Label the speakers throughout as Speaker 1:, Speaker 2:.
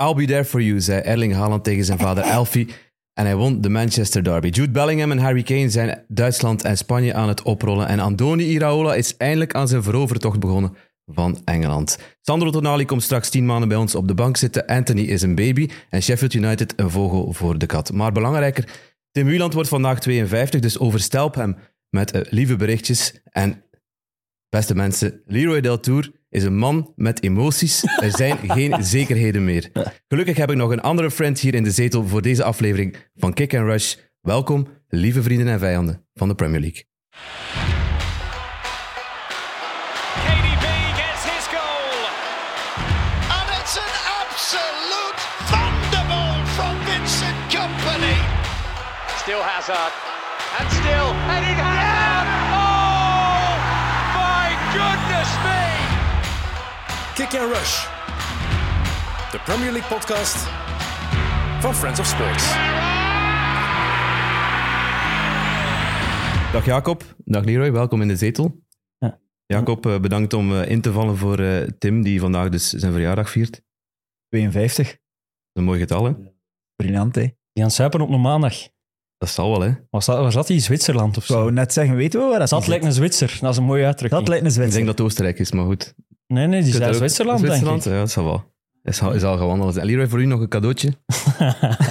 Speaker 1: I'll be there for you, zei Erling Haaland tegen zijn vader Alfie. En hij won de Manchester Derby. Jude Bellingham en Harry Kane zijn Duitsland en Spanje aan het oprollen. En Andoni Iraola is eindelijk aan zijn verovertocht begonnen van Engeland. Sandro Tonali komt straks tien maanden bij ons op de bank zitten. Anthony is een baby. En Sheffield United een vogel voor de kat. Maar belangrijker, Tim Wieland wordt vandaag 52. Dus overstelp hem met eh, lieve berichtjes. En beste mensen, Leroy Del Tour is een man met emoties. Er zijn geen zekerheden meer. Gelukkig heb ik nog een andere friend hier in de zetel voor deze aflevering van Kick and Rush. Welkom, lieve vrienden en vijanden van de Premier League.
Speaker 2: KDB gets his goal.
Speaker 3: And it's an absolute thunderbolt from Vincent Company.
Speaker 2: Still Hazard. And still Eden Hazard. Oh, my goodness me.
Speaker 4: Kick and Rush. De Premier League podcast van Friends of Sports.
Speaker 1: Dag Jacob, dag Leroy, welkom in de zetel.
Speaker 5: Ja.
Speaker 1: Jacob, eh, bedankt om eh, in te vallen voor eh, Tim, die vandaag dus zijn verjaardag viert. Dat
Speaker 6: 52.
Speaker 1: is een mooi getal, hè?
Speaker 6: Briljant, hè? Ik
Speaker 5: Die aan het zuipen op een maandag.
Speaker 1: Dat zal wel, hè?
Speaker 5: Waar zat, waar zat hij? Zwitserland of zo?
Speaker 6: wou net zeggen, weten we waar dat
Speaker 5: dat
Speaker 6: zit?
Speaker 5: lijkt een Zwitser. Dat is een mooie uitdrukking.
Speaker 6: Dat lijkt een
Speaker 1: Ik denk
Speaker 6: Zwitser.
Speaker 1: dat het Oostenrijk is, maar goed.
Speaker 5: Nee, nee, die is uit Zwitserland,
Speaker 1: Zwitserland?
Speaker 5: denk ik.
Speaker 1: Ja, dat zal wel. Is al, is al gewandeld. En Leroy, voor u nog een cadeautje.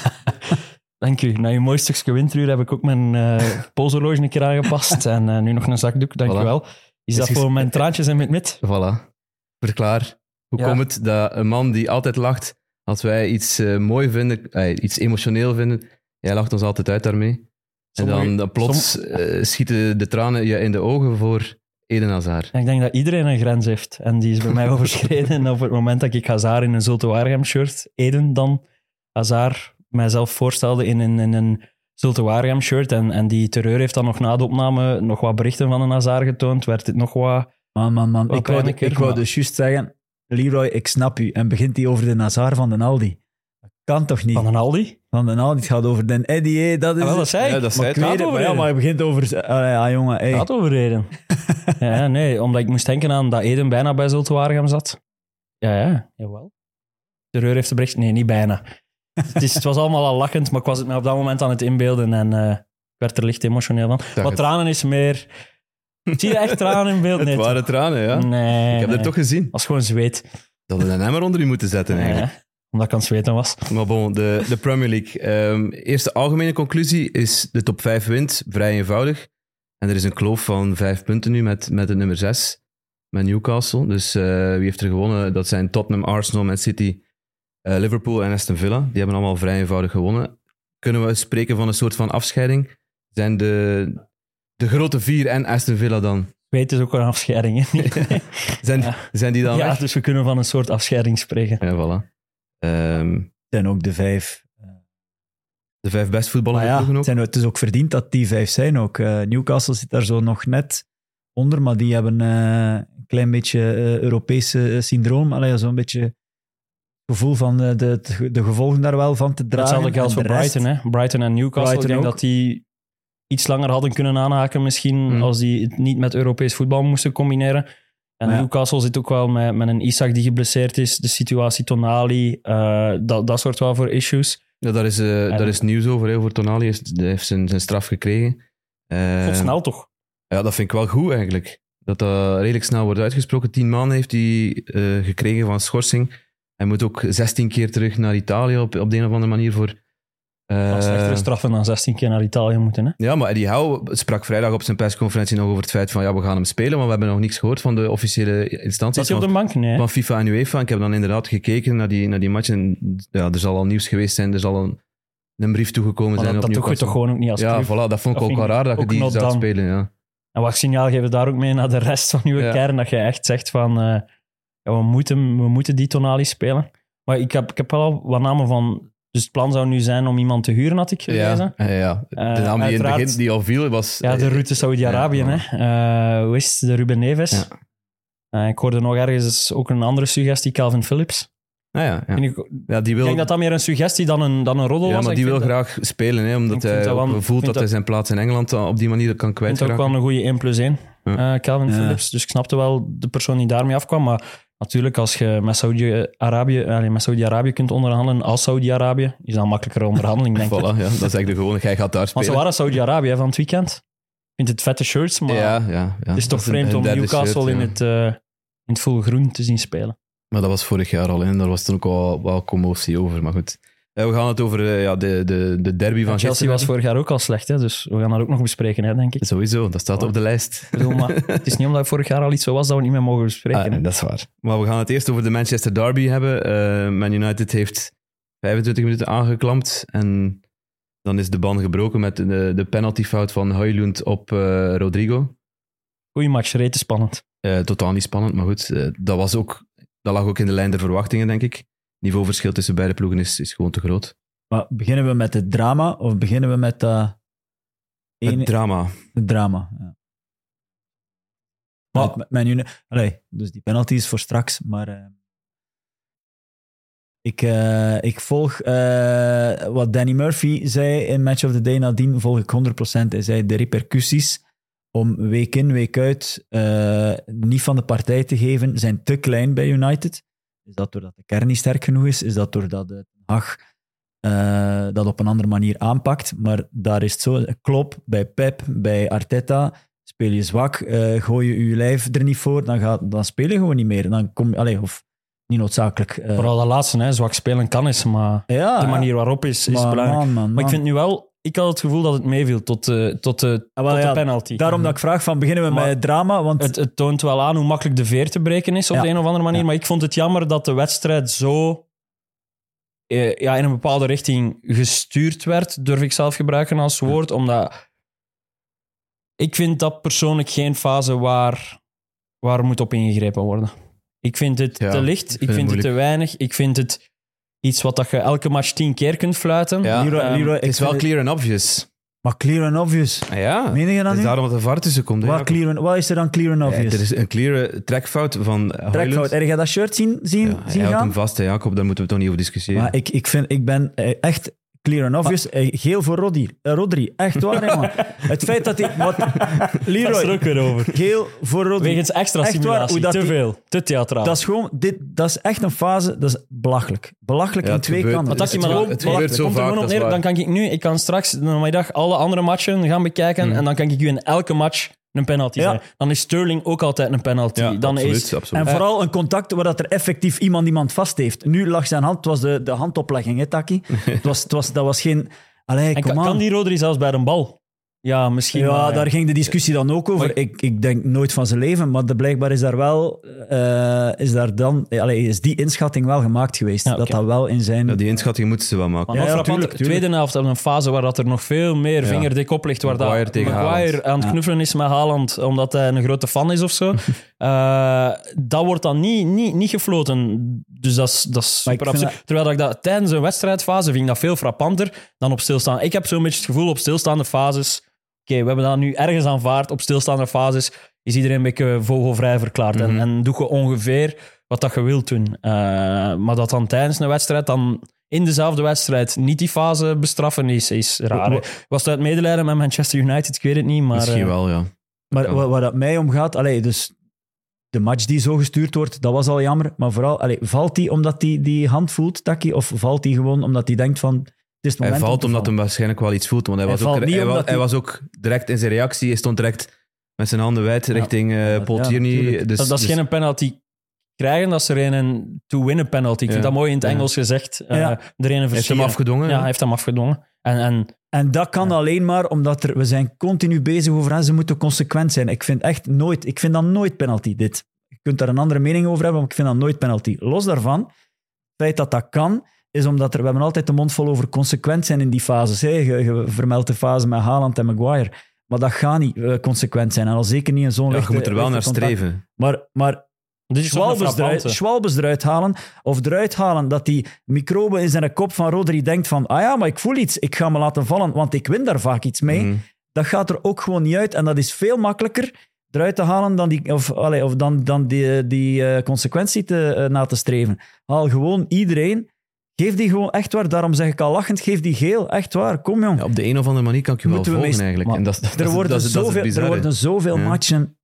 Speaker 5: Dank u. Na je mooi stukje winteruur heb ik ook mijn eh polshorloge een keer aangepast. En eh, nu nog een zakdoek, dank
Speaker 1: Voilà.
Speaker 5: u wel. Is dat
Speaker 1: ges-
Speaker 5: voor mijn traantjes en met mit?
Speaker 1: Voilà. Verklaar. Hoe
Speaker 5: Ja.
Speaker 1: komt het dat een man die altijd lacht als wij iets eh, mooi vinden, eh, iets emotioneel vinden, jij lacht ons altijd uit daarmee. en dan,
Speaker 5: Sommige-
Speaker 1: dan plots eh, schieten de tranen je in de ogen voor Eden Hazard.
Speaker 5: En ik denk dat iedereen een grens heeft. En die is bij mij overschreden. En op het moment dat ik Hazard in een Zulte Waregem shirt, Eden dan, Hazard mijzelf voorstelde in een, in een Zulte Waregem shirt. En, en die terreur heeft dan nog na de opname nog wat berichten van een Hazard getoond. Werd dit nog wat...
Speaker 6: Man, man, man.
Speaker 5: Wat
Speaker 6: Ik wou,
Speaker 5: pijnlijker,
Speaker 6: ik wou
Speaker 5: maar-
Speaker 6: dus juist zeggen, Leroy, ik snap u. En begint hij over de Nazar van de Aldi. Dat kan toch niet?
Speaker 5: Van een Aldi?
Speaker 6: Van de Aldi, het gaat over den Eddy, hè? Dat is
Speaker 5: Ah, wel, dat
Speaker 6: het.
Speaker 5: zei ik.
Speaker 1: Ja, dat zei
Speaker 6: maar
Speaker 1: het.
Speaker 6: ik weet het,
Speaker 5: Gaat
Speaker 6: maar
Speaker 5: over
Speaker 6: ja,
Speaker 5: Eden.
Speaker 6: maar hij begint over... Allee, ja, jongen, hey.
Speaker 5: Gaat over Eden. ja, nee, omdat ik moest denken aan dat Eden bijna bij Zulte Waregem zat. Ja, ja, jawel. Terreur heeft de bericht. Nee, niet bijna. het, is, het was allemaal al lachend, maar ik was het me op dat moment aan het inbeelden en eh, ik werd er licht emotioneel van.
Speaker 1: Dag
Speaker 5: maar
Speaker 1: het.
Speaker 5: tranen is meer... Zie je echt tranen in beeld? Nee,
Speaker 1: Het waren tranen, ja.
Speaker 5: toch? nee.
Speaker 1: ik heb
Speaker 5: nee.
Speaker 1: dat toch gezien.
Speaker 5: Dat is gewoon zweet.
Speaker 1: Dat we een emmer onder u moeten zetten,
Speaker 5: Nee,
Speaker 1: eigenlijk.
Speaker 5: hè. omdat ik aan het zweten was.
Speaker 1: Maar bon, de, de Premier League. Ehm, eerste algemene conclusie is de top 5 wint, vrij eenvoudig. En er is een kloof van 5 punten nu met, met de nummer 6, met Newcastle. Dus eh, wie heeft er gewonnen? Dat zijn Tottenham, Arsenal, Man City, eh, Liverpool en Aston Villa. Die hebben allemaal vrij eenvoudig gewonnen. Kunnen we spreken van een soort van afscheiding? Zijn de, de grote vier en Aston Villa dan?
Speaker 5: Zweet is ook een afscheiding. Hè?
Speaker 1: Zijn, zijn die dan
Speaker 5: ja,
Speaker 1: weg?
Speaker 5: dus we kunnen van een soort afscheiding spreken.
Speaker 1: Ja, voilà. Ehm,
Speaker 6: Het zijn ook de vijf.
Speaker 1: de vijf best voetballers
Speaker 6: Maar ja,
Speaker 1: ook.
Speaker 6: het, zijn, het is ook verdiend dat die vijf zijn ook. Eh, Newcastle zit daar zo nog net onder, maar die hebben eh, een klein beetje eh, Europese eh, syndroom. Allee, zo'n beetje het gevoel van eh, de, de, de gevolgen daar wel van te dragen.
Speaker 5: Hetzelfde geldt
Speaker 6: En
Speaker 5: voor
Speaker 6: de rest-
Speaker 5: Brighton. Hè? Brighton en Newcastle.
Speaker 6: Brighton
Speaker 5: ik denk
Speaker 6: ook.
Speaker 5: dat die iets langer hadden kunnen aanhaken misschien
Speaker 6: Mm.
Speaker 1: Hmm.
Speaker 5: als die het niet met Europees voetbal moesten combineren. En
Speaker 6: Maar ja.
Speaker 5: Newcastle zit ook wel met, met een Isaac die geblesseerd is, de situatie Tonali, eh, dat, dat soort wel voor issues.
Speaker 1: Ja, daar is, eh,
Speaker 5: En-
Speaker 1: daar is nieuws over. Hè. Voor Tonali heeft, hij heeft zijn, zijn straf gekregen. Eh,
Speaker 5: Tot snel toch?
Speaker 1: Ja, dat vind ik wel goed eigenlijk. Dat dat redelijk snel wordt uitgesproken. Tien maanden heeft hij eh, gekregen van schorsing. Hij moet ook 16 keer terug naar Italië op, op de een of andere manier voor. eh,
Speaker 5: Als slechtere straffen dan 16 keer naar Italië moeten. Hè?
Speaker 1: ja, maar Eddie Howe sprak vrijdag op zijn persconferentie nog over het feit van ja, we gaan hem spelen, maar we hebben nog niks gehoord van de officiële
Speaker 5: Zat
Speaker 1: instanties.
Speaker 5: hij op
Speaker 1: van-
Speaker 5: de bank? Nee. hè?
Speaker 1: van FIFA en UEFA. Ik heb dan inderdaad gekeken naar die, naar die match. En ja, er zal al nieuws geweest zijn. Er zal een, een brief toegekomen
Speaker 5: Maar
Speaker 1: zijn.
Speaker 5: Oh, dat
Speaker 1: op
Speaker 5: dat doe je
Speaker 1: Newcastle.
Speaker 5: toch gewoon ook niet als
Speaker 1: Ja,
Speaker 5: club?
Speaker 1: voilà, dat vond ik
Speaker 5: Dat
Speaker 1: ook
Speaker 5: vind
Speaker 1: wel
Speaker 5: ik
Speaker 1: raar dat je
Speaker 5: ook
Speaker 1: die
Speaker 5: not
Speaker 1: zou
Speaker 5: done.
Speaker 1: spelen. Ja.
Speaker 5: En wat signaal geven daar ook mee naar de rest van uw
Speaker 1: Ja.
Speaker 5: kern? Dat je echt zegt van, eh, ja, we, moeten, we moeten die Tonali spelen. Maar ik heb, ik heb wel al wat namen van... Dus het plan zou nu zijn om iemand te huren, had ik gelezen.
Speaker 1: ja, ja. De
Speaker 5: Eh,
Speaker 1: naam die in het
Speaker 5: uiteraard-
Speaker 1: begin die al viel was. eh,
Speaker 5: Ja, de route Saudi-Arabië,
Speaker 1: Ja,
Speaker 5: hè. Eh, hoe is het? De Ruben Neves.
Speaker 1: Ja.
Speaker 5: Eh, ik hoorde nog ergens ook een andere suggestie, Calvin Phillips.
Speaker 1: Ah, ja, ja.
Speaker 5: Vind ik, ik
Speaker 1: Ja, die wil,
Speaker 5: denk dat dat meer een suggestie dan een, dan een roddel
Speaker 1: ja,
Speaker 5: was.
Speaker 1: maar
Speaker 5: Ik
Speaker 1: die wil
Speaker 5: vind dat-
Speaker 1: graag spelen, hè,
Speaker 5: Ik
Speaker 1: omdat
Speaker 5: vind
Speaker 1: hij
Speaker 5: dat
Speaker 1: ook voelt
Speaker 5: wel- ik
Speaker 1: dat
Speaker 5: vind
Speaker 1: hij
Speaker 5: dat-
Speaker 1: zijn plaats in Engeland eh, op die manier kan
Speaker 5: Ik vind het ook
Speaker 1: kwijtraken.
Speaker 5: wel een goede 1 plus 1,
Speaker 1: Ja.
Speaker 5: eh, Calvin
Speaker 6: Ja.
Speaker 5: Phillips. Dus ik snapte wel de persoon die daarmee afkwam. Maar Natuurlijk, als je met Saudi-Arabië allee, met Saudi-Arabië kunt onderhandelen, als Saudi-Arabië, is dat makkelijker onderhandeling, denk ik.
Speaker 1: Voilà, ja, dat is eigenlijk de gewone. Jij gaat daar
Speaker 5: Want ze
Speaker 1: spelen.
Speaker 5: waren Saudi-Arabië hè, van het weekend. Ik vind het vette shirts, maar
Speaker 1: ja, ja, ja.
Speaker 5: het is
Speaker 1: Dat
Speaker 5: toch
Speaker 1: een-
Speaker 5: vreemd
Speaker 1: een
Speaker 5: om
Speaker 1: derde
Speaker 5: Newcastle
Speaker 1: shirt,
Speaker 5: in,
Speaker 1: ja.
Speaker 5: het, eh, in het volle groen te zien spelen.
Speaker 1: Maar dat was vorig jaar al, en daar was toen ook wel, wel commotie over. Maar goed, Eh, we gaan het over eh, ja, de, de, de derby van
Speaker 5: Chelsea
Speaker 1: gisteren.
Speaker 5: was vorig jaar ook al slecht, hè, dus we gaan dat ook nog bespreken, hè, denk ik.
Speaker 1: Sowieso, dat staat
Speaker 5: Ja.
Speaker 1: op de lijst.
Speaker 5: Ik bedoel, maar het is niet omdat vorig jaar al iets zo was dat we niet meer mogen bespreken.
Speaker 1: Ah,
Speaker 5: hè.
Speaker 1: dat is waar. Maar we gaan het eerst over de Manchester Derby hebben. Eh, Man United heeft 25 minuten aangeklampt en dan is de ban gebroken met de, de penaltyfout van Højlund op eh, Rodrigo.
Speaker 5: Goeie match, rete spannend.
Speaker 1: Eh, totaal niet spannend, maar goed, eh, dat, was ook, dat lag ook in de lijn der verwachtingen, denk ik. Niveauverschil tussen beide ploegen is, is gewoon te groot.
Speaker 6: Maar beginnen we met het drama of beginnen we met dat ene-
Speaker 1: Het drama.
Speaker 6: het drama? Ja.
Speaker 5: Maar-
Speaker 6: Maar, mijn uni- Allee, dus die penalty is voor straks, maar eh, ik, eh, ik volg eh, wat Danny Murphy zei in Match of the Day nadien, volg ik 100%. Hij zei de repercussies om week in, week uit eh, niet van de partij te geven zijn te klein bij United. Is dat doordat de kern niet sterk genoeg is? Is dat doordat de Hag eh, dat op een andere manier aanpakt? Maar daar is het zo. Klopt, bij Pep, bij Arteta speel je zwak, eh, gooi je je lijf er niet voor, dan, gaat, dan speel je gewoon niet meer. Dan kom je, allee, of niet noodzakelijk. eh,
Speaker 5: Vooral dat laatste, hè, zwak spelen kan is, maar
Speaker 6: Ah, ja,
Speaker 5: de manier waarop is, is
Speaker 6: Maar
Speaker 5: belangrijk.
Speaker 6: man, man,
Speaker 5: Maar ik
Speaker 6: man.
Speaker 5: vind nu wel, ik had het gevoel dat het meeviel tot, de tot, de,
Speaker 6: Ah, wel,
Speaker 5: tot
Speaker 6: ja,
Speaker 5: de penalty.
Speaker 6: Daarom dat ik vraag van beginnen we
Speaker 5: Maar-
Speaker 6: met het drama, want
Speaker 5: het, het toont wel aan hoe makkelijk de veer te breken is op
Speaker 6: Ja.
Speaker 5: de een of andere manier.
Speaker 6: Ja.
Speaker 5: Maar ik vond het jammer dat de wedstrijd zo eh, ja, in een bepaalde richting gestuurd werd, durf ik zelf gebruiken als woord. Omdat ik vind dat persoonlijk geen fase waar, waar moet op ingegrepen worden. Ik vind het
Speaker 1: Ja,
Speaker 5: te
Speaker 1: ik
Speaker 5: licht,
Speaker 1: vind
Speaker 5: ik
Speaker 1: het
Speaker 5: vind het te
Speaker 1: moeilijk.
Speaker 5: weinig, ik vind het iets wat dat je elke match tien keer kunt fluiten.
Speaker 1: Ja.
Speaker 6: Leroy-
Speaker 5: Ehm,
Speaker 6: Leroy, ik
Speaker 1: Het is wel
Speaker 6: vind het-
Speaker 1: clear and obvious. Ah
Speaker 6: maar clear and obvious.
Speaker 1: Ja,
Speaker 6: Meen je dat
Speaker 1: het
Speaker 6: nu?
Speaker 1: is daarom dat de VAR tussen komt. hè,
Speaker 6: Wat,
Speaker 1: Jacob.
Speaker 6: clear and- wat is er dan clear and
Speaker 1: Ja,
Speaker 6: obvious?
Speaker 1: er is een clear trekfout van
Speaker 6: Trekfout.
Speaker 1: Højlund.
Speaker 6: Heb je dat shirt zien, zien,
Speaker 1: Ja, hij
Speaker 6: zien
Speaker 1: houdt
Speaker 6: gaan?
Speaker 1: hem vast, hè, Jacob. Daar moeten we toch niet over discussiëren.
Speaker 6: Maar ik, ik, vind, ik ben eh, echt clear and obvious. Eh, Geel voor Rodri. Eh, Rodri. Echt waar, hè, man. Het feit dat hij... Wat, Leroy.
Speaker 5: Dat is er ook weer over.
Speaker 6: Geel voor Rodri.
Speaker 5: Wegens extra
Speaker 6: Echt waar,
Speaker 5: simulatie,
Speaker 6: hoe dat
Speaker 5: te
Speaker 6: die-
Speaker 5: veel, te theatraal.
Speaker 6: Dat is gewoon... Dit, dat is echt een fase... Dat is belachelijk.
Speaker 1: Ja,
Speaker 6: Belachelijk in
Speaker 1: het
Speaker 6: twee
Speaker 1: gebeurt-
Speaker 6: kanten.
Speaker 5: Want dat
Speaker 1: Het
Speaker 5: je maar
Speaker 1: gebeurt-
Speaker 5: ook-
Speaker 1: het
Speaker 5: maar
Speaker 1: gebeurt
Speaker 5: het
Speaker 1: zo
Speaker 5: komt er
Speaker 1: vaak,
Speaker 5: gewoon
Speaker 1: dat
Speaker 5: op
Speaker 1: is
Speaker 5: neer,
Speaker 1: waar.
Speaker 5: Dan kan ik nu, ik kan straks de namiddag alle andere matchen gaan bekijken
Speaker 1: Mm.
Speaker 5: en dan kan ik u in elke match een penalty
Speaker 6: Ja.
Speaker 5: zijn. Dan is Sterling ook altijd een penalty.
Speaker 1: Ja,
Speaker 5: dan
Speaker 1: absoluut,
Speaker 5: is
Speaker 1: absoluut.
Speaker 6: En
Speaker 5: Eh.
Speaker 6: vooral een contact waar dat er effectief iemand iemand vast heeft. Nu lag zijn hand... Het was de, de handoplegging, hè, Taki? het was, het was, dat was geen... Allee,
Speaker 5: en
Speaker 6: kom
Speaker 5: kan, kan
Speaker 6: aan.
Speaker 5: die Rodri zelfs bij een bal? Ja, misschien.
Speaker 6: Ja,
Speaker 5: maar-
Speaker 6: daar ging de discussie dan ook over.
Speaker 5: Maar-
Speaker 6: ik, ik denk nooit van zijn leven, maar de, blijkbaar is daar wel... eh, is, daar dan, eh, allee, is die inschatting wel gemaakt geweest.
Speaker 5: Ja, oké.
Speaker 6: Dat dat wel in zijn...
Speaker 1: Ja, die inschatting moeten ze wel maken.
Speaker 5: Maar
Speaker 6: Ja,
Speaker 5: nog
Speaker 6: ja,
Speaker 5: frappant,
Speaker 6: tuurlijk,
Speaker 5: de
Speaker 6: tuurlijk.
Speaker 5: tweede helft hebben we een fase waar dat er nog veel meer
Speaker 1: Ja.
Speaker 5: vingerdik op ligt. Waar
Speaker 1: Maguire
Speaker 5: dat,
Speaker 1: tegen Haaland.
Speaker 5: Maguire aan het
Speaker 6: Ja.
Speaker 5: knuffelen is met Haaland, omdat hij een grote fan is of zo. Eh, dat wordt dan niet, niet, niet gefloten. Dus dat is, dat is
Speaker 6: Maar ik
Speaker 5: super
Speaker 6: vind
Speaker 5: absurd. Terwijl dat ik dat tijdens een wedstrijdfase vind ik dat veel frappanter dan op stilstaan. Ik heb zo'n beetje het gevoel op stilstaande fases... Oké, we hebben dat nu ergens aanvaard. Op stilstaande fases is iedereen een beetje vogelvrij verklaard.
Speaker 1: Mhm.
Speaker 5: en, en doe je ongeveer wat dat je wilt doen. Eh, maar dat dan tijdens een wedstrijd dan in dezelfde wedstrijd niet die fase bestraffen is, is raar. hè. Was dat het medelijden met Manchester United? Ik weet het niet, maar...
Speaker 1: Misschien
Speaker 5: eh,
Speaker 1: wel, ja.
Speaker 6: Maar
Speaker 1: Ja.
Speaker 6: wa- waar, dat mij om gaat, allee, dus de match die zo gestuurd wordt, dat was al jammer. Maar vooral, allee, valt die omdat die, die hand voelt, Taki? Of valt die gewoon omdat hij denkt van, het is het moment
Speaker 1: Hij
Speaker 6: om
Speaker 1: valt
Speaker 6: te
Speaker 1: omdat
Speaker 6: vallen?
Speaker 1: hem waarschijnlijk wel iets voelt. Want hij,
Speaker 6: Hij
Speaker 1: was, ook,
Speaker 6: valt niet
Speaker 1: hij, wa-
Speaker 6: omdat
Speaker 1: hij
Speaker 6: hij-
Speaker 1: was ook direct in zijn reactie. Hij stond direct met zijn handen wijd richting eh Paul
Speaker 6: ja,
Speaker 1: Tierney.
Speaker 6: natuurlijk.
Speaker 1: dus,
Speaker 5: dat, dat is
Speaker 1: dus-
Speaker 5: geen penalty krijgen, dat is er een- een to-win penalty. Ik vind
Speaker 1: Ja.
Speaker 5: dat mooi in het
Speaker 1: Ja.
Speaker 5: Engels gezegd. Eh
Speaker 6: Ja.
Speaker 5: Er een
Speaker 1: Hij heeft hem
Speaker 5: versieren.
Speaker 1: afgedwongen.
Speaker 5: Ja, hij heeft hem afgedwongen. En, en
Speaker 6: En dat kan alleen maar omdat er, we zijn continu bezig over, hè, ze moeten consequent zijn. Ik vind echt nooit, ik vind dat nooit penalty, dit. Je kunt daar een andere mening over hebben, maar ik vind dat nooit penalty. Los daarvan, het feit dat dat kan, is omdat er, we hebben altijd de mond vol over consequent zijn in die fases. hè. Je, je vermeldt de fase met Haaland en Maguire. Maar dat gaat niet eh, consequent zijn. En al zeker niet in zo'n
Speaker 1: Ja, je
Speaker 6: lichte-
Speaker 1: moet er wel
Speaker 6: lichte
Speaker 1: naar
Speaker 6: eh, contact.
Speaker 1: streven.
Speaker 6: Maar, maar
Speaker 5: dit is ook een
Speaker 6: Schwalbes, eruit,
Speaker 5: frappante.
Speaker 6: Schwalbes eruit halen, of eruit halen dat die microbe in zijn kop van Rodri denkt van ah ja, maar ik voel iets, ik ga me laten vallen, want ik win daar vaak iets mee.
Speaker 1: Mhm.
Speaker 6: Dat gaat er ook gewoon niet uit en dat is veel makkelijker eruit te halen dan die, of, allee, of dan, dan die, die eh, consequentie te, eh, na te streven. Haal gewoon iedereen, geef die gewoon echt waar, daarom zeg ik al lachend, geef die geel, echt waar, kom jong.
Speaker 1: Ja, op de een of andere manier kan ik je wel
Speaker 6: Moeten we
Speaker 1: volgen,
Speaker 6: meest-
Speaker 1: eigenlijk.
Speaker 6: maar
Speaker 1: en dat, is- dat,
Speaker 6: Er
Speaker 1: is-
Speaker 6: worden,
Speaker 1: dat, is- dat is
Speaker 6: zoveel,
Speaker 1: bizar,
Speaker 6: er
Speaker 1: hè.
Speaker 6: worden zoveel
Speaker 1: Ja.
Speaker 6: matchen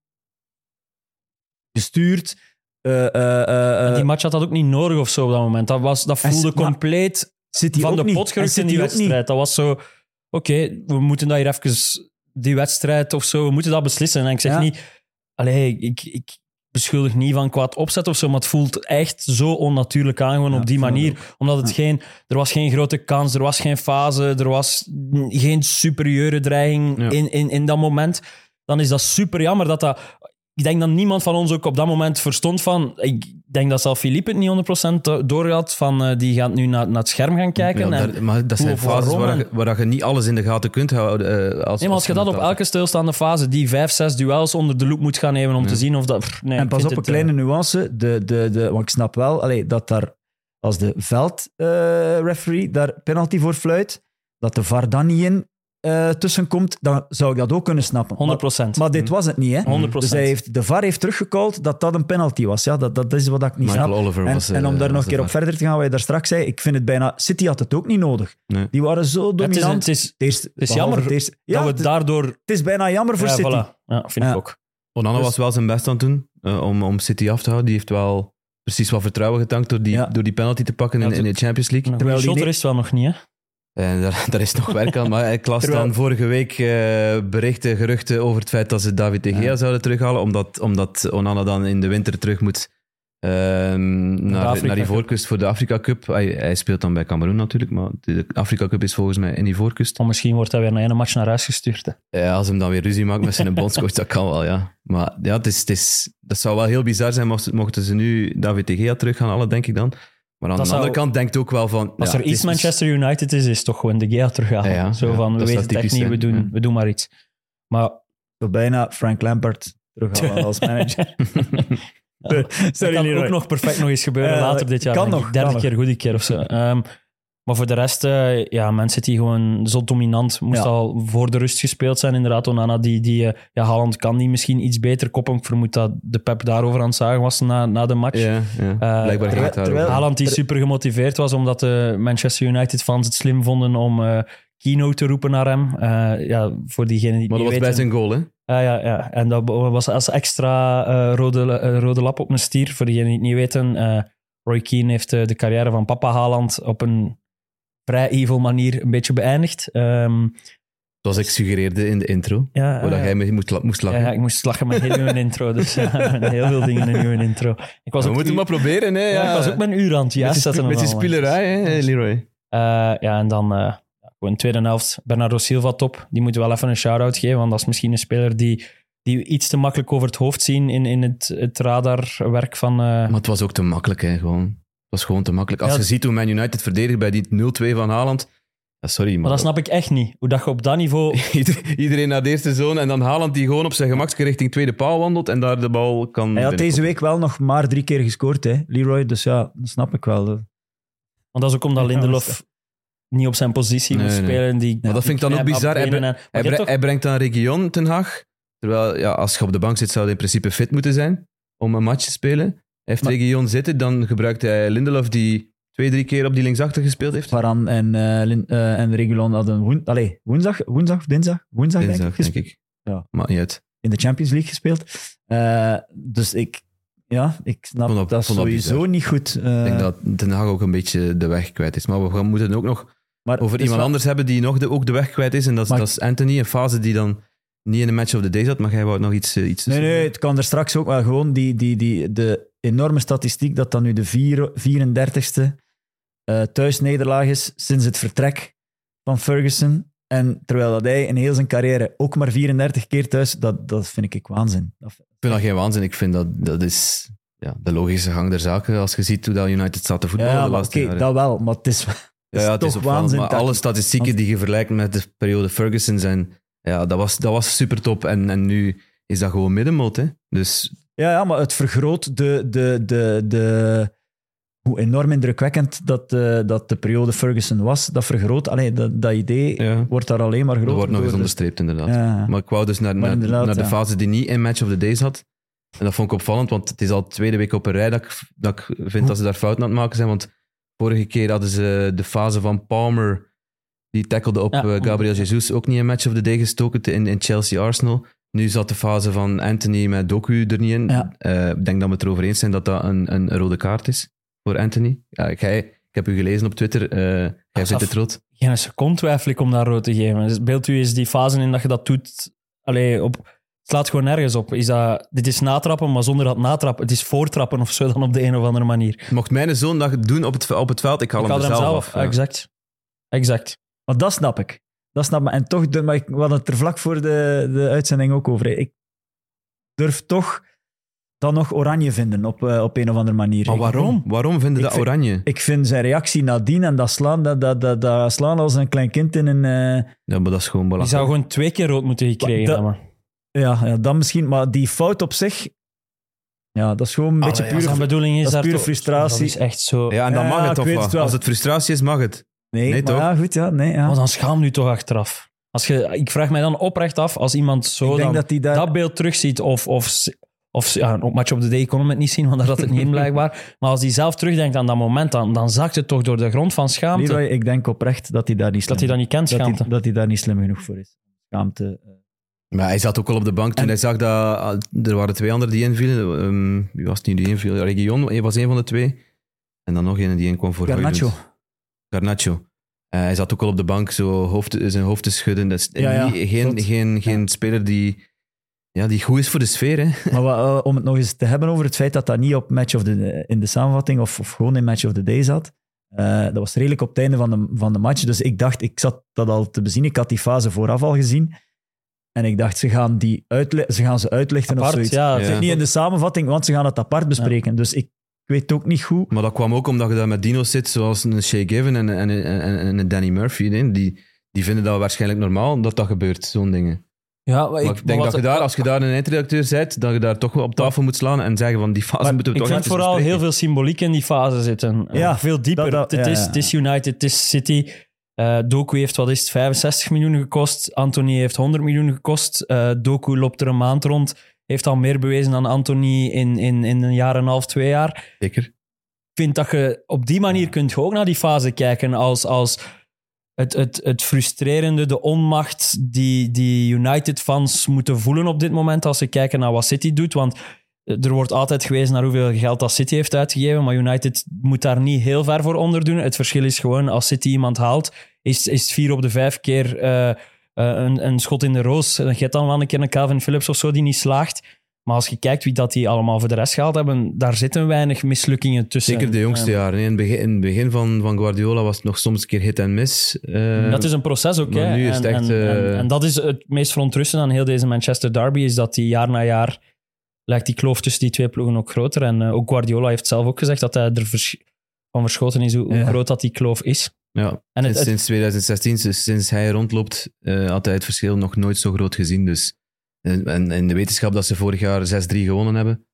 Speaker 6: gestuurd eh, eh, eh, eh,
Speaker 5: die match had dat ook niet nodig of zo op dat moment. Dat, was, dat
Speaker 6: En
Speaker 5: voelde
Speaker 6: City- maar-
Speaker 5: compleet
Speaker 6: City
Speaker 5: van
Speaker 6: ook
Speaker 5: de
Speaker 6: niet.
Speaker 5: pot
Speaker 6: En
Speaker 5: gerukt in
Speaker 6: City
Speaker 5: die
Speaker 6: ook niet.
Speaker 5: wedstrijd. Dat was zo, oké, we moeten dat hier even, die wedstrijd of zo, we moeten dat beslissen. En ik zeg
Speaker 6: Ja.
Speaker 5: niet, allee, ik, ik beschuldig niet van kwaad opzet of zo, maar het voelt echt zo onnatuurlijk aan, gewoon
Speaker 6: Ja,
Speaker 5: op die
Speaker 6: ik vond dat
Speaker 5: manier. Omdat het geen, er was geen grote kans, er was geen fase, er was geen superieure dreiging
Speaker 1: Ja.
Speaker 5: in, in, in dat moment. Dan is dat super jammer dat dat ik denk dat niemand van ons ook op dat moment verstond van... Ik denk dat zelf Philippe het niet 100% door had van eh, die gaat nu naar, naar het scherm gaan kijken.
Speaker 1: Ja,
Speaker 5: en,
Speaker 1: daar- maar dat zijn
Speaker 5: hoe of
Speaker 1: fases
Speaker 5: waarom
Speaker 1: waar,
Speaker 5: en-
Speaker 1: je- waar je niet alles in de gaten kunt houden. eh, als,
Speaker 5: nee, maar als je dat op elke stilstaande fase, die vijf, zes duels onder de loep moet gaan nemen om te zien of dat... pff, nee,
Speaker 6: En
Speaker 5: ik
Speaker 6: pas
Speaker 5: vind
Speaker 6: op, een
Speaker 5: het,
Speaker 6: kleine
Speaker 5: eh,
Speaker 6: nuance. De, de, de, want ik snap wel allee, dat daar, als de veldreferee daar penalty voor fluit, dat de VAR dan niet in eh tussenkomt, dan zou ik dat ook kunnen snappen. Maar-
Speaker 5: 100%.
Speaker 6: Maar, dit was het niet, hè?
Speaker 5: 100%.
Speaker 6: Dus hij heeft, de VAR heeft teruggecallt dat dat een penalty was. Ja, dat, dat is wat ik niet
Speaker 1: Michael
Speaker 6: snap.
Speaker 1: Oliver
Speaker 6: en,
Speaker 1: was, eh,
Speaker 6: en om daar
Speaker 1: was
Speaker 6: nog
Speaker 1: de
Speaker 6: een keer op
Speaker 1: VAR.
Speaker 6: verder te gaan, wat je daar straks zei, ik vind het bijna... City had het ook niet nodig.
Speaker 1: Nee.
Speaker 6: Die waren zo
Speaker 5: het is,
Speaker 6: dominant.
Speaker 5: het is
Speaker 6: Het is,
Speaker 5: is jammer
Speaker 6: ja,
Speaker 5: dat
Speaker 6: het,
Speaker 5: we daardoor...
Speaker 6: het is bijna jammer voor
Speaker 5: ja,
Speaker 6: City.
Speaker 5: voilà. ja, vind
Speaker 6: Ja.
Speaker 5: ik ook.
Speaker 1: Onana
Speaker 6: Dus-
Speaker 1: was wel zijn best aan het doen eh, om, om City af te houden. Die heeft wel precies wat vertrouwen getankt door die,
Speaker 6: Ja.
Speaker 1: door die penalty te pakken in,
Speaker 5: Ja,
Speaker 1: in de Champions League.
Speaker 5: Terwijl
Speaker 6: die
Speaker 5: shot
Speaker 6: ne-
Speaker 5: er is wel nog niet, hè.
Speaker 1: En daar, daar is nog werk aan. Maar ik las
Speaker 6: Terwijl-
Speaker 1: dan vorige week eh, berichten, geruchten over het feit dat ze David De Gea zouden terughalen, omdat, omdat Onana dan in de winter terug moet ehm, naar, de-
Speaker 5: Afrika
Speaker 1: naar
Speaker 5: Cup.
Speaker 1: Ivoorkust voor de Afrika Cup. Hij, hij speelt dan bij Cameroen natuurlijk, maar de Afrika Cup is volgens mij in Ivoorkust.
Speaker 5: Of misschien wordt hij weer naar een match naar huis gestuurd. hè.
Speaker 1: Ja, Eh, als hem dan weer ruzie maakt met zijn bondscoach, dat kan wel, ja. Maar ja, het is, het is, dat zou wel heel bizar zijn mocht- mochten ze nu David De Gea terug gaan halen, denk ik dan. Maar aan de
Speaker 5: zou-
Speaker 1: andere kant denkt ook wel van...
Speaker 5: Als
Speaker 1: ja, het
Speaker 5: er iets
Speaker 1: is dus- mis-
Speaker 5: Manchester United is, is het toch gewoon de Gea teruggaan.
Speaker 1: Ja, ja.
Speaker 5: Zo
Speaker 1: Ja,
Speaker 5: van, we
Speaker 1: dat is
Speaker 5: weten
Speaker 1: dat
Speaker 5: het echt
Speaker 1: typisch,
Speaker 5: niet,
Speaker 1: hè.
Speaker 5: we doen,
Speaker 1: Ja.
Speaker 5: we doen maar iets. Maar
Speaker 6: Zo bijna Frank Lampard terughalen als manager.
Speaker 5: Dat
Speaker 6: Sorry,
Speaker 5: kan
Speaker 6: Leroy.
Speaker 5: ook nog perfect nog eens gebeuren
Speaker 6: Eh,
Speaker 5: later dit jaar.
Speaker 6: kan
Speaker 5: denk ik.
Speaker 6: nog,
Speaker 5: Derde
Speaker 6: kan nog.
Speaker 5: keer, goede keer of zo. Ehm, maar voor de rest, eh ja, Man City gewoon zo dominant. Moest
Speaker 6: Ja.
Speaker 5: al voor de rust gespeeld zijn. Inderdaad, Onana, die, die, eh, ja, Haaland kan die misschien iets beter koppen. Ik vermoed dat de pep daarover aan het zagen was na, na de match.
Speaker 1: Ja, ja.
Speaker 5: Eh,
Speaker 1: blijkbaar gaat
Speaker 6: terwijl-
Speaker 1: het daarover.
Speaker 6: terwijl-
Speaker 5: Haaland die super gemotiveerd was, omdat de Manchester United-fans het slim vonden om eh, Kino te roepen naar hem. Eh, ja, voor diegenen die het
Speaker 1: Maar
Speaker 5: niet
Speaker 1: dat was
Speaker 5: weten...
Speaker 1: bij zijn goal, hè?
Speaker 5: Ja, Ah, ja, ja. En dat was als extra eh, rode, eh, rode lap op een stier. Voor diegenen die het niet weten, eh, Roy Keane heeft eh, de carrière van papa Haaland op een vrij evil manier een beetje beëindigd. Ehm,
Speaker 1: Zoals ik suggereerde in de intro,
Speaker 5: ja,
Speaker 1: waar dat
Speaker 5: eh,
Speaker 1: jij mee moest, la- moest
Speaker 5: ja,
Speaker 1: lachen.
Speaker 5: ja, ik moest lachen met heel mijn intro. Dus ja, met heel veel dingen in uw intro. Ik was
Speaker 1: We
Speaker 5: ook
Speaker 1: moeten
Speaker 5: uur-
Speaker 1: maar proberen, hè?
Speaker 5: ja,
Speaker 1: Ja.
Speaker 5: ik was ook mijn uur aan het
Speaker 1: met die,
Speaker 5: juistzetten
Speaker 1: sp- met die
Speaker 5: nog allemaal.
Speaker 1: spielerij, hè, Leroy?
Speaker 5: Eh, ja, en dan eh, ja, gewoon tweede helft. Bernardo Silva top. Die moeten we wel even een shout-out geven. Want dat is misschien een speler die, die we iets te makkelijk over het hoofd zien in, in het, het radarwerk van... eh,
Speaker 1: Maar het was ook te makkelijk, hè, gewoon. Het was gewoon te makkelijk. Als
Speaker 5: Ja,
Speaker 1: je
Speaker 5: d-
Speaker 1: ziet hoe Man United verdedigt bij die 0-2 van Haaland... Ja, sorry,
Speaker 5: maar dat snap ik echt niet. Hoe dat je op dat niveau...
Speaker 1: Ieder- Iedereen naar de eerste zone en dan Haaland die gewoon op zijn gemakske richting tweede paal wandelt en daar de bal kan...
Speaker 6: Hij had deze
Speaker 1: binnenkomen.
Speaker 6: week wel nog maar drie keer gescoord, hè, Leroy. Dus ja, dat snap ik wel.
Speaker 5: Want dat is ook omdat
Speaker 6: Ja, dat
Speaker 5: Lindelof niet op zijn positie moet
Speaker 1: Nee, nee.
Speaker 5: spelen. Die,
Speaker 1: Maar dat vind ik dan ook bizar. Hij, bre- hij, bre- hij brengt dan Region ten Haag. Terwijl, ja, als je op de bank zit, zou je in principe fit moeten zijn om een match te spelen. Hij heeft
Speaker 6: Maar-
Speaker 1: Region zitten, dan gebruikt hij Lindelof die twee, drie keer op die linksachter gespeeld heeft.
Speaker 6: Varan en, eh Lin- eh, en Regulon hadden woen, allez, woensdag, woensdag of dinsdag? Woensdag,
Speaker 1: Dinsdag,
Speaker 6: denk ik. gespeeld. Ja.
Speaker 1: Ja. Maakt niet uit. Ik
Speaker 6: In de Champions League gespeeld. Eh, dus ik, ja, ik snap
Speaker 1: Vond dat-
Speaker 6: dat,
Speaker 1: vond dat
Speaker 6: sowieso
Speaker 1: bizar.
Speaker 6: niet goed. eh,
Speaker 1: denk dat Ten Haag ook een beetje de weg kwijt is. Maar we gaan- moeten ook nog
Speaker 6: maar
Speaker 1: over
Speaker 6: het is
Speaker 1: iemand
Speaker 6: wel-
Speaker 1: anders hebben die nog de, ook de weg kwijt is. En dat is,
Speaker 6: Maar-
Speaker 1: dat is Anthony, een fase die dan niet in de match of the day zat. Maar jij wou nog iets... eh, iets
Speaker 6: Nee,
Speaker 1: tussen-
Speaker 6: nee, het kan er straks ook wel gewoon die, die, die, de enorme statistiek dat dan nu de vier- 34ste eh thuisnederlaag is sinds het vertrek van Ferguson. En terwijl dat hij in heel zijn carrière ook maar 34 keer thuis, dat, dat vind ik ik waanzin. Dat-
Speaker 1: Ik vind dat geen waanzin. Ik vind dat, dat is ja, de logische gang der zaken. Als je ziet hoe dat United staat te voetballen
Speaker 6: ja,
Speaker 1: de
Speaker 6: maar
Speaker 1: laatste
Speaker 6: oké,
Speaker 1: jaren.
Speaker 6: dat wel, maar het is, het
Speaker 1: ja,
Speaker 6: is
Speaker 1: ja, het
Speaker 6: toch
Speaker 1: is opvallend.
Speaker 6: waanzin.
Speaker 1: Maar
Speaker 6: dat-
Speaker 1: alle statistieken die je vergelijkt met de periode Ferguson zijn... Ja, dat was, dat was super top. En, en nu is dat gewoon middenmoot. Hè? Dus
Speaker 6: Ja, ja, maar het vergroot de, de, de, de, hoe enorm indrukwekkend dat, eh, dat de periode Ferguson was. Dat vergroot, allee, dat, dat idee
Speaker 1: Ja.
Speaker 6: wordt daar alleen maar groter
Speaker 1: dat wordt nog eens
Speaker 6: door. Dus-
Speaker 1: onderstreept, inderdaad.
Speaker 6: Ja.
Speaker 1: Maar ik wou dus naar, naar,
Speaker 6: inderdaad,
Speaker 1: naar de
Speaker 6: ja.
Speaker 1: fase die niet in Match of the Day zat. En dat vond ik opvallend, want het is al tweede week op een rij dat ik, dat ik vind dat ze daar fouten aan het maken zijn. Want vorige keer hadden ze de fase van Palmer, die tackelde op
Speaker 5: Ja,
Speaker 1: eh, Gabriel Jesus, ook niet in Match of the Day gestoken te- in, in Chelsea-Arsenal. Nu zat de fase van Anthony met Doku er niet in.
Speaker 6: Ja.
Speaker 1: Eh, Ik denk dat we het erover eens zijn dat dat een, een rode kaart is voor Anthony. Ja, jij, ik heb u gelezen op Twitter. eh jij
Speaker 5: Af-
Speaker 1: vindt het rood.
Speaker 5: Geen seconde twijfel ik om daar rood te geven. Dus beeld u eens die fase in dat je dat doet. Allee, op, het slaat gewoon nergens op. Is dat, dit is natrappen, maar zonder dat natrappen. Het is voortrappen of zo dan op de een of andere manier.
Speaker 1: Mocht mijn zoon dat doen op het, op het veld, ik haal hem,
Speaker 5: Ik
Speaker 1: er
Speaker 5: haal
Speaker 1: zelf, af.
Speaker 5: Ah,
Speaker 1: ja.
Speaker 5: Exact. Exact.
Speaker 6: Maar dat snap ik. Dat snap ik. En toch, durf- maar ik, we hadden het er vlak voor de, de uitzending ook over. hè. Ik durf toch dan nog oranje vinden op, eh, op een of andere manier.
Speaker 1: Maar
Speaker 6: Ik-
Speaker 1: waarom? Waarom vinden
Speaker 6: Ik
Speaker 1: dat
Speaker 6: vind-
Speaker 1: oranje?
Speaker 6: Ik vind zijn reactie nadien en dat slaan, dat, dat, dat, dat slaan als een klein kind in een... eh,
Speaker 1: Ja, maar dat is gewoon
Speaker 5: Die
Speaker 1: belachelijk.
Speaker 5: zou gewoon twee keer rood moeten gekregen
Speaker 6: Dat- Ah,
Speaker 5: hebben.
Speaker 6: ja, ja, dan misschien. Maar die fout op zich, ja, dat is gewoon een beetje
Speaker 5: Als
Speaker 6: pure...
Speaker 5: Zijn bedoeling is,
Speaker 6: dat is
Speaker 5: daar
Speaker 6: pure
Speaker 5: toch-
Speaker 6: frustratie.
Speaker 5: Dat is echt zo.
Speaker 1: Ja, en dan
Speaker 6: Ja,
Speaker 1: mag het
Speaker 6: ik
Speaker 1: toch
Speaker 6: weet het
Speaker 1: wat?
Speaker 6: wel.
Speaker 1: Als het frustratie is, mag het.
Speaker 6: nee,
Speaker 1: nee,
Speaker 6: maar
Speaker 1: toch?
Speaker 6: ja, goed, ja. Nee, ja.
Speaker 5: Maar dan schaam nu toch achteraf. Als je, ik vraag mij dan oprecht af, als iemand zo
Speaker 6: ik
Speaker 5: dan
Speaker 6: denk dat die daar...
Speaker 5: dat beeld terugziet, of, of, of ja, een match op de day kon hem het niet zien, want daar had het niet in blijkbaar. Maar als hij zelf terugdenkt aan dat moment, dan, dan zakt het toch door de grond van schaamte.
Speaker 6: Leroy, ik denk oprecht dat hij daar niet slim,
Speaker 5: dat hij dat niet kent,
Speaker 6: dat hij-
Speaker 5: schaamte.
Speaker 6: dat hij daar niet slim genoeg voor is. Schaamte. eh,
Speaker 1: Maar hij zat ook al op de bank toen
Speaker 6: En-
Speaker 1: hij zag dat... ah, Er waren twee anderen die invielen. Ehm, wie was het nu die inviel? Region hij was een van de twee. En dan nog een die inkwam voor
Speaker 6: Garnacho.
Speaker 1: Hoylund. Garnacho. Eh, hij zat ook al op de bank zo hoofd, zijn hoofd te schudden. Dat is
Speaker 6: Ja, ja,
Speaker 1: niet- geen,
Speaker 6: klopt.
Speaker 1: geen, geen speler die, ja, die goed is voor de sfeer. Hè.
Speaker 6: Maar wa- eh, om het nog eens te hebben over het feit dat dat niet op match of the, in de samenvatting of, of gewoon in match of the day zat. Eh, dat was redelijk op het einde van de, van de match. Dus ik dacht, ik zat dat al te bezien. Ik had die fase vooraf al gezien. En ik dacht, ze gaan, die uitle- ze, gaan ze uitlichten of
Speaker 5: Apart,
Speaker 6: zoiets.
Speaker 5: ja.
Speaker 1: Ja.
Speaker 6: Het zit niet in de samenvatting, want ze gaan het apart bespreken. Dus ik, ik weet ook niet goed.
Speaker 1: Maar dat kwam ook omdat je daar met dino's zit, zoals een Shea Given en, en, en, en een Danny Murphy. Nee? Die, die vinden dat waarschijnlijk normaal dat dat gebeurt, zo'n dingen.
Speaker 5: Ja, maar
Speaker 1: Maar ik, denk dat je daar, als je daar een eindredacteur zet, dat je daar toch wel op tafel moet slaan en zeggen van die fase
Speaker 6: Maar
Speaker 1: moeten we
Speaker 5: Ik
Speaker 1: toch
Speaker 5: vind
Speaker 1: even
Speaker 5: vooral heel
Speaker 1: bespreken.
Speaker 5: veel symboliek in die fase zitten. Eh,
Speaker 6: Ja,
Speaker 5: veel dieper.
Speaker 6: dat- dat-
Speaker 5: het,
Speaker 6: ja,
Speaker 5: is,
Speaker 6: ja.
Speaker 5: het is United, het is City. Eh, Doku heeft, wat is het, 65 miljoen gekost. Anthony heeft 100 miljoen gekost. Eh, Doku loopt er een maand rond. Heeft al meer bewezen dan Anthony in, in, in een jaar en een half, twee jaar.
Speaker 1: Zeker.
Speaker 5: Ik vind dat je op die manier kunt je ook naar die fase kijken als, als het, het, het frustrerende, de onmacht die, die United-fans moeten voelen op dit moment als ze kijken naar wat City doet. Want er wordt altijd gewezen naar hoeveel geld dat City heeft uitgegeven, maar United moet daar niet heel ver voor onder doen. Het verschil is gewoon, als City iemand haalt, is, is het vier op de vijf keer eh, eh, een, een schot in de roos. Je hebt dan wel een keer een Calvin Phillips of zo die niet slaagt. Maar als je kijkt wie dat die allemaal voor de rest gehaald hebben, daar zitten weinig mislukkingen tussen.
Speaker 1: Zeker de jongste
Speaker 5: Eh,
Speaker 1: jaren. hè. In het begin, in het begin van, van Guardiola was het nog soms een keer hit en miss. Eh,
Speaker 5: dat is een proces ook.
Speaker 1: maar
Speaker 5: hè.
Speaker 1: nu is
Speaker 5: en,
Speaker 1: het echt,
Speaker 5: en, en-
Speaker 1: eh,
Speaker 5: en dat is het meest verontrustende aan heel deze Manchester derby, is dat die jaar na jaar lijkt die kloof tussen die twee ploegen ook groter. En eh, ook Guardiola heeft zelf ook gezegd dat hij er versch- van verschoten is hoe, hoe
Speaker 6: Ja.
Speaker 5: groot dat die kloof is.
Speaker 1: ja,
Speaker 5: En het,
Speaker 1: sinds,
Speaker 5: het,
Speaker 1: sinds 2016, dus sinds hij rondloopt, eh, had hij het verschil nog nooit zo groot gezien. Dus, en, en in de wetenschap dat ze vorig jaar 6-3 gewonnen hebben.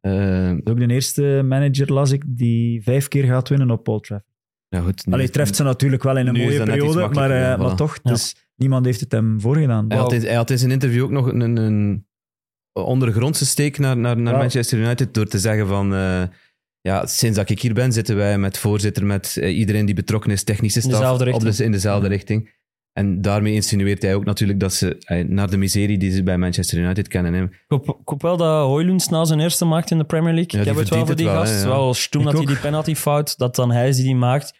Speaker 1: eh,
Speaker 6: Ook de eerste manager las ik die vijf keer gaat winnen op Paul Trafford.
Speaker 1: ja, goed, nu-
Speaker 6: Allee, treft ze natuurlijk wel in een
Speaker 1: Nu is
Speaker 6: mooie
Speaker 1: dat net iets
Speaker 6: periode, maar,
Speaker 1: makkelijker,
Speaker 6: eh,
Speaker 1: ja,
Speaker 6: maar
Speaker 1: voilà.
Speaker 6: toch,
Speaker 5: Ja.
Speaker 6: dus niemand heeft het hem voorgedaan.
Speaker 1: Hij had, in, hij had in zijn interview ook nog een, een, een ondergrondse steek naar, naar, naar
Speaker 6: Ja.
Speaker 1: Manchester United door te zeggen van... eh, ja, sinds dat ik hier ben zitten wij met voorzitter, met eh, iedereen die betrokken is, technische
Speaker 5: In
Speaker 1: staf,
Speaker 5: dezelfde
Speaker 1: op
Speaker 5: richting.
Speaker 1: de- in dezelfde richting. En daarmee insinueert hij ook natuurlijk dat ze eh, naar de miserie die ze bij Manchester United kennen. Hè.
Speaker 5: ik, hoop, ik hoop wel dat Hoylund snel zijn eerste maakt in de Premier League.
Speaker 1: Ja,
Speaker 5: ik
Speaker 1: die
Speaker 5: heb het wel voor
Speaker 1: verdient
Speaker 5: die
Speaker 1: het wel,
Speaker 5: gast.
Speaker 1: hè, ja.
Speaker 5: Wel stoem
Speaker 6: Ik
Speaker 5: dat hij
Speaker 6: ook.
Speaker 5: die penalty fout, dat dan hij is die die maakt.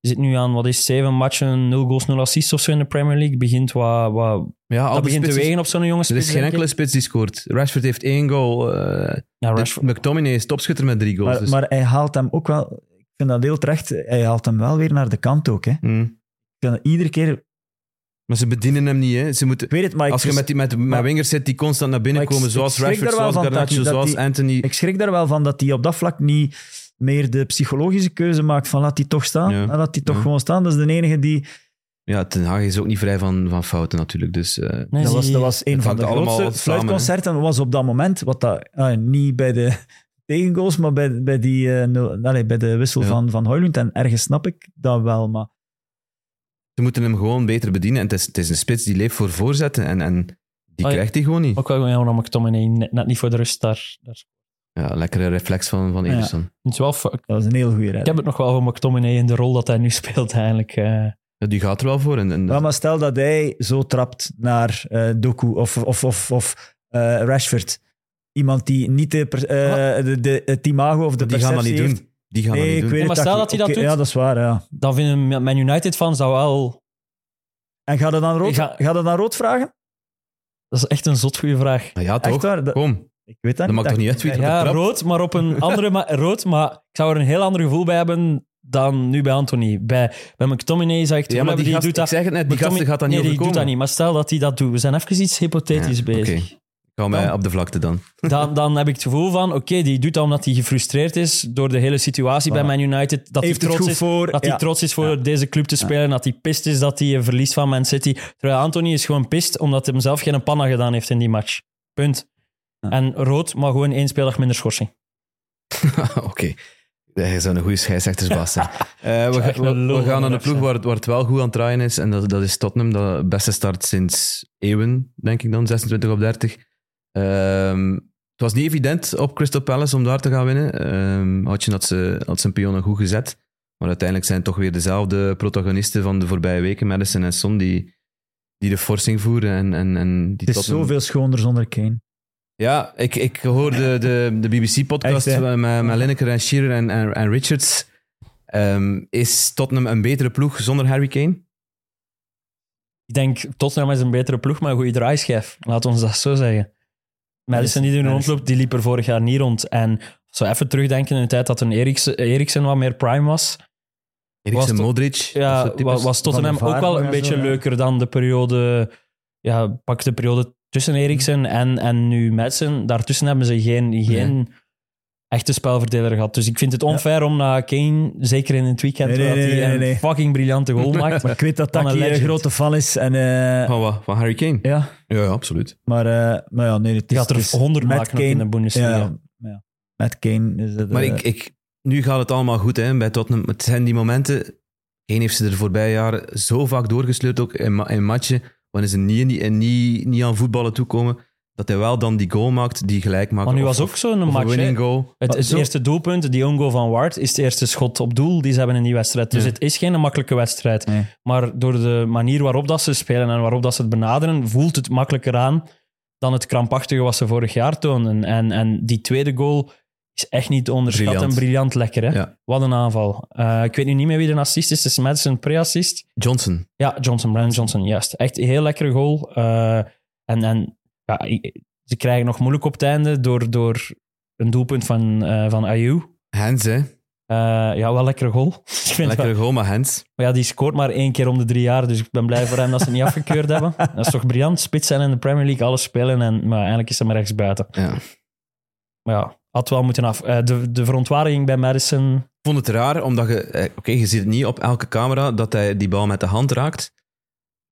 Speaker 5: Hij zit nu aan, wat is het, zeven matchen, nul goals, nul assists of zo in de Premier League. Begint wat, wat,
Speaker 1: Ja, al
Speaker 5: dat
Speaker 1: die
Speaker 5: begint te
Speaker 1: spitsen-
Speaker 5: wegen op zo'n jongen.
Speaker 1: Er is geen enkele spits die scoort. Rashford heeft één goal. eh,
Speaker 5: Ja, Rashford.
Speaker 1: McTominay is topschutter met drie goals.
Speaker 6: Maar,
Speaker 1: dus-
Speaker 6: maar hij haalt hem ook wel... Ik vind dat heel terecht. Hij haalt hem wel weer naar de kant ook. Hè. Ik
Speaker 1: Hmm.
Speaker 6: vind dat iedere keer...
Speaker 1: maar ze bedienen hem niet. Hè. Ze moeten,
Speaker 6: Ik weet het, maar ik,
Speaker 1: Als je met, die, met, met
Speaker 6: maar-
Speaker 1: wingers zit die constant naar binnen
Speaker 6: Maar ik-
Speaker 1: komen,
Speaker 6: ik
Speaker 1: zoals
Speaker 6: schrik
Speaker 1: Rashford,
Speaker 6: daar wel
Speaker 1: zoals
Speaker 6: van,
Speaker 1: Garnacho,
Speaker 6: Taki, dat
Speaker 1: zoals
Speaker 6: die-
Speaker 1: Anthony.
Speaker 6: ik schrik daar wel van dat hij op dat vlak niet meer de psychologische keuze maakt van laat die toch staan.
Speaker 1: Ja.
Speaker 6: en Laat die toch
Speaker 1: Ja.
Speaker 6: gewoon staan. Dat is de enige die...
Speaker 1: Ja, Ten Hag is ook niet vrij van, van fouten natuurlijk. Dus, eh,
Speaker 5: Nee,
Speaker 6: Dat
Speaker 5: zie-
Speaker 6: was, dat was een
Speaker 1: Het
Speaker 6: van
Speaker 1: hangt
Speaker 6: de
Speaker 1: allemaal
Speaker 6: grootste
Speaker 1: samen, hè.
Speaker 6: fluitconcerten. was op dat moment, wat dat, ah, niet bij de tegengoals, maar bij, bij, die, eh, nul- allee, bij de wissel
Speaker 1: Ja.
Speaker 6: van, van Hoylund. En ergens snap ik dat wel, maar...
Speaker 1: Ze moeten hem gewoon beter bedienen. En het is, het is een spits die leeft voor voorzetten en, en die
Speaker 5: Ah, ja.
Speaker 1: krijgt hij gewoon niet.
Speaker 5: Ook wel gewoon jammer dat McTominay net, net niet voor de rust daar... daar.
Speaker 1: Ja, lekkere reflex van, van
Speaker 6: Ah, Ja.
Speaker 1: Ederson.
Speaker 5: Het is wel fu- ik
Speaker 6: Dat is een heel goede
Speaker 5: ik
Speaker 6: red.
Speaker 5: heb het nog wel voor McTominay in de rol dat hij nu speelt eigenlijk. eh.
Speaker 1: Ja, die gaat er wel voor. En, en
Speaker 6: Ja, maar stel dat hij zo trapt naar eh Doku of, of, of, of eh, Rashford. Iemand die niet de, per- eh, de, de, het imago of de
Speaker 1: Die gaan dat
Speaker 6: perceptie
Speaker 1: niet
Speaker 6: heeft.
Speaker 1: doen. Die gaan
Speaker 6: Nee,
Speaker 1: dat niet
Speaker 6: ik
Speaker 1: doen.
Speaker 6: weet het
Speaker 5: Maar stel dat hij dat
Speaker 6: Oké,
Speaker 5: doet.
Speaker 6: Ja, dat is waar, ja.
Speaker 5: Dan vinden Man United-fans dat wel...
Speaker 6: En gaat dat dan rood,
Speaker 5: Ik ga-
Speaker 6: ga... dat dan rood vragen?
Speaker 5: Dat is echt een zot goede vraag.
Speaker 1: Nou ja,
Speaker 6: Echt
Speaker 1: toch?
Speaker 6: waar, dat-
Speaker 1: Kom,
Speaker 6: Ik weet dat
Speaker 1: dat
Speaker 6: niet.
Speaker 1: maakt toch niet uit wie dat
Speaker 5: Ja,
Speaker 1: betrapt?
Speaker 5: rood, maar op een andere ma- rood, maar ik zou er een heel ander gevoel bij hebben dan nu bij Anthony. Bij, bij McTominay zou ik het
Speaker 1: Ja,
Speaker 5: gevoel
Speaker 1: maar
Speaker 5: hebben,
Speaker 1: die,
Speaker 5: die
Speaker 1: gast,
Speaker 5: doet
Speaker 1: ik
Speaker 5: dat...
Speaker 1: zeg het net, die
Speaker 5: McTominay-
Speaker 1: gasten gaat dat niet
Speaker 5: nee, die doet
Speaker 1: overkomen.
Speaker 5: dat niet, maar stel dat hij dat doet. We zijn even iets hypothetisch
Speaker 1: Ja,
Speaker 5: bezig.
Speaker 1: oké. Ik hou mij op de vlakte dan.
Speaker 5: Dan, dan heb ik het gevoel van, oké, die doet dat omdat hij gefrustreerd is door de hele situatie bij Man United. Dat hij
Speaker 6: Heeft het
Speaker 5: trots
Speaker 6: goed
Speaker 5: is
Speaker 6: voor,
Speaker 5: dat hij
Speaker 6: ja.
Speaker 5: trots is voor deze club te spelen. Dat hij pist is dat hij eh, verliest van Man City. Terwijl Anthony is gewoon pist omdat hij hem zelf geen panna gedaan heeft in die match. Punt. En rood, maar gewoon één speler minder schorsing.
Speaker 1: Oké. Jij zou een goede scheidsrechtersbaas zijn. Eh, we,
Speaker 5: zou
Speaker 1: ga-
Speaker 5: echt
Speaker 1: we,
Speaker 5: een
Speaker 1: we
Speaker 5: lul
Speaker 1: gaan naar de
Speaker 5: onderweg
Speaker 1: ploeg
Speaker 5: zijn.
Speaker 1: waar, het- waar het wel goed aan het draaien is. En dat, dat is Tottenham. De beste start sinds eeuwen, denk ik dan. 26 op 30. Ehm, het was niet evident op Crystal Palace om daar te gaan winnen. Ehm had je dat ze, had zijn pionnen goed gezet. Maar uiteindelijk zijn het toch weer dezelfde protagonisten van de voorbije weken. Madison en Son die, die de forcing voeren. En, en, en die
Speaker 6: Het is
Speaker 1: Tottenham-
Speaker 6: zoveel schoner zonder Kane.
Speaker 1: ja, ik, ik hoorde de, de BBC-podcast
Speaker 6: Echt, hè?
Speaker 1: met, met Lineker en Shearer en, en, en Richards. Ehm, is Tottenham een betere ploeg zonder Harry Kane?
Speaker 5: Ik denk, Tottenham is een betere ploeg, maar een goede draaischijf. Laat ons dat zo zeggen. Madison die er
Speaker 6: Madison.
Speaker 5: rondloopt, die liep er vorig jaar niet rond. En zo even terugdenken in de tijd dat een Eriksen, Eriksen wat meer prime was. Was
Speaker 1: Eriksen,
Speaker 5: tot-
Speaker 1: Modric? dat
Speaker 5: Ja,
Speaker 1: soort types?
Speaker 5: was, was Tottenham
Speaker 6: Van der
Speaker 5: ook wel
Speaker 6: Vaart
Speaker 5: een
Speaker 6: en zo,
Speaker 5: beetje
Speaker 6: ja.
Speaker 5: leuker dan de periode... Ja, pak de periode tussen
Speaker 6: Mm.
Speaker 5: Eriksen en, en nu Madison. Daartussen hebben ze geen, geen echte spelverdeler gehad. Dus ik vind het onfair om naar Kane, zeker in het weekend,
Speaker 6: Nee, nee,
Speaker 5: waar
Speaker 6: nee,
Speaker 5: hij
Speaker 6: nee,
Speaker 5: een
Speaker 6: nee.
Speaker 5: fucking briljante goal maakt.
Speaker 6: Maar ik weet dat
Speaker 5: Van
Speaker 6: Taki
Speaker 5: een
Speaker 6: een
Speaker 5: legend.
Speaker 6: grote fan is. En, eh,
Speaker 1: Van, wat? van Harry Kane?
Speaker 6: ja,
Speaker 1: Ja, ja, absoluut.
Speaker 6: maar, eh, maar ja, nee, het
Speaker 5: Die
Speaker 6: is,
Speaker 5: gaat er
Speaker 6: het is
Speaker 5: 100
Speaker 6: met
Speaker 5: maken nog in de Bundesliga.
Speaker 6: Ja, ja. Met Kane is het...
Speaker 1: Maar
Speaker 6: eh,
Speaker 1: ik, ik, nu gaat het allemaal goed hè, bij Tottenham. Het zijn die momenten... Kane heeft ze er de voorbije jaren zo vaak doorgesleurd, ook in, ma- in matchen, wanneer ze niet, niet, niet, niet aan voetballen toekomen, dat hij wel dan die goal maakt, die gelijk maakt.
Speaker 5: Maar nu
Speaker 1: Of-
Speaker 5: was
Speaker 1: of-
Speaker 5: ook
Speaker 1: of
Speaker 5: zo'n
Speaker 1: een
Speaker 5: match. hè.
Speaker 1: winning goal.
Speaker 5: Het,
Speaker 6: Maar
Speaker 5: het
Speaker 6: zo-
Speaker 5: eerste doelpunt, die ongo van Ward, is het eerste schot op doel die ze hebben in die wedstrijd. Dus
Speaker 1: Ja.
Speaker 5: het is geen makkelijke wedstrijd.
Speaker 6: Nee.
Speaker 5: Maar door de manier waarop dat ze spelen en waarop dat ze het benaderen, voelt het makkelijker aan dan het krampachtige wat ze vorig jaar toonden. En, en die tweede goal is echt niet te onderschatten.
Speaker 1: Briljant.
Speaker 5: Briljant, lekker, hè?
Speaker 1: Ja.
Speaker 5: Wat een aanval. Eh, ik weet nu niet meer wie de assist is. Het is Madison een pre-assist.
Speaker 1: Johnson.
Speaker 5: Ja, Johnson, Brandon Johnson, juist. Echt een heel lekkere goal. Eh, en en ja, i- ze krijgen nog moeilijk op het einde door, door een doelpunt van, eh van Ayew.
Speaker 1: Hens, hè.
Speaker 5: Eh, ja, wel een lekkere goal. Ik vind wel-
Speaker 1: Lekkere goal, maar Hens.
Speaker 5: maar ja, die scoort maar één keer om de drie jaar, dus ik ben blij voor hem dat ze het niet afgekeurd hebben. Dat is toch briljant. Spits zijn in de Premier League, alles spelen, en, maar eigenlijk is hij maar rechts buiten.
Speaker 1: Ja.
Speaker 5: Maar ja, had wel moeten af. Eh, de, de verontwaardiging bij Madison...
Speaker 1: Ik vond het raar, omdat je... eh, Oké, je ziet het niet op elke camera dat hij die bal met de hand raakt.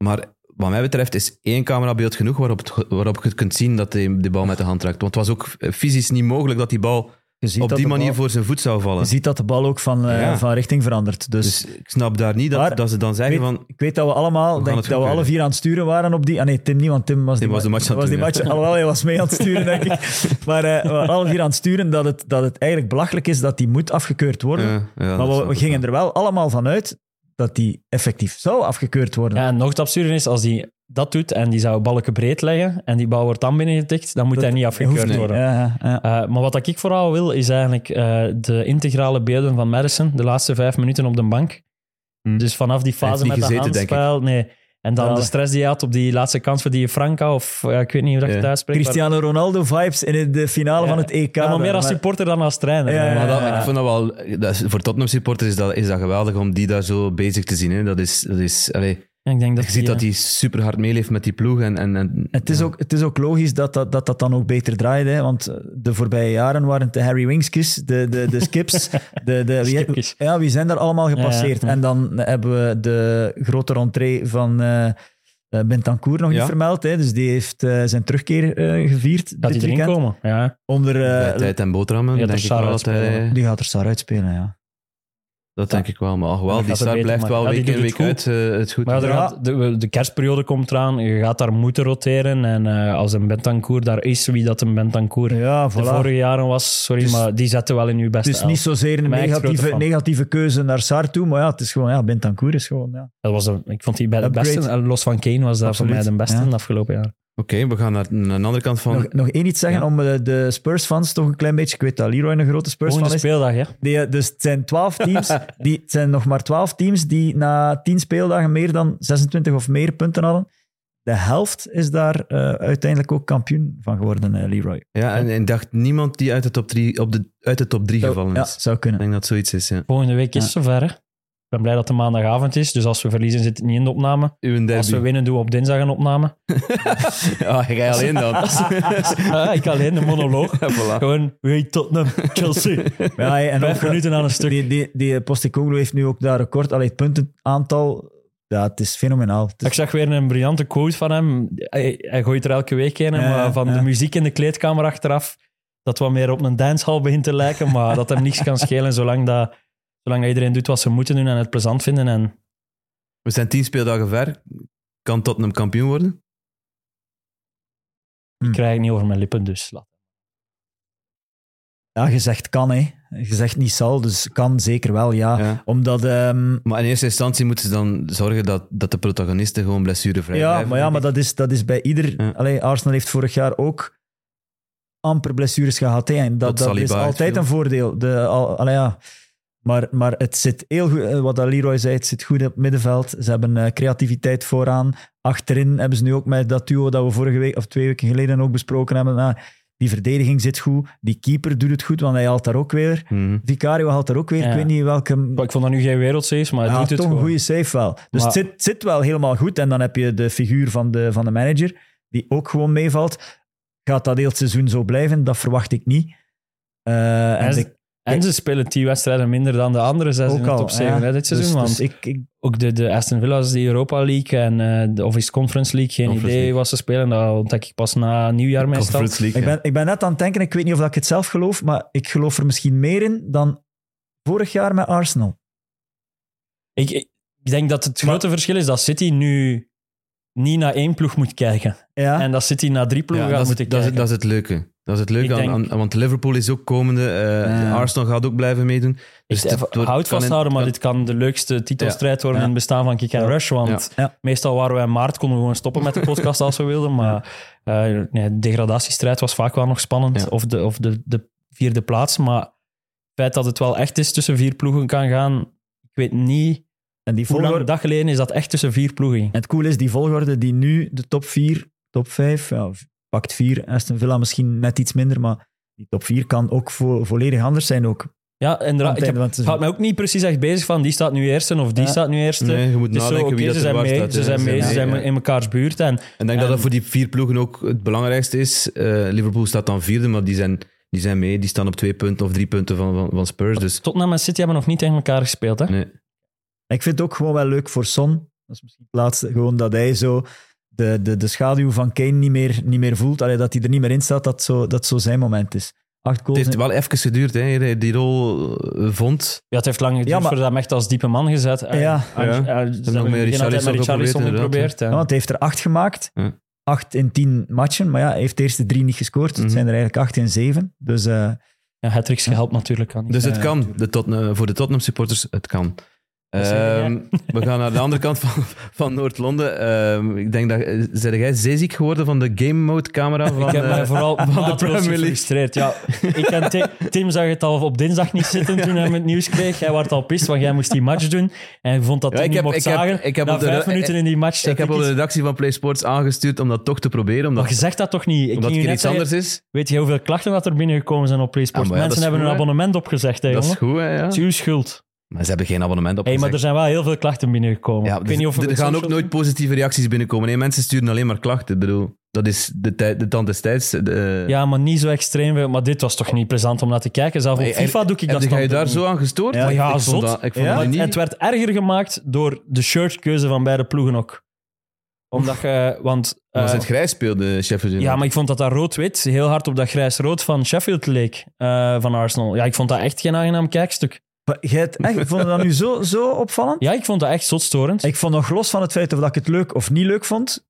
Speaker 1: Maar wat mij betreft is één camerabeeld genoeg waarop, het- waarop je kunt zien dat hij de bal met de hand raakt. Want het was ook eh, fysisch niet mogelijk dat die bal
Speaker 6: je ziet
Speaker 1: op
Speaker 6: dat
Speaker 1: die
Speaker 6: de
Speaker 1: manier
Speaker 6: bal-
Speaker 1: voor zijn voet zou vallen.
Speaker 6: Je ziet dat de bal ook van, eh,
Speaker 1: Ja.
Speaker 6: van richting verandert. Dus,
Speaker 1: Dus ik snap daar niet dat,
Speaker 6: Maar-
Speaker 1: dat ze dan zeggen
Speaker 6: Weet-
Speaker 1: van...
Speaker 6: ik weet dat we allemaal,
Speaker 1: gaan het
Speaker 6: denk ik, dat we
Speaker 1: goedkeuren.
Speaker 6: alle vier aan het sturen waren op die... Ah nee, Tim niet, want Tim was,
Speaker 1: Tim
Speaker 6: die,
Speaker 1: was de match aan het
Speaker 6: was die
Speaker 1: doen,
Speaker 6: match. Alhoewel, hij was mee aan het sturen, denk ik. Maar eh, we waren alle vier aan het sturen dat het, dat het eigenlijk belachelijk is dat die moet afgekeurd worden.
Speaker 1: Ja, eh, ja, dat
Speaker 6: maar we,
Speaker 1: snap
Speaker 6: we
Speaker 1: ik
Speaker 6: gingen er wel allemaal van uit dat die effectief zou afgekeurd worden.
Speaker 5: Ja, en nog het absurde is, als die dat doet en die zou balken breed leggen en die bal wordt dan binnengetikt, dan moet
Speaker 6: Dat-
Speaker 5: hij niet
Speaker 6: Hoeft
Speaker 5: afgekeurd
Speaker 6: niet.
Speaker 5: worden.
Speaker 6: Ja, ja, ja.
Speaker 5: Eh, maar wat ik vooral wil, is eigenlijk eh, de integrale beelden van Madison, de laatste vijf minuten op de bank.
Speaker 6: Hm.
Speaker 1: Hmm.
Speaker 5: Dus vanaf die
Speaker 1: Hij heeft
Speaker 5: fase
Speaker 1: niet
Speaker 5: met dat
Speaker 1: gezeten, denk ik.
Speaker 5: handspel. Nee. En dan
Speaker 6: Ja.
Speaker 5: de stress die hij had op die laatste kans voor die Franca, of ja, ik weet niet hoe dat je
Speaker 1: Ja.
Speaker 5: het uitspreekt. maar-
Speaker 6: Cristiano Ronaldo-vibes in de finale
Speaker 5: Ja.
Speaker 6: van het EK.
Speaker 5: Ja, maar meer als
Speaker 6: Maar-
Speaker 5: supporter dan als trainer.
Speaker 6: Ja, ja,
Speaker 1: Maar dat,
Speaker 6: ja.
Speaker 1: ik vond dat wel... Dat is, voor Tottenham-supporters is dat, is dat geweldig om die daar zo bezig te zien. Hè. Dat is... Dat is allee,
Speaker 5: Ik denk dat
Speaker 1: je ziet
Speaker 5: die,
Speaker 1: dat hij super hard meeleeft met die ploeg. En, en, en,
Speaker 6: eh, Het is, ook, het is ook logisch dat dat, dat, dat dan ook beter draait. Hè? Want eh, de voorbije jaren waren het de Harry Winkskis, de, de, de Skips. De, de, wie,
Speaker 5: Skipjes.
Speaker 6: ja, wie zijn daar allemaal gepasseerd?
Speaker 5: Ja, ja.
Speaker 6: En dan hebben we de grote rentree van eh eh, Bentancourt nog
Speaker 1: Ja.
Speaker 6: niet vermeld. Hè? Dus die heeft eh, zijn terugkeer eh, gevierd
Speaker 5: Gaat
Speaker 6: dit
Speaker 5: hij erin
Speaker 6: weekend.
Speaker 5: komen? Ja.
Speaker 6: Onder, eh,
Speaker 1: bij tijd eh, en boterhammen,
Speaker 5: Ja, dat
Speaker 1: denk ik
Speaker 5: Sarr
Speaker 1: wel dat hij...
Speaker 5: uitspelen.
Speaker 6: die gaat er Sar uitspelen, ja.
Speaker 1: Dat denk ik wel, maar ach,
Speaker 5: Dan
Speaker 1: wel,
Speaker 5: gaat
Speaker 1: die
Speaker 5: het
Speaker 1: start
Speaker 5: beter
Speaker 1: blijft
Speaker 5: maken.
Speaker 1: wel
Speaker 5: Ja, die
Speaker 1: week in,
Speaker 5: doet
Speaker 1: week
Speaker 5: het goed.
Speaker 1: uit eh, het goed.
Speaker 5: Maar ja, er
Speaker 1: doen.
Speaker 6: Ja.
Speaker 5: gaat- de, de kerstperiode komt eraan, je gaat daar moeten roteren. En eh, als een Bentancourt daar is, wie dat een Bentancourt
Speaker 6: Ja,
Speaker 5: de
Speaker 6: voilà.
Speaker 5: vorige jaren was, sorry,
Speaker 6: Dus-
Speaker 5: maar die zetten wel in uw beste
Speaker 6: Het is niet
Speaker 5: elf.
Speaker 6: zozeer een
Speaker 5: Ben ik grote
Speaker 6: negatieve,
Speaker 5: fan.
Speaker 6: negatieve keuze naar Sar toe, maar ja, het is gewoon, ja, Bentancourt is gewoon, ja.
Speaker 5: Dat was de- ik vond die bij de
Speaker 6: Upgrade.
Speaker 5: beste, eh, los van Kane, was dat
Speaker 6: Absoluut,
Speaker 5: voor mij de beste
Speaker 6: ja.
Speaker 5: in het afgelopen jaar.
Speaker 1: we gaan naar, naar de andere kant van...
Speaker 6: Nog, nog één iets zeggen
Speaker 1: Ja.
Speaker 6: om eh, de Spurs-fans toch een klein beetje... Ik weet dat Leroy een grote Spurs-fan
Speaker 5: Volgende
Speaker 6: is.
Speaker 5: speeldag, ja.
Speaker 6: Die, eh, dus het zijn, 12 teams, die, het zijn nog maar 12 teams die na 10 speeldagen meer dan 26 of meer punten hadden. De helft is daar eh, uiteindelijk ook kampioen van geworden, eh, Leroy.
Speaker 1: Ja, en, en dacht niemand die uit de top 3 op de, uit de top drie gevallen
Speaker 6: ja,
Speaker 1: is.
Speaker 6: zou
Speaker 1: Ik
Speaker 6: kunnen.
Speaker 1: denk dat het zoiets is, ja.
Speaker 5: Volgende week is het zover, hè. Ik ben blij dat het maandagavond is, dus als we verliezen zit het niet in de opname.
Speaker 1: Uw derby.
Speaker 5: Als we winnen doen we op dinsdag een opname.
Speaker 1: Ja, jij alleen dan.
Speaker 5: Ah, ik alleen de monoloog.
Speaker 1: voilà.
Speaker 5: Gewoon, hey Tottenham, Chelsea.
Speaker 6: Ja, hey, en
Speaker 5: Vijf
Speaker 6: ook, eh,
Speaker 5: minuten aan een stuk.
Speaker 6: die, die, die eh, Postecoglou heeft nu ook dat record. Allee, het puntenaantal, ja, het is fenomenaal. Het is-
Speaker 5: Ik zag weer een briljante quote van hem. Hij, hij gooit er elke week in,
Speaker 6: Ja,
Speaker 5: maar van
Speaker 6: ja.
Speaker 5: de muziek in de kleedkamer achteraf. Dat wat meer op een dancehall begint te lijken, maar dat hem niks kan schelen zolang dat, zolang dat iedereen doet wat ze moeten doen en het plezant vinden. En
Speaker 1: We zijn tien speeldagen ver. Kan Tottenham kampioen worden?
Speaker 6: Hm.
Speaker 5: ik krijg het niet over mijn lippen, dus laat.
Speaker 6: Ja, gezegd kan, hè. Gezegd niet zal, dus kan zeker wel,
Speaker 5: Ah.
Speaker 6: ja.
Speaker 1: Ja.
Speaker 6: Omdat... ehm,
Speaker 1: Maar in eerste instantie moeten ze dan zorgen dat, dat de protagonisten gewoon blessurevrij
Speaker 6: ja,
Speaker 1: blijven.
Speaker 6: maar, ja, maar
Speaker 1: denk
Speaker 6: dat is, dat is bij ieder...
Speaker 1: Ja.
Speaker 6: Allee, Arsenal heeft vorig jaar ook amper blessures gehad. Hè, en dat,
Speaker 1: Tot
Speaker 6: dat is
Speaker 1: Saliba
Speaker 6: altijd
Speaker 1: uitviel.
Speaker 6: een voordeel. De, al, allee, ja. maar, maar het zit heel goed... eh, Wat dat Leroy zei, het zit goed op het middenveld. Ze hebben eh, creativiteit vooraan. Achterin hebben ze nu ook met dat duo dat we vorige week of twee weken geleden ook besproken hebben. Nou, die verdediging zit goed. Die keeper doet het goed, want hij haalt daar ook weer.
Speaker 1: ik. Mhm.
Speaker 6: Vicario haalt er ook weer.
Speaker 5: Ja.
Speaker 6: Ik weet niet welke.
Speaker 5: Maar Ik vond dat nu geen wereldzees, maar het
Speaker 6: Ja,
Speaker 5: doet het
Speaker 6: toch een
Speaker 5: gewoon.
Speaker 6: goede save wel. Dus
Speaker 5: Maar-
Speaker 6: het, zit, het zit wel helemaal goed. En dan heb je de figuur van de, van de manager, die ook gewoon meevalt. Gaat dat heel het seizoen zo blijven? Dat verwacht ik niet. Eh,
Speaker 5: En,
Speaker 6: en
Speaker 5: ze,
Speaker 6: ik-
Speaker 5: en ze spelen tien wedstrijden minder dan de andere zes in
Speaker 6: ook
Speaker 5: de
Speaker 6: al,
Speaker 5: top 7
Speaker 6: ja.
Speaker 5: hè, dit seizoen.
Speaker 6: Dus-
Speaker 5: want
Speaker 6: dus ik, ik,
Speaker 5: ook de, de Aston Villa's, die Europa League en eh, de, of is het Conference League, geen
Speaker 1: Conference
Speaker 5: idee
Speaker 1: League.
Speaker 5: wat ze spelen. Dat ontdek ik pas na nieuwjaar meestal.
Speaker 1: Conference League,
Speaker 6: ik,
Speaker 1: ja.
Speaker 6: ben, ik ben net aan het denken, ik weet niet of ik het zelf geloof, maar ik geloof er misschien meer in dan vorig jaar met Arsenal.
Speaker 5: Ik, ik ik denk dat het grote verschil is dat City nu niet naar één ploeg moet kijken.
Speaker 6: Ja,
Speaker 5: En dat City naar drie ploegen
Speaker 1: Ah. Ja,
Speaker 5: gaat
Speaker 1: dat, is,
Speaker 5: moeten
Speaker 1: dat, is, dat
Speaker 5: kijken.
Speaker 1: is het leuke. Dat is het leuke,
Speaker 5: Ik
Speaker 1: aan,
Speaker 5: denk-
Speaker 1: aan- want Liverpool is ook komende. eh,
Speaker 6: Ja.
Speaker 1: Arsenal gaat ook blijven meedoen. Dus
Speaker 5: Ik- eh,
Speaker 1: het wordt- kan in-
Speaker 5: Houd vasthouden, maar
Speaker 1: kan-
Speaker 5: dit kan de leukste titelstrijd worden
Speaker 6: Ja.
Speaker 5: in het bestaan van Kick and Rush. Want
Speaker 6: Ja. Ja.
Speaker 5: meestal waren we in maart, konden we gewoon stoppen met de podcast als we wilden. Maar eh nee, de degradatiestrijd was vaak wel nog spannend.
Speaker 1: Ja.
Speaker 5: Of, de, of de, de vierde plaats. Maar het feit dat het wel echt is tussen vier ploegen kan gaan, ik weet niet.
Speaker 6: en die
Speaker 5: Hoe lang
Speaker 6: volgorde,
Speaker 5: een dag geleden is dat echt tussen vier ploegen ging.
Speaker 6: En het coole is, die volgorde die nu de top 4, top 5, ja, v- pakt 4, Aston Villa misschien net iets minder, maar die top 4 kan ook vo- volledig anders zijn ook.
Speaker 5: Ja,
Speaker 6: Aan
Speaker 5: en
Speaker 6: het einde
Speaker 5: ik heb,
Speaker 6: van het
Speaker 5: het
Speaker 6: seizoen.
Speaker 5: houdt mij ook niet precies echt bezig van die staat nu eerste of die
Speaker 6: Ja.
Speaker 5: staat nu eerste.
Speaker 1: Nee, Nou, je moet
Speaker 5: het is zo,
Speaker 1: nadenken
Speaker 5: oké,
Speaker 1: wie dat
Speaker 5: ze
Speaker 1: er
Speaker 5: zijn
Speaker 1: waar
Speaker 5: mee,
Speaker 1: staat,
Speaker 5: ze
Speaker 1: hè.
Speaker 5: zijn
Speaker 1: Ze
Speaker 5: mee,
Speaker 1: zijn
Speaker 5: ze zijn
Speaker 1: mee, ja.
Speaker 5: in mekaars buurt. En
Speaker 1: En ik denk dat dat
Speaker 5: En-
Speaker 1: voor die vier ploegen ook het belangrijkste is. Eh, Liverpool staat dan vierde, maar die zijn, die zijn mee. Die staan op twee punten of drie punten van, van, van Spurs. Dus
Speaker 5: Tottenham en City hebben nog niet tegen elkaar gespeeld. Hè?
Speaker 1: nee.
Speaker 6: Ik vind het ook gewoon wel leuk voor Son. Dat is misschien het laatste. Gewoon dat hij zo de, de, de schaduw van Kane niet meer, niet meer voelt. Allee, dat hij er niet meer in staat, dat zo, dat zo zijn moment is. Acht
Speaker 1: het
Speaker 6: goals.
Speaker 1: heeft
Speaker 6: in-
Speaker 1: wel even geduurd, hè, eer hij die rol eh, vond.
Speaker 5: Ja, het heeft lang geduurd
Speaker 6: Ja, maar-
Speaker 5: voordat hem echt als diepe man gezet. En-
Speaker 6: Ja.
Speaker 5: en-
Speaker 1: Ja.
Speaker 5: en- ze hebben
Speaker 1: met
Speaker 5: in het begin altijd
Speaker 1: Richarlison
Speaker 5: met Richarlison
Speaker 1: geprobeerd,
Speaker 5: geprobeerd.
Speaker 6: Ja,
Speaker 5: En
Speaker 6: want hij heeft er acht gemaakt.
Speaker 1: Ja.
Speaker 6: Acht in tien matchen. Maar ja, hij heeft de eerste drie niet gescoord. Het
Speaker 1: Mhm.
Speaker 6: zijn er eigenlijk acht in zeven. Dus eh,
Speaker 5: ja, Hattricks gehelpt natuurlijk aan.
Speaker 1: Dus het
Speaker 6: Ja,
Speaker 1: kan. De Tottenham, voor de Tottenham supporters, het kan.
Speaker 5: zeg jij?
Speaker 1: Ehm, we gaan naar de andere kant van, van Noord-Londen. Ehm, ik denk dat... eh, Zijn jij zeeziek geworden van de game mode camera? Van,
Speaker 5: ik heb mij
Speaker 1: eh,
Speaker 5: vooral
Speaker 1: Premier
Speaker 5: maatloos
Speaker 1: League.
Speaker 5: gefrustreerd. Ja, ik en Tim, Tim zag het al op dinsdag niet zitten toen hij het nieuws kreeg. Hij werd al pist, want jij moest die match doen. En hij vond dat
Speaker 1: Ja,
Speaker 5: Tim
Speaker 1: ik
Speaker 5: niet
Speaker 1: heb-
Speaker 5: mocht
Speaker 1: ik heb-
Speaker 5: zagen.
Speaker 1: ik heb
Speaker 5: Na
Speaker 1: op de-
Speaker 5: vijf minuten in die match zat
Speaker 1: ik heb op de
Speaker 5: iets-
Speaker 1: redactie van Play Sports aangestuurd om dat toch te proberen. Omdat,
Speaker 5: Maar Oh, je zegt dat toch niet? Ik
Speaker 1: omdat
Speaker 5: ging
Speaker 1: het
Speaker 5: u
Speaker 1: een keer
Speaker 5: net eh,
Speaker 1: iets
Speaker 5: zeggen,
Speaker 1: anders is.
Speaker 5: Weet je hoeveel klachten dat er binnengekomen zijn op PlaySports?
Speaker 1: Ja, Ah, maar ja,
Speaker 5: Mensen
Speaker 1: dat is
Speaker 5: hebben
Speaker 1: goed,
Speaker 5: hun
Speaker 1: hè.
Speaker 5: abonnement opgezegd, hè,
Speaker 1: Dat is
Speaker 5: jongen.
Speaker 1: goed, hè, ja.
Speaker 5: Het is uw schuld.
Speaker 1: Maar ze hebben geen abonnement op.
Speaker 5: Hey, maar er zijn wel heel veel klachten binnengekomen.
Speaker 1: ja,
Speaker 5: ik
Speaker 1: dus
Speaker 5: weet niet of we
Speaker 1: er
Speaker 5: het
Speaker 1: gaan ook
Speaker 5: social-
Speaker 1: nooit positieve reacties binnenkomen. Nee, mensen sturen alleen maar klachten. Ik bedoel, dat is de, tijd, de tand des tijds. eh, De,
Speaker 5: Ja, maar niet zo extreem. veel. Maar dit was toch niet plezant om naar te kijken? Zelfs op
Speaker 1: Hey,
Speaker 5: FIFA doe ik
Speaker 1: heb
Speaker 5: dat
Speaker 1: je- Ga je
Speaker 5: standpunt
Speaker 1: daar
Speaker 5: niet.
Speaker 1: zo aan gestoord?
Speaker 6: Ja,
Speaker 1: Ik-
Speaker 5: ja,
Speaker 1: ik
Speaker 5: zot.
Speaker 1: vond dat, ik vond
Speaker 6: Ja,
Speaker 1: dat
Speaker 5: Want
Speaker 1: niet...
Speaker 5: Het werd erger gemaakt door de shirtkeuze van beide ploegen ook. Omdat je... Want, eh,
Speaker 1: was het grijs speelde Sheffield United.
Speaker 5: ja, maar ik vond dat dat rood-wit heel hard op dat grijs-rood van Sheffield leek. eh, van Arsenal. Ja, ik vond dat echt geen aangenaam kijkstuk.
Speaker 6: maar jij het echt, vond je dat nu zo, zo opvallend?
Speaker 5: Ja, ik vond dat echt zotstorend.
Speaker 6: Ik vond nog los van het feit of dat ik het leuk of niet leuk vond,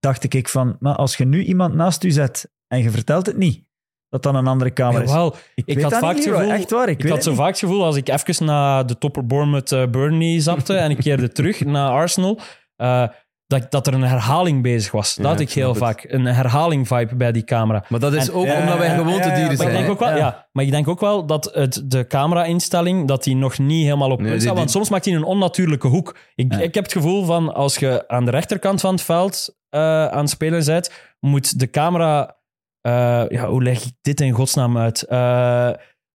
Speaker 6: dacht ik van, maar als je nu iemand naast u zet en je vertelt het niet, dat dan een andere kamer is.
Speaker 5: Jawel, ik
Speaker 6: weet
Speaker 5: had
Speaker 6: dat
Speaker 5: vaak
Speaker 6: niet,
Speaker 5: het
Speaker 6: Leroy.
Speaker 5: gevoel-
Speaker 6: Echt waar, ik,
Speaker 5: Ik
Speaker 6: weet
Speaker 5: had
Speaker 6: het
Speaker 5: zo
Speaker 6: niet.
Speaker 5: vaak het gevoel, als ik even naar de topper Bournemouth eh, Burnley zapte en ik keerde terug naar Arsenal, eh, dat, dat er een herhaling bezig was.
Speaker 1: Ja,
Speaker 5: dat had
Speaker 1: ik
Speaker 5: ik heel
Speaker 1: snap
Speaker 5: vaak. Een herhaling vibe bij die camera.
Speaker 1: Maar dat is
Speaker 5: En-
Speaker 1: ook
Speaker 6: Ja,
Speaker 1: omdat wij
Speaker 6: ja, ja,
Speaker 1: gewoontedieren
Speaker 6: ja,
Speaker 5: Maar ik,
Speaker 1: zijn.
Speaker 5: denk
Speaker 1: hè.
Speaker 5: ook wel,
Speaker 6: Ja.
Speaker 5: ja, maar ik denk ook wel dat het, de camera-instelling dat die nog niet helemaal op punt
Speaker 1: Nee, die-
Speaker 5: staat. Want
Speaker 1: die-
Speaker 5: soms maakt hij een onnatuurlijke hoek. Ik,
Speaker 6: Ja.
Speaker 5: ik heb het gevoel van als je aan de rechterkant van het veld eh, aan het spelen bent, moet de camera. eh, ja, hoe leg ik dit in godsnaam uit? Eh,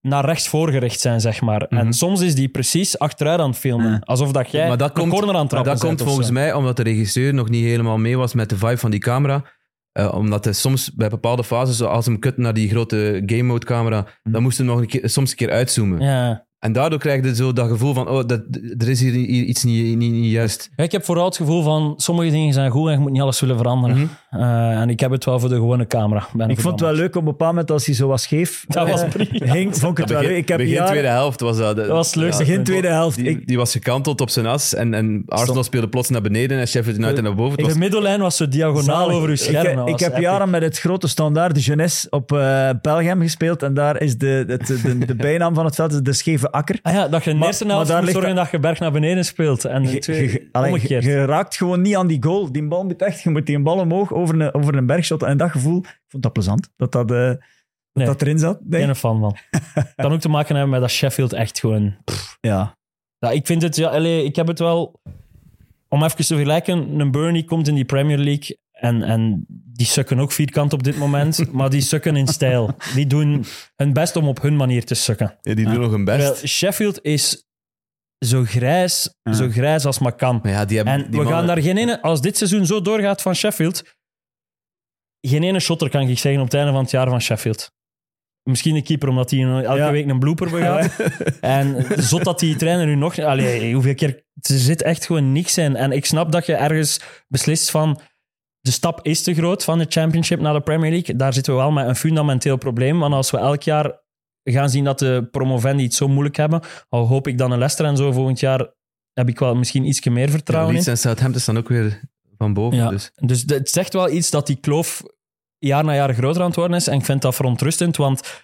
Speaker 5: naar rechts voorgericht zijn, zeg maar.
Speaker 1: Mhm.
Speaker 5: En soms is die precies achteruit aan het filmen.
Speaker 6: Ja.
Speaker 5: Alsof dat jij
Speaker 1: Maar dat
Speaker 5: een
Speaker 1: komt-
Speaker 5: corner aan het
Speaker 1: Maar
Speaker 5: trappen
Speaker 1: dat komt
Speaker 5: bent of
Speaker 1: volgens
Speaker 5: zo.
Speaker 1: mij omdat de regisseur nog niet helemaal mee was met de vibe van die camera. Eh, omdat hij soms bij bepaalde fases, als hem kut naar die grote game mode camera, dan moest hij nog een keer, soms een keer uitzoomen.
Speaker 5: Hm. Ja.
Speaker 1: En daardoor krijg je zo dat gevoel van, oh, dat, er is hier, hier iets niet, niet, niet juist.
Speaker 5: Ja, Ik heb vooral het gevoel van sommige dingen zijn goed en je moet niet alles willen veranderen. Eh, en ik heb het wel voor de gewone camera. ben
Speaker 6: Mhm. Ik vond het wel
Speaker 5: veranderd.
Speaker 6: leuk op een bepaald moment als hij zo was scheef.
Speaker 5: Dat was
Speaker 6: eh,
Speaker 5: prima.
Speaker 6: hing, vond ik het wel leuk. Ik heb
Speaker 1: begin
Speaker 6: jaren-
Speaker 1: tweede helft was dat. eh,
Speaker 5: Dat was het leukste.
Speaker 6: begin tweede helft.
Speaker 1: Die,
Speaker 6: Ik,
Speaker 1: die was gekanteld op zijn as en, en Arsenal
Speaker 6: Stop.
Speaker 1: speelde plots naar beneden en Sheffield United naar boven. Het was
Speaker 5: De middellijn was zo diagonaal
Speaker 6: Zalig.
Speaker 5: over uw scherm.
Speaker 6: Ik,
Speaker 5: Dat
Speaker 6: ik
Speaker 5: was
Speaker 6: heb
Speaker 5: epic.
Speaker 6: jaren met het grote standaard de Jeunesse op eh Belgium gespeeld. En daar is de, het- de, de bijnaam van het veld is de scheve akker.
Speaker 5: Ah ja, dat je in de
Speaker 6: Maar-
Speaker 5: eerste
Speaker 6: maar
Speaker 5: helft
Speaker 6: daar
Speaker 5: moet
Speaker 6: ligt
Speaker 5: zorgen dat je berg naar beneden speelt. En de
Speaker 6: Je,
Speaker 5: tweede,
Speaker 6: je- allee,
Speaker 5: omgekeerd.
Speaker 6: je- je raakt gewoon niet aan die goal. Die bal moet echt, je moet die bal omhoog over een, over een berg shotten. En dat gevoel, ik vond dat plezant. Dat dat, eh, dat,
Speaker 5: Nee.
Speaker 6: dat erin zat. denk ik.
Speaker 5: Geen fan van. kan ook te maken hebben met dat Sheffield echt gewoon...
Speaker 6: Ja.
Speaker 5: Ja, ik vind het... Ja, allee, ik heb het wel... Om even te vergelijken, een Burnley komt in die Premier League en, en die sukken ook vierkant op dit moment, maar die sukken in stijl. Die doen hun best om op hun manier te sukken.
Speaker 1: Ja, die doen nog hun best.
Speaker 5: Terwijl Sheffield is zo grijs,
Speaker 6: Ja.
Speaker 5: zo grijs als maar kan.
Speaker 1: maar ja, die hebben,
Speaker 5: En
Speaker 1: die
Speaker 5: we gaan
Speaker 1: mannen-
Speaker 5: daar geen ene, als dit seizoen zo doorgaat van Sheffield, geen ene shotter kan ik zeggen op het einde van het jaar van Sheffield. Misschien de keeper, omdat hij een- elke
Speaker 6: Ja.
Speaker 5: week een blooper begaat. en zot dat die trainer nu nog... Allee, hoeveel keer... Er zit echt gewoon niks in. En ik snap dat je ergens beslist van... De stap is te groot van de Championship naar de Premier League. Daar zitten we wel met een fundamenteel probleem. Want als we elk jaar gaan zien dat de promovendi het zo moeilijk hebben, al hoop ik dan een Leicester en zo volgend jaar, heb ik wel misschien iets meer
Speaker 1: Ja,
Speaker 5: vertrouwen in.
Speaker 1: Leeds en Southampton staan ook weer van boven.
Speaker 5: Ja.
Speaker 1: Dus.
Speaker 5: Dus de- het zegt wel iets dat die kloof jaar na jaar groter aan het worden is. En ik vind dat verontrustend, want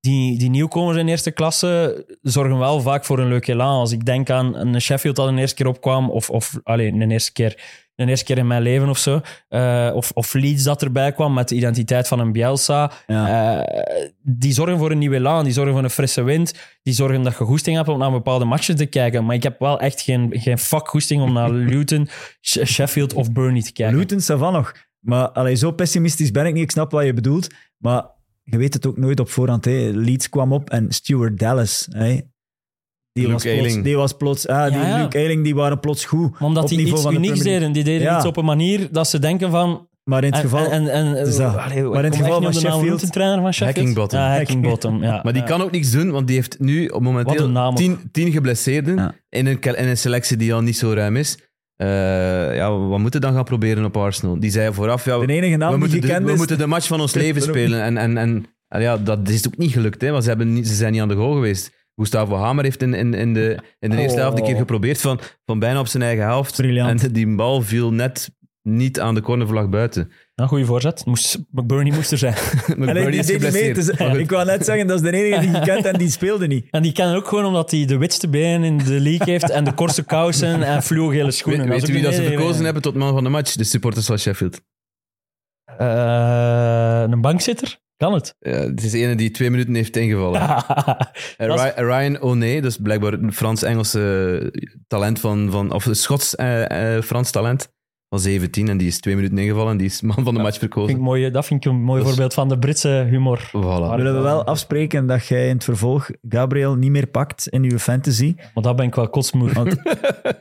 Speaker 5: die, die nieuwkomers in eerste klasse zorgen wel vaak voor een leuk elan. Als ik denk aan een Sheffield dat een eerste keer opkwam, of, of alleen een eerste keer. Een eerste keer in mijn leven of zo. eh, of, of Leeds dat erbij kwam met de identiteit van een Bielsa.
Speaker 6: Ja.
Speaker 5: Eh, die zorgen voor een nieuwe laan, die zorgen voor een frisse wind, die zorgen dat je goesting hebt om naar bepaalde matchen te kijken. Maar ik heb wel echt geen, geen fuck goesting om naar Luton, Sh- Sheffield of Burnley te kijken.
Speaker 6: Luton, ça va nog. Maar allee, zo pessimistisch ben ik niet. Ik snap wat je bedoelt. Maar je weet het ook nooit op voorhand. Hè. Leeds kwam op en Stuart Dallas. Hè. Die,
Speaker 1: Luke
Speaker 6: was plots,
Speaker 1: Ayling.
Speaker 6: die was plots... Ah, die
Speaker 5: Ja, ja.
Speaker 6: Luke Ayling, die waren plots goed.
Speaker 5: Maar omdat
Speaker 6: op
Speaker 5: die
Speaker 6: niveau
Speaker 5: iets
Speaker 6: van de
Speaker 5: unieks
Speaker 6: Premier League.
Speaker 5: deden. Die deden
Speaker 6: Ja.
Speaker 5: iets op een manier dat ze denken van...
Speaker 6: Maar in het geval...
Speaker 5: En, en, en,
Speaker 6: Dus dat.
Speaker 5: Allee, ik
Speaker 6: Maar in het geval
Speaker 5: kom echt niet
Speaker 6: van
Speaker 5: op de naam. Hoe
Speaker 6: Sheffield-
Speaker 5: noemt de trainer van Sheffield?
Speaker 1: Hackingbottom.
Speaker 5: Ja, Hackingbottom, ja.
Speaker 1: Maar die kan ook niks doen, want die heeft nu op
Speaker 5: Wat een
Speaker 1: momenteel
Speaker 5: naam.
Speaker 1: tien, tien geblesseerden
Speaker 6: Ja.
Speaker 1: in, een, ke- in een selectie die al niet zo ruim is. Eh, ja, wat moeten we dan gaan proberen op Arsenal? Die zei vooraf, ja,
Speaker 6: de enige naam
Speaker 1: we,
Speaker 6: die
Speaker 1: moeten de,
Speaker 6: gekend
Speaker 1: we
Speaker 6: is...
Speaker 1: moeten de match van ons leven
Speaker 6: Waarom?
Speaker 1: spelen. En, en, en en ja, dat is ook niet gelukt, hè, want ze, hebben niet, ze zijn niet aan de goal geweest. Gustavo Hamer heeft in, in, in de, in de eerste
Speaker 6: Oh.
Speaker 1: helft een keer geprobeerd van, van bijna op zijn eigen helft.
Speaker 6: Briljant.
Speaker 1: En die bal viel net niet aan de cornervlag buiten.
Speaker 5: Een goede Nou, voorzet. Moest, McBurney moest er zijn.
Speaker 6: Allee,
Speaker 1: McBurney
Speaker 6: die
Speaker 1: is
Speaker 6: deed niet mee.
Speaker 1: geblesseerd.
Speaker 6: Het is-
Speaker 1: Maar goed.
Speaker 6: Ik wou net zeggen, dat is de enige die gekend en die speelde niet.
Speaker 5: En die kennen ook gewoon omdat hij de witste benen in de league heeft en de kortste kousen en fluogele
Speaker 1: Weet,
Speaker 5: schoenen.
Speaker 1: weet
Speaker 5: is
Speaker 1: u wie
Speaker 5: ook
Speaker 1: dat ze
Speaker 5: een hele-
Speaker 1: verkozen hebben tot man van de match? De supporters van Sheffield.
Speaker 5: Eh, een bankzitter? Kan het?
Speaker 1: Ja, het is de ene die twee minuten heeft ingevallen. En
Speaker 5: dat is-
Speaker 1: Ry- Ryan O'Neill, dus blijkbaar een Frans-Engelse talent van, van of een Schots-Frans talent van 17 en die is twee minuten ingevallen en die is man van de match
Speaker 5: Vind ik
Speaker 1: verkozen.
Speaker 5: mooi, eh, dat vind ik een mooi
Speaker 1: Dat is-
Speaker 5: voorbeeld van de Britse humor.
Speaker 1: Voilà.
Speaker 6: Willen we wel afspreken dat jij in het vervolg Gabriel niet meer pakt in uw fantasy?
Speaker 5: Maar dat ben ik wel kotsmoe.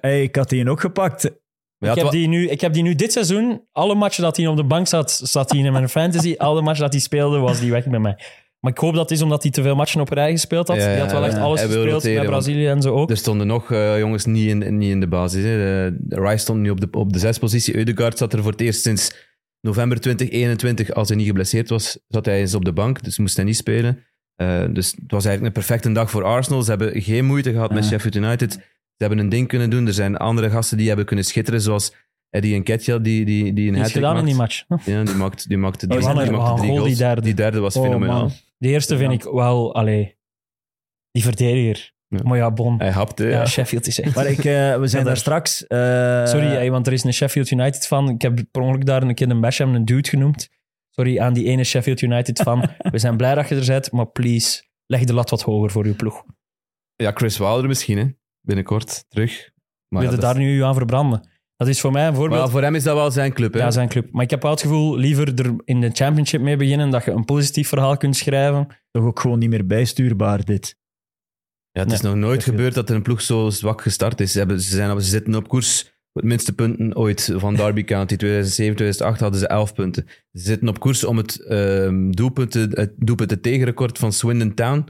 Speaker 6: Hey, ik had die ook gepakt.
Speaker 1: Ja, het
Speaker 5: ik, heb
Speaker 1: wa-
Speaker 5: die nu, ik heb die nu dit seizoen, alle matchen dat hij op de bank zat, zat hij in mijn fantasy. Alle matchen dat hij speelde, was die weg bij mij. Maar ik hoop dat het is omdat hij te veel matchen op rij gespeeld had.
Speaker 1: Ja,
Speaker 5: die had wel
Speaker 1: ja,
Speaker 5: echt
Speaker 1: ja.
Speaker 5: alles
Speaker 1: Hij wil
Speaker 5: gespeeld
Speaker 1: roteren,
Speaker 5: bij
Speaker 1: want-
Speaker 5: Brazilië en zo ook.
Speaker 1: Er stonden nog eh, jongens niet in, in- niet in de basis. Hè. De- de Rice stond nu op de, op de zespositie. Eudegaard zat er voor het eerst sinds november 2021, als hij niet geblesseerd was, zat hij eens op de bank, dus moest hij niet spelen. Eh, dus het was eigenlijk een perfecte dag voor Arsenal. Ze hebben geen moeite gehad met
Speaker 6: Ja.
Speaker 1: Sheffield United. Ze hebben een ding kunnen doen. Er zijn andere gasten die hebben kunnen schitteren, zoals Eddie Nketiah, die, die, die een
Speaker 5: Die is
Speaker 1: hat-trick
Speaker 5: gedaan in die
Speaker 1: maakt.
Speaker 5: match.
Speaker 1: Ja, die maakte, die maakte,
Speaker 5: Oh,
Speaker 1: die,
Speaker 5: die
Speaker 1: maakte,
Speaker 5: andere-
Speaker 1: die maakte
Speaker 5: oh,
Speaker 1: drie
Speaker 5: goal,
Speaker 1: goals.
Speaker 5: die derde. Oh,
Speaker 1: was fenomenaal.
Speaker 6: man.
Speaker 5: De eerste vind ik wel, allee, die verdediger. Maar ja, bon.
Speaker 1: Hij hapte.
Speaker 5: Ja,
Speaker 1: ja.
Speaker 5: Sheffield is echt...
Speaker 6: Maar ik, eh, we zijn
Speaker 5: daar-
Speaker 6: daar straks. eh,
Speaker 5: Sorry, hey, want er is een Sheffield United fan. Ik heb per ongeluk daar een keer een Basham een dude genoemd. Sorry aan die ene Sheffield United fan. We zijn blij dat je er bent, maar please, leg de lat wat hoger voor uw ploeg.
Speaker 1: Ja, Chris Wilder misschien, hè. binnenkort terug. Maar
Speaker 5: Wil
Speaker 1: ja,
Speaker 5: je
Speaker 1: dat
Speaker 5: daar
Speaker 1: is-
Speaker 5: nu aan verbranden? Dat is voor mij een
Speaker 1: Maar
Speaker 5: voorbeeld.
Speaker 1: ja, voor hem is dat wel zijn club. Hè?
Speaker 5: Ja, zijn club. Maar ik heb wel het gevoel, liever er in de championship mee beginnen, dat je een positief verhaal kunt schrijven.
Speaker 6: Toch ook gewoon niet meer bijstuurbaar, dit.
Speaker 1: Ja, het is nog nooit
Speaker 6: Sheffield.
Speaker 1: gebeurd dat er een ploeg zo zwak gestart is. Ze, hebben, ze, zijn, op- ze zitten op koers voor het minste punten ooit van Derby County. 2007, 2008 hadden ze 11 punten. Ze zitten op koers om het ehm doelpunten, het doelpunten tegenrecord van Swindon Town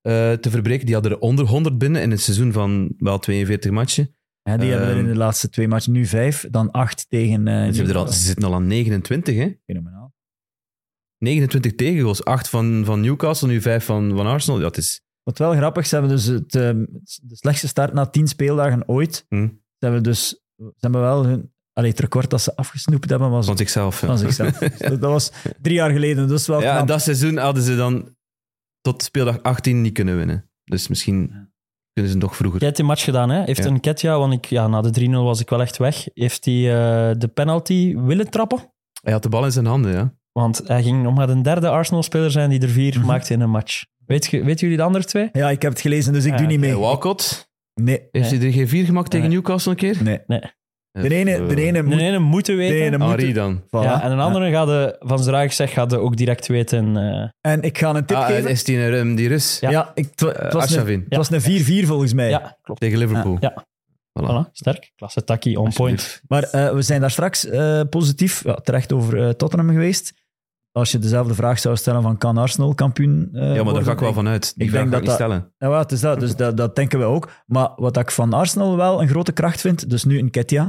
Speaker 1: eh, te verbreken. Die hadden er onder 100 binnen in een seizoen van wel 42 matchen.
Speaker 6: Hè, die hebben er in de laatste twee matchen nu vijf, dan acht tegen. eh,
Speaker 1: En Ehm. Ze, hebben er al,
Speaker 6: Newcastle.
Speaker 1: ze zitten al aan 29, hè?
Speaker 6: Fenomenaal.
Speaker 1: 29 tegengoals. 8 van, van Newcastle, nu 5 van, van Arsenal. Ja, Dat is...
Speaker 6: Wat wel grappig, ze hebben dus het, eh, de slechtste start na tien speeldagen ooit.
Speaker 1: Hm.
Speaker 6: Ze hebben dus ze hebben wel hun. Allee, het record dat ze afgesnoept hebben was
Speaker 1: Van zichzelf. ja.
Speaker 6: van zichzelf. Dus dat was drie jaar geleden, dus wel
Speaker 1: Ja, en
Speaker 6: knap.
Speaker 1: dat seizoen hadden ze dan tot speeldag 18 niet kunnen winnen. Dus misschien kunnen ze nog vroeger.
Speaker 5: Jij hebt die match gedaan, hè? Heeft
Speaker 1: Ja.
Speaker 5: een Ketja, want ik, ja, na de 3-0 was ik wel echt weg, heeft hij eh, de penalty willen trappen?
Speaker 1: Hij had de bal in zijn handen, ja.
Speaker 5: Want hij ging nog maar de derde Arsenal-speler zijn die er vier
Speaker 6: Mhm.
Speaker 5: maakte in een match. Weet, je- weten jullie de andere twee?
Speaker 6: Ja, ik heb het gelezen, dus ik
Speaker 5: Ja,
Speaker 6: doe niet
Speaker 1: En
Speaker 6: mee.
Speaker 1: Walcott,
Speaker 6: Nee,
Speaker 1: heeft hij er geen vier gemaakt tegen
Speaker 5: Nee.
Speaker 1: Newcastle een keer?
Speaker 6: nee.
Speaker 1: Ja,
Speaker 6: De ene, de
Speaker 1: eh,
Speaker 6: ene moet...
Speaker 5: De ene moeten weten.
Speaker 6: de ene moet-
Speaker 1: Henri dan.
Speaker 6: voilà.
Speaker 5: Ja, en een andere gaat de, van zodra ik zeg, gaat de ook direct weten. eh,
Speaker 6: En ik ga een tip
Speaker 1: Ah, en
Speaker 6: geven.
Speaker 1: is die, een, ehm, die Rus
Speaker 5: Ja.
Speaker 6: Ja, ik, het wa- het
Speaker 1: Eh,
Speaker 6: was,
Speaker 1: Arshavin.
Speaker 6: een, het was een 4-4 volgens mij.
Speaker 5: ja, klopt.
Speaker 1: tegen Liverpool?
Speaker 5: Ja.
Speaker 1: Voilà.
Speaker 5: Voilà, sterk. Klasse takkie, on point.
Speaker 1: Alsjeblieft.
Speaker 6: Maar eh, we zijn daar straks eh, positief ja, terecht over eh, Tottenham geweest. Als je dezelfde vraag zou stellen van kan Arsenal kampioen eh,
Speaker 1: Ja, maar daar
Speaker 6: worden?
Speaker 1: ga ik wel van uit. Die
Speaker 6: Ik
Speaker 1: vraag
Speaker 6: denk
Speaker 1: ga ik
Speaker 6: dat
Speaker 1: niet stellen.
Speaker 6: Ja, wel, het is dat, dus dat, dat denken we ook. Maar wat ik van Arsenal wel een grote kracht vind, dus nu een Ketia.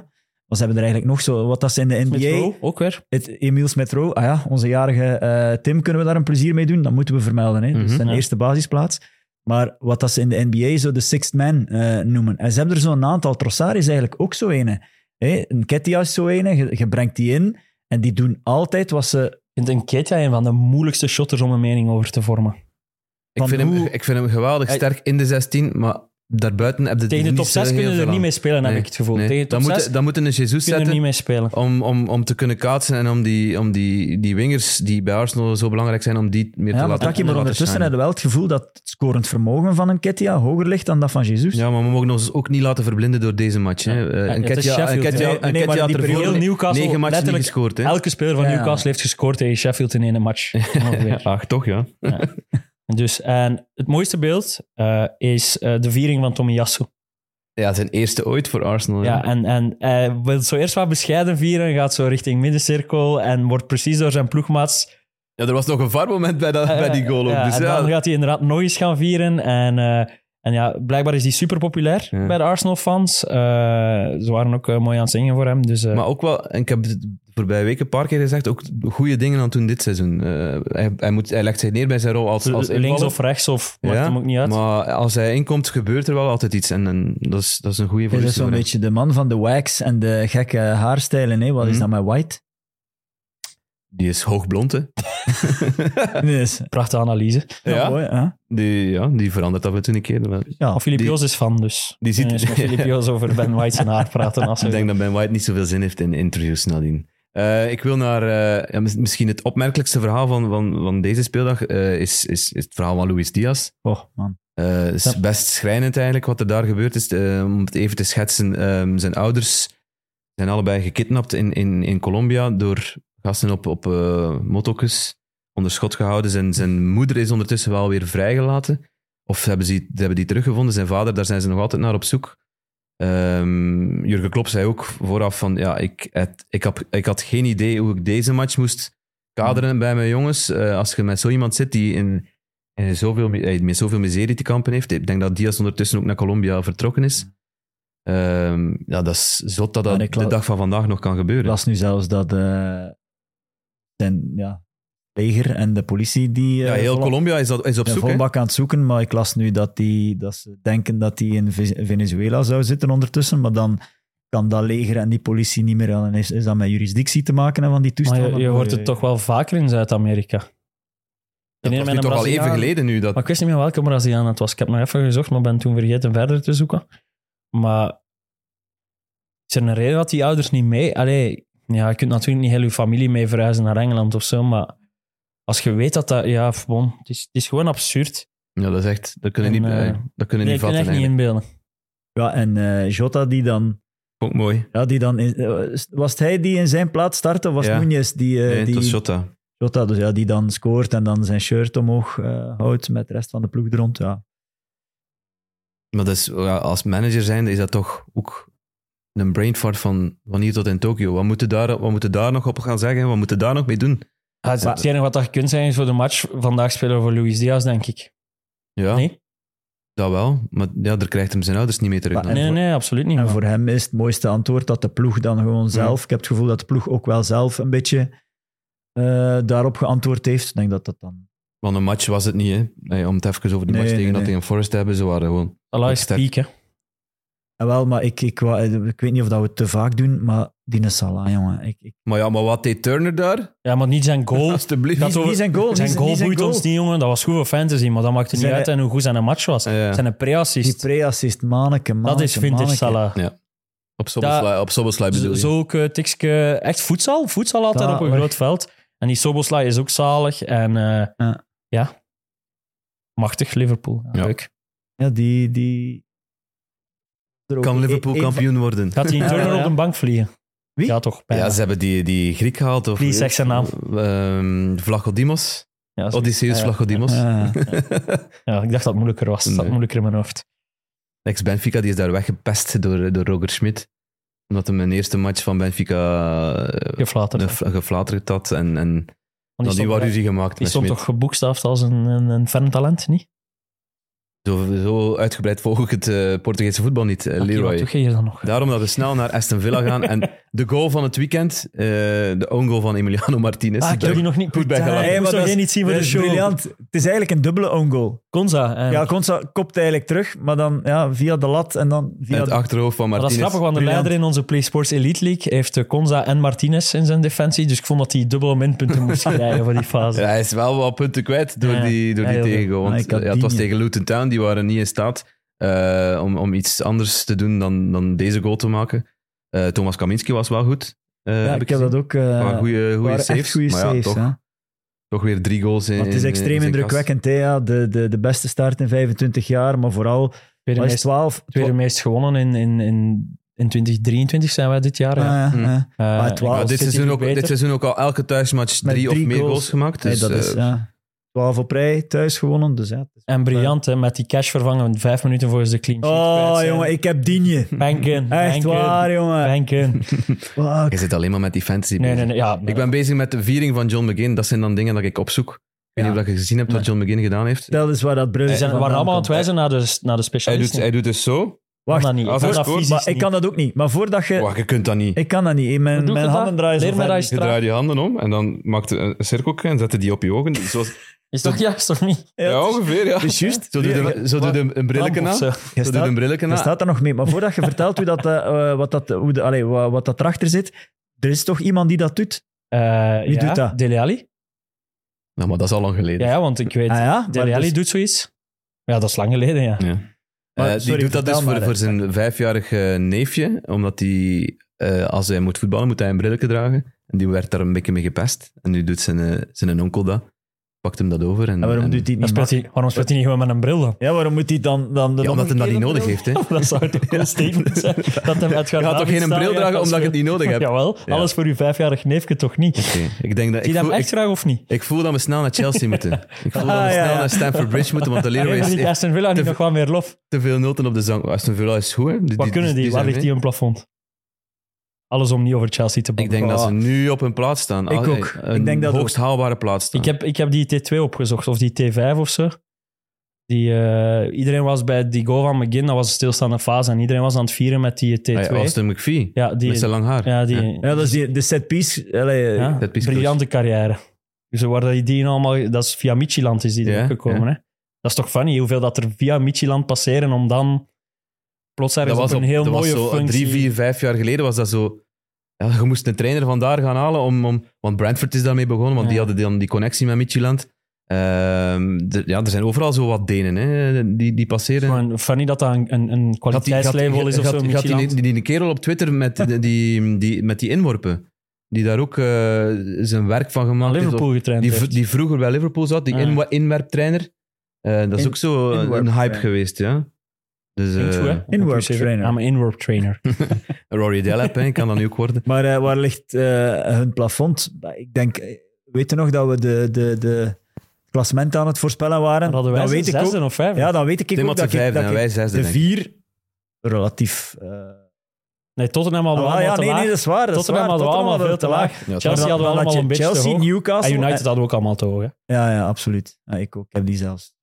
Speaker 6: Want ze hebben er eigenlijk nog zo, wat dat ze in de
Speaker 1: E.
Speaker 5: Met
Speaker 6: NBA...
Speaker 5: Rowe, ook weer.
Speaker 6: Het Emiel Smith-Rowe, ah ja, onze jarige eh, Tim, kunnen we daar een plezier mee doen? Dat moeten we vermelden. Hè?
Speaker 1: Mhm.
Speaker 6: dus zijn
Speaker 5: Ja.
Speaker 6: eerste basisplaats. Maar wat dat ze in de NBA zo de sixth man eh, noemen. En ze hebben er zo'n aantal. Trossard is eigenlijk ook zo ene. Hè? Een Ketia is zo ene. Je, je brengt die in. En die doen altijd wat ze...
Speaker 5: Ik vind een Keita een van de moeilijkste shotters om een mening over te vormen.
Speaker 1: Ik
Speaker 6: Van
Speaker 1: vind, hem,
Speaker 6: hoe-
Speaker 1: ik vind hem geweldig
Speaker 5: Hij-
Speaker 1: sterk in de 16, maar daarbuiten heb je
Speaker 5: Tegen de
Speaker 1: niet
Speaker 5: top
Speaker 1: zo
Speaker 5: 6
Speaker 1: heel
Speaker 5: kunnen er
Speaker 1: veel
Speaker 5: niet
Speaker 1: aan.
Speaker 5: mee spelen, heb
Speaker 1: Nee,
Speaker 5: ik het gevoel.
Speaker 1: nee.
Speaker 5: Tegen de top
Speaker 1: dan,
Speaker 5: 6
Speaker 1: moet, dan moet een Jesus
Speaker 5: kunnen er
Speaker 1: zetten. Oh,
Speaker 5: niet mee spelen.
Speaker 1: om, om, om te kunnen kaatsen en om die, om die, die wingers die bij Arsenal zo belangrijk zijn, om die meer
Speaker 6: Ja,
Speaker 1: te laten
Speaker 6: maar, Taki, maar
Speaker 1: laten
Speaker 6: ondertussen
Speaker 1: shinen.
Speaker 6: hebben we wel het gevoel dat het scorend vermogen van een Ketia hoger ligt dan dat van Jesus.
Speaker 1: Ja, maar we mogen ons ook niet laten verblinden door deze match. Hè. Eh,
Speaker 5: het
Speaker 1: en
Speaker 5: is
Speaker 1: Ketja
Speaker 5: Sheffield.
Speaker 1: en Ketja-
Speaker 6: Nee,
Speaker 1: en
Speaker 6: nee, maar
Speaker 1: Ketja had
Speaker 6: die
Speaker 1: er
Speaker 6: periode
Speaker 1: voor
Speaker 5: Newcastle
Speaker 1: negen matchen niet
Speaker 5: letterlijk
Speaker 1: gescoord. Hè.
Speaker 5: Elke speler van
Speaker 6: Ja.
Speaker 5: Newcastle heeft gescoord tegen Sheffield in één match. Ongeveer.
Speaker 1: Ach, toch ja.
Speaker 5: Dus, en het mooiste beeld eh, is eh, de viering van Tomiyasu.
Speaker 1: Ja, zijn eerste ooit voor Arsenal.
Speaker 5: Ja,
Speaker 1: Ja,
Speaker 5: en, en hij wil zo eerst wat bescheiden vieren, gaat zo richting middencirkel en wordt precies door zijn ploegmaats...
Speaker 1: ja, er was nog een VAR-moment bij, dat, bij die goal ook.
Speaker 5: Ja,
Speaker 1: dus
Speaker 5: en
Speaker 1: ja.
Speaker 5: dan gaat hij inderdaad nog eens gaan vieren. En, eh, en ja, blijkbaar is hij super populair
Speaker 1: Ja.
Speaker 5: bij de Arsenal-fans. Eh, ze waren ook eh, mooi aan het zingen voor hem. Dus, eh,
Speaker 1: Maar ook wel, en ik heb het de voorbije weken een paar keer gezegd, ook goede dingen aan toen dit seizoen. Eh, hij, hij, moet, hij legt zich neer bij zijn rol als, als
Speaker 5: links
Speaker 1: invaller.
Speaker 5: of rechts, of maakt hem ook niet uit.
Speaker 1: Maar als hij inkomt, gebeurt er wel altijd iets. En, en dat, is, dat is een goede
Speaker 6: Hij is
Speaker 1: vooruitzicht.
Speaker 6: zo'n beetje de man van de wax en de gekke haarstijlen. Hè? Wat is
Speaker 1: Mhm.
Speaker 6: dat met white?
Speaker 1: Die is hoogblond, hè?
Speaker 6: Nee, is-
Speaker 5: Prachtige analyse.
Speaker 6: ja,
Speaker 1: Ja.
Speaker 6: mooi, hè?
Speaker 1: Die, ja, die verandert af en toe een keer. Maar
Speaker 6: Ja,
Speaker 5: Of Filip
Speaker 1: Die-
Speaker 5: Joos is fan, dus.
Speaker 1: Die ziet-
Speaker 5: Eh, dus met Filip Joos over Ben White zijn haar praten. Als
Speaker 1: Ik
Speaker 5: hij-
Speaker 1: denk dat Ben White niet zoveel zin heeft in interviews nadien. Eh, ik wil naar... eh, ja, mis- misschien het opmerkelijkste verhaal van, van, van deze speeldag eh, is, is, is het verhaal van Luis Diaz.
Speaker 6: oh, man.
Speaker 1: Eh, Het is
Speaker 5: Ja.
Speaker 1: best schrijnend eigenlijk wat er daar gebeurd is. Eh, om het even te schetsen, ehm, zijn ouders zijn allebei gekidnapt in, in, in Colombia door gasten op, op eh motokes onder schot gehouden. Zijn, zijn moeder is ondertussen wel weer vrijgelaten. Of hebben ze, ze hebben die teruggevonden. Zijn vader, daar zijn ze nog altijd naar op zoek. Ehm, Jurgen Klopp zei ook vooraf van, ja, ik, het, ik, heb, ik had geen idee hoe ik deze match moest kaderen bij mijn jongens. Eh, als je met zo iemand zit die in, in zoveel, mi- eh, met zoveel miserie te kampen heeft. Ik denk dat Diaz ondertussen ook naar Colombia vertrokken is. Ehm, ja, dat is zot dat dat
Speaker 6: Maar ik la-
Speaker 1: de dag van vandaag nog kan gebeuren.
Speaker 6: Ik las nu zelfs dat eh zijn ja, leger en de politie die eh,
Speaker 1: ja, heel
Speaker 6: volop-
Speaker 1: Colombia is, dat, is op
Speaker 6: zijn
Speaker 1: zoek. hè.
Speaker 6: volbak aan het zoeken, maar ik las nu dat, die, dat ze denken dat die in Ve- Venezuela zou zitten ondertussen, maar dan kan dat leger en die politie niet meer... ja, Dan is, is dat met juridictie te maken en van die
Speaker 5: Maar
Speaker 6: toestanden?
Speaker 5: je, je hoort het toch wel vaker in Zuid-Amerika.
Speaker 1: Dat was nu toch al even geleden nu. Dat...
Speaker 5: Maar ik wist niet meer welke Braziliaan het was. Ik heb nog even gezocht, maar ben toen vergeten verder te zoeken. Maar is er een reden dat die ouders niet mee... Allee, ja, je kunt natuurlijk niet heel je familie mee verhuizen naar Engeland of zo, maar als je weet dat dat... Ja, bon, het, is, het is gewoon absurd.
Speaker 1: Ja, dat is echt... Dat kunnen
Speaker 5: En,
Speaker 1: niet,
Speaker 5: eh,
Speaker 1: eh, dat kunnen
Speaker 5: Nee, ik
Speaker 1: niet
Speaker 5: kan
Speaker 1: vatten.
Speaker 5: echt niet
Speaker 1: eigenlijk.
Speaker 5: inbeelden.
Speaker 6: Ja, en eh, Jota die dan...
Speaker 1: Vond ik mooi.
Speaker 6: Ja, die dan in- eh, was het hij die in zijn plaats startte? Of was
Speaker 1: Ja.
Speaker 6: het Nunez die, eh,
Speaker 1: Nee, het
Speaker 6: die
Speaker 1: was Jota.
Speaker 6: Jota, dus ja, die dan scoort en dan zijn shirt omhoog eh, houdt met de rest van de ploeg er rond. Ja.
Speaker 1: Maar dat is, ja, als manager zijn, is dat toch ook een brain fart van, van hier tot in Tokio. Wat moeten daar, wat moeten daar nog op gaan zeggen? Wat moeten daar nog mee doen?
Speaker 5: Ah, het- het enige wat dat je kunt zijn is voor de match vandaag spelen we voor Luis Diaz, denk ik.
Speaker 1: Ja,
Speaker 5: Nee?
Speaker 1: dat wel. Maar ja, daar krijgt hem zijn ouders niet mee terug.
Speaker 6: Maar-
Speaker 1: dan.
Speaker 6: En
Speaker 5: Nee,
Speaker 6: voor-
Speaker 5: nee, absoluut niet.
Speaker 6: En
Speaker 5: maar-
Speaker 6: voor hem is het mooiste antwoord dat de ploeg dan gewoon zelf... Ik heb het gevoel dat de ploeg ook wel zelf een beetje eh, daarop geantwoord heeft. Ik denk dat dat dan...
Speaker 1: Want een match was het niet, hè. Nee, om het even over die
Speaker 6: Nee,
Speaker 1: match tegen
Speaker 6: nee,
Speaker 1: dat
Speaker 6: nee.
Speaker 1: tegen Forest te hebben, ze waren gewoon...
Speaker 5: Allah is
Speaker 1: Sterk.
Speaker 5: piek, hè.
Speaker 6: En Ah, wel, maar ik, ik, wou- eh, ik weet niet of dat we het te vaak doen, maar die Salah, jongen. Ik, ik,
Speaker 1: Maar ja, maar wat deed Turner daar?
Speaker 5: Ja, maar niet zijn
Speaker 6: Oh.
Speaker 5: goal.
Speaker 1: Alsjeblieft.
Speaker 5: Dat
Speaker 6: Niet-
Speaker 5: over-
Speaker 6: niet zijn goal,
Speaker 5: Zijn
Speaker 6: niet-
Speaker 5: goal
Speaker 6: niet zijn
Speaker 5: boeit
Speaker 6: goal.
Speaker 5: ons niet, jongen. Dat was goed voor fantasy, maar dat maakte niet
Speaker 6: Zijn-
Speaker 5: uit en hoe goed zijn een match was.
Speaker 1: Ja, ja.
Speaker 5: Zijn een
Speaker 6: die
Speaker 5: pre-assist.
Speaker 6: pre-assist, manneke, manneke,
Speaker 5: Dat is vintage
Speaker 6: manneke.
Speaker 5: Salah.
Speaker 1: Op Soboslai- op Soboslai bedoel
Speaker 5: Zo
Speaker 1: je?
Speaker 5: zo ook eh, tikske... Echt voedsel. Voedsel altijd
Speaker 6: Ja,
Speaker 5: op een
Speaker 6: maar-
Speaker 5: groot veld. En die Sobosla is ook zalig. En eh, ja.
Speaker 6: Ja.
Speaker 5: Machtig Liverpool. Ja,
Speaker 1: Ja.
Speaker 5: Leuk.
Speaker 6: Ja, die... die... e- er ook
Speaker 1: Kan
Speaker 6: een-
Speaker 1: Liverpool
Speaker 6: een van-
Speaker 1: kampioen worden?
Speaker 5: Gaat die Turner
Speaker 6: Ja, ja.
Speaker 5: op de bank vliegen?
Speaker 6: Wie?
Speaker 5: Ja, toch. bijna.
Speaker 1: Ja, ze hebben die, die Griek gehaald. Of,
Speaker 5: Please, zeg zijn naam.
Speaker 1: Ehm, Vlachodimos.
Speaker 5: Ja, zo-
Speaker 1: Odysseus
Speaker 5: ja, ja.
Speaker 1: Vlachodimos.
Speaker 6: Ja.
Speaker 5: Ja, ik dacht dat het moeilijker was. Dat
Speaker 1: Nee.
Speaker 5: moeilijker in mijn hoofd.
Speaker 1: Ex Benfica die is daar weggepest door, door Roger Schmidt. Omdat hem een eerste match van Benfica eh,
Speaker 5: Geflater.
Speaker 1: de- geflaterd had. En, en
Speaker 5: Want
Speaker 1: die, die
Speaker 5: stond-
Speaker 1: ruzie gemaakt
Speaker 5: Die
Speaker 1: met
Speaker 5: stond
Speaker 1: Schmidt.
Speaker 5: toch geboekstaafd als een, een, een ferntalent, niet?
Speaker 1: Zo, zo uitgebreid volg ik het eh, Portugese voetbal niet, eh,
Speaker 5: Oké,
Speaker 1: Leroy.
Speaker 5: Wat doe je hier dan nog?
Speaker 1: Daarom dat we snel naar Aston Villa gaan. en de goal van het weekend, eh, de own goal van Emiliano Martinez.
Speaker 5: Ah, ik heb die nog niet
Speaker 1: goed bij gelachen.
Speaker 5: Ik
Speaker 6: Hey,
Speaker 5: moest
Speaker 6: maar dat
Speaker 5: nog
Speaker 6: is-
Speaker 5: één iets zien voor
Speaker 6: dat
Speaker 5: de
Speaker 6: is
Speaker 5: show.
Speaker 6: briljant. Het is eigenlijk een dubbele own goal.
Speaker 5: Konza. En,
Speaker 6: Ja, Konsa kopt eigenlijk terug, maar dan ja, via de lat en dan
Speaker 1: En
Speaker 6: via
Speaker 1: het
Speaker 6: de...
Speaker 1: achterhoofd van
Speaker 5: maar dat is
Speaker 1: Martinez.
Speaker 5: grappig, want de
Speaker 6: briljant.
Speaker 5: leider in onze Play Sports Elite League heeft eh, Konza en Martinez in zijn defensie. Dus ik vond dat hij dubbele minpunten moest krijgen voor die fase.
Speaker 1: Ja, hij is wel wat punten kwijt door
Speaker 5: Ja,
Speaker 1: die, door
Speaker 5: ja,
Speaker 1: die
Speaker 5: heel
Speaker 1: tegengoal.
Speaker 6: Maar
Speaker 1: Want
Speaker 6: ik had
Speaker 1: ja, het was
Speaker 6: die-
Speaker 1: tegen Luton Town, die waren niet in staat eh, om, om iets anders te doen dan, dan deze goal te maken. Eh, Thomas Kaminski was wel goed. eh,
Speaker 6: Ja,
Speaker 1: heb
Speaker 6: ik heb dat ook... eh
Speaker 1: Maar goede
Speaker 6: waren echt
Speaker 1: saves.
Speaker 6: goede
Speaker 1: maar ja,
Speaker 6: saves,
Speaker 1: toch,
Speaker 6: hè.
Speaker 1: toch weer drie goals in.
Speaker 6: Maar het is
Speaker 1: in- in
Speaker 6: extreem
Speaker 1: zijn kast.
Speaker 6: indrukwekkend, hè, ja. de, de, de beste start in 25 jaar, maar vooral...
Speaker 5: Tweede
Speaker 6: Hij is
Speaker 5: meest,
Speaker 6: 12.
Speaker 5: tweede meest gewonnen in, in, in, in 2023 zijn wij dit jaar.
Speaker 6: Ah,
Speaker 5: ja.
Speaker 6: ja,
Speaker 1: Hmm.
Speaker 6: ja.
Speaker 5: Eh,
Speaker 6: maar
Speaker 5: ik
Speaker 1: Maar
Speaker 6: twaalf,
Speaker 5: was
Speaker 1: dit,
Speaker 5: City
Speaker 1: seizoen ook,
Speaker 5: beter.
Speaker 1: dit seizoen ook al elke thuismatch
Speaker 6: Met
Speaker 1: drie, of
Speaker 6: drie
Speaker 1: meer goals,
Speaker 6: goals.
Speaker 1: gemaakt.
Speaker 6: Nee,
Speaker 1: Dus,
Speaker 6: dat is...
Speaker 1: eh,
Speaker 6: ja. 12 op rij, thuis gewonnen, dus ja.
Speaker 5: En briljant, hè, met die cash vervangen. Vijf minuten voor ze de clean sheet. kwijt
Speaker 6: Oh,
Speaker 5: zijn.
Speaker 6: jongen, ik heb Digne.
Speaker 5: Banken,
Speaker 6: Echt
Speaker 5: banken,
Speaker 6: waar, jongen.
Speaker 5: Banken.
Speaker 6: Fuck.
Speaker 1: Je zit alleen maar met die fantasy
Speaker 5: Nee,
Speaker 1: bezig.
Speaker 5: nee, nee. Ja,
Speaker 1: Ik ben bezig met de viering van John McGinn. Dat zijn dan dingen dat ik opzoek. Ik weet niet of dat je gezien hebt wat John McGinn gedaan heeft.
Speaker 6: Dat is waar dat Brugge
Speaker 5: Ze zijn, we waren
Speaker 6: vandaan
Speaker 5: allemaal aan het
Speaker 6: komt.
Speaker 5: wijzen naar de, naar de
Speaker 1: Hij
Speaker 5: specialisten.
Speaker 1: doet, hij doet dus zo.
Speaker 5: Kan
Speaker 6: Wacht,
Speaker 5: dat niet.
Speaker 1: Als
Speaker 5: Ik kan
Speaker 1: hij
Speaker 5: dat
Speaker 1: scoort,
Speaker 5: fysisch
Speaker 6: maar ik
Speaker 5: niet.
Speaker 6: kan dat ook niet. Maar voordat je...
Speaker 1: Wacht, je kunt dat niet.
Speaker 6: Ik kan dat niet.
Speaker 5: Hoe
Speaker 6: Mijn,
Speaker 5: doe ik
Speaker 6: mijn
Speaker 5: dat?
Speaker 6: handen draaien zo
Speaker 5: Leer mij
Speaker 6: ver
Speaker 5: dat
Speaker 6: niet.
Speaker 1: Je draait je handen om en dan maakt een een cirkel en zet die op je ogen. Zoals,
Speaker 5: Is toch juist of niet?
Speaker 6: Ja,
Speaker 1: ja,
Speaker 6: het is-
Speaker 1: ongeveer, ja.
Speaker 6: het is juist.
Speaker 1: Zo doet hem- zo doet hem een brilletje
Speaker 5: Lamp
Speaker 1: na.
Speaker 5: of zo.
Speaker 1: Zo
Speaker 6: Je
Speaker 1: doet
Speaker 6: staat-
Speaker 1: een brilletje
Speaker 6: Je
Speaker 1: na.
Speaker 6: staat er nog mee. Maar voordat je vertelt hoe dat, eh, eh, wat, dat, hoe de, allee, wat, wat dat erachter zit, er is toch iemand die dat doet?
Speaker 5: Eh,
Speaker 6: Wie
Speaker 5: ja,
Speaker 6: doet dat?
Speaker 5: Dele Alli?
Speaker 1: Nou, maar dat is al lang
Speaker 5: Ja,
Speaker 1: geleden.
Speaker 5: ja, want ik weet...
Speaker 6: Ah ja? maar
Speaker 5: Dele Alli
Speaker 6: dus-
Speaker 5: doet zoiets. Ja, dat is lang geleden, ja.
Speaker 1: Ja.
Speaker 6: Maar,
Speaker 1: Eh,
Speaker 6: sorry,
Speaker 1: die doet dat
Speaker 6: vertel
Speaker 1: dus voor,
Speaker 6: maar,
Speaker 1: voor
Speaker 6: hè.
Speaker 1: zijn vijfjarig eh, neefje, omdat hij, als hij moet voetballen, moet hij een brilletje dragen. En die werd daar een beetje mee gepest. En nu doet zijn, eh, zijn onkel dat. Pakt hem dat over. En,
Speaker 6: En waarom
Speaker 1: en-
Speaker 6: doet hij
Speaker 5: Dan
Speaker 6: het
Speaker 5: speelt
Speaker 6: niet?
Speaker 5: hij, waarom speelt hij niet gewoon met een bril dan?
Speaker 6: Ja, waarom moet hij dan... dan de
Speaker 1: Ja, omdat hij dat niet
Speaker 6: omgekeerde
Speaker 1: nodig
Speaker 6: bril?
Speaker 1: heeft. Hè.
Speaker 5: Dat zou toch een
Speaker 1: Ja.
Speaker 5: cool statement zijn? Dat hem uit
Speaker 1: Je gaat toch geen bril dragen omdat je het niet nodig hebt?
Speaker 5: Jawel,
Speaker 1: Ja.
Speaker 5: alles voor uw vijfjarig neefje toch niet? Zie
Speaker 1: Oké, Ik, denk dat,
Speaker 5: je
Speaker 1: ik,
Speaker 5: dat hem
Speaker 1: voel,
Speaker 5: echt
Speaker 1: ik,
Speaker 5: graag of niet?
Speaker 1: ik voel dat we snel naar Chelsea moeten. Ik voel dat
Speaker 6: Ah,
Speaker 1: we
Speaker 6: ja,
Speaker 1: snel
Speaker 6: ja.
Speaker 1: naar Stamford Bridge moeten, want de Leroy
Speaker 5: Heeft
Speaker 1: is-
Speaker 5: die
Speaker 1: heeft
Speaker 5: Aston Villa
Speaker 1: te
Speaker 5: niet
Speaker 1: veel-
Speaker 5: nog wel meer lof?
Speaker 1: te veel noten op de zang. Aston Villa is goed. hè. Die-
Speaker 5: Wat
Speaker 1: die-
Speaker 5: kunnen die? Waar
Speaker 1: zijn
Speaker 5: ligt die
Speaker 1: mee.
Speaker 5: hun plafond? Alles om niet over Chelsea te
Speaker 1: Ik
Speaker 5: babbelen.
Speaker 1: denk dat ze
Speaker 6: Oh.
Speaker 1: nu op hun plaats staan.
Speaker 6: Ik
Speaker 1: Ah,
Speaker 6: ook.
Speaker 1: Een
Speaker 6: Ik denk dat
Speaker 1: hoogst haalbare plaats staan.
Speaker 5: Oh. Ik heb, ik heb die T2 opgezocht, of die T5 of zo. Die, eh, iedereen was bij die goal van McGinn, dat was een stilstaande fase. En iedereen was aan het vieren met die T2.
Speaker 1: Hey, Austin McPhee,
Speaker 5: ja,
Speaker 1: met
Speaker 5: die,
Speaker 1: zijn lang haar.
Speaker 5: ja, die
Speaker 6: Ja, dat is die, de set piece. allee, eh,
Speaker 5: ja,
Speaker 1: dat is
Speaker 5: briljante carrière. Dus waar die dingen allemaal, dat is via Michieland is die
Speaker 1: Ja,
Speaker 5: er gekomen. Hè? Dat is toch funny, hoeveel dat er via Michieland passeren om dan plots ergens
Speaker 1: Dat was
Speaker 5: op een
Speaker 1: op-
Speaker 5: heel
Speaker 1: dat was
Speaker 5: mooie
Speaker 1: zo
Speaker 5: functie...
Speaker 1: Drie, vier, vijf jaar geleden was dat zo. Ja, je moest een trainer vandaar gaan halen, om, om, want Brentford is daarmee begonnen, want
Speaker 5: Ja.
Speaker 1: die hadden dan die connectie met Midtjylland. Ehm, d- ja, er zijn overal zo wat Denen hè, die, die passeren.
Speaker 5: Gewoon funny dat dat een, een, een
Speaker 1: Gaat die- gaat-
Speaker 5: kwaliteitslabel is of
Speaker 1: gaat-
Speaker 5: zo.
Speaker 1: gaat die,
Speaker 5: Michelin.
Speaker 1: die, die kerel op Twitter met die, die, die- met die inworpen, die daar ook eh, zijn werk van
Speaker 5: Aan
Speaker 1: gemaakt heeft, of-
Speaker 5: Liverpool getraind
Speaker 1: Die,
Speaker 5: heeft.
Speaker 1: v- die vroeger bij Liverpool zat, die
Speaker 5: Ah.
Speaker 1: inwa- inwerptrainer. Eh, dat is
Speaker 6: In-
Speaker 1: ook zo een- een
Speaker 6: inwerptrainer.
Speaker 1: hype geweest, ja. Dus
Speaker 5: Klinkt goed,
Speaker 1: eh
Speaker 5: hè?
Speaker 6: Inworp
Speaker 5: Moet je zeggen.
Speaker 6: trainer.
Speaker 5: I'm an inworp trainer.
Speaker 1: Rory Delap, hè, kan dat nu ook worden.
Speaker 6: Maar eh, waar ligt eh, hun plafond? Bah, Ik denk, eh, weet je nog dat we de, de, de klassement aan het voorspellen waren?
Speaker 5: Dan hadden wij
Speaker 6: Dan
Speaker 5: weet
Speaker 6: weet ik
Speaker 5: zesde
Speaker 6: ook,
Speaker 5: of vijfde.
Speaker 6: ja, dan weet ik
Speaker 1: Tim
Speaker 6: ook
Speaker 1: had de
Speaker 6: dat ik,
Speaker 1: vijfde
Speaker 6: dat
Speaker 1: en
Speaker 6: ik
Speaker 1: wij zesde,
Speaker 6: de
Speaker 1: denk ik.
Speaker 6: vier relatief... eh,
Speaker 5: nee, Tottenham hadden we
Speaker 6: ah,
Speaker 5: allemaal
Speaker 6: ja,
Speaker 5: te
Speaker 6: nee,
Speaker 5: laag.
Speaker 6: nee, dat is waar. Dat is
Speaker 5: Tottenham
Speaker 6: waar.
Speaker 5: hadden we allemaal veel te laag.
Speaker 1: Ja,
Speaker 5: Chelsea hadden we
Speaker 6: Dan had
Speaker 5: allemaal
Speaker 6: je
Speaker 5: een beetje te
Speaker 6: Chelsea,
Speaker 5: hoog. En
Speaker 6: Newcastle...
Speaker 5: United
Speaker 6: eh,
Speaker 5: hadden we ook allemaal te hoog. Hè.
Speaker 6: Ja, ja, absoluut. Ja, ik ook. Ik heb die zelfs.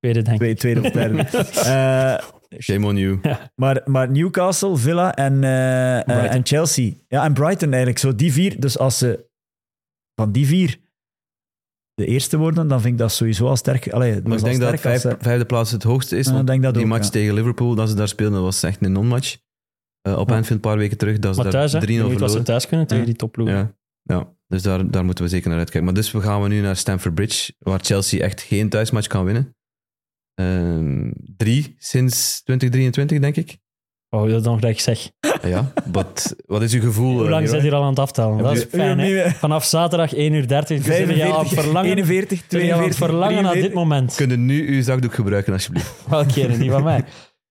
Speaker 5: Tweede, denk ik.
Speaker 6: Twee, tweede of derde. Eh,
Speaker 1: Shame on you.
Speaker 6: maar, maar Newcastle, Villa en, eh, eh,
Speaker 5: Brighton.
Speaker 6: en Chelsea. Ja, en Brighton eigenlijk. Zo die vier. Dus als ze van die vier de eerste worden, dan vind ik dat sowieso al sterk. Allee, dat
Speaker 1: Maar
Speaker 6: is
Speaker 1: ik
Speaker 6: al
Speaker 1: denk dat
Speaker 6: sterk als
Speaker 1: vijf,
Speaker 6: ze-
Speaker 1: vijfde plaats het hoogste is.
Speaker 6: Ja,
Speaker 1: want
Speaker 6: ik denk dat
Speaker 1: die
Speaker 6: ook,
Speaker 1: match
Speaker 6: ja.
Speaker 1: tegen Liverpool, dat ze daar speelden, was echt een non-match. Eh, op
Speaker 5: Ja.
Speaker 1: Anfield een paar weken terug, dat ze
Speaker 5: Maar
Speaker 1: daar 3-0
Speaker 5: thuis, hè. Ik weet niet wat ze
Speaker 1: verloren.
Speaker 5: thuis kunnen tegen
Speaker 6: Ja.
Speaker 5: die topploeg.
Speaker 1: Ja. ja, dus daar, daar moeten we zeker naar uitkijken. Maar dus we gaan we nu naar Stamford Bridge, waar Chelsea echt geen thuismatch kan winnen. Ehm, drie sinds 2023, denk ik.
Speaker 5: Oh, dat is nog dat ik zeg.
Speaker 1: Ja, wat, wat is uw gevoel?
Speaker 5: Hoe lang
Speaker 1: eh, Leroy?
Speaker 5: zijn hier al aan het aftellen? Dat is
Speaker 1: je-
Speaker 5: fijn, hè.
Speaker 6: Uur-
Speaker 5: Vanaf zaterdag 1 uur 30. Dus ben je al aan het
Speaker 6: 41,
Speaker 5: verlangen,
Speaker 6: 41,
Speaker 5: ben je al aan het
Speaker 6: 42,
Speaker 5: verlangen naar dit
Speaker 6: 43.
Speaker 5: moment.
Speaker 1: Kun je nu uw zakdoek gebruiken, alsjeblieft?
Speaker 5: Welke keren, niet van mij.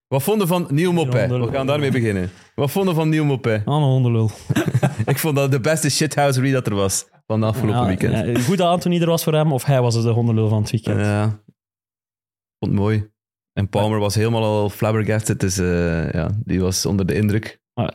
Speaker 1: Wat vonden van Nieuw Mopé?
Speaker 5: Honderd-
Speaker 1: We gaan daarmee beginnen. Wat vonden van Nieuw Mopé?
Speaker 5: Aan een hondenlul.
Speaker 1: Ik vond dat de beste shithousery dat er was van de afgelopen
Speaker 5: Ja,
Speaker 1: weekend. Ja,
Speaker 5: ja, Ah, eh, goed dat Anthony er was voor hem, of hij was de hondenlul van het weekend.
Speaker 1: ik Eh, vond het mooi. En Palmer was helemaal al flabbergasted, dus eh, ja, die was onder de indruk.
Speaker 5: Maar-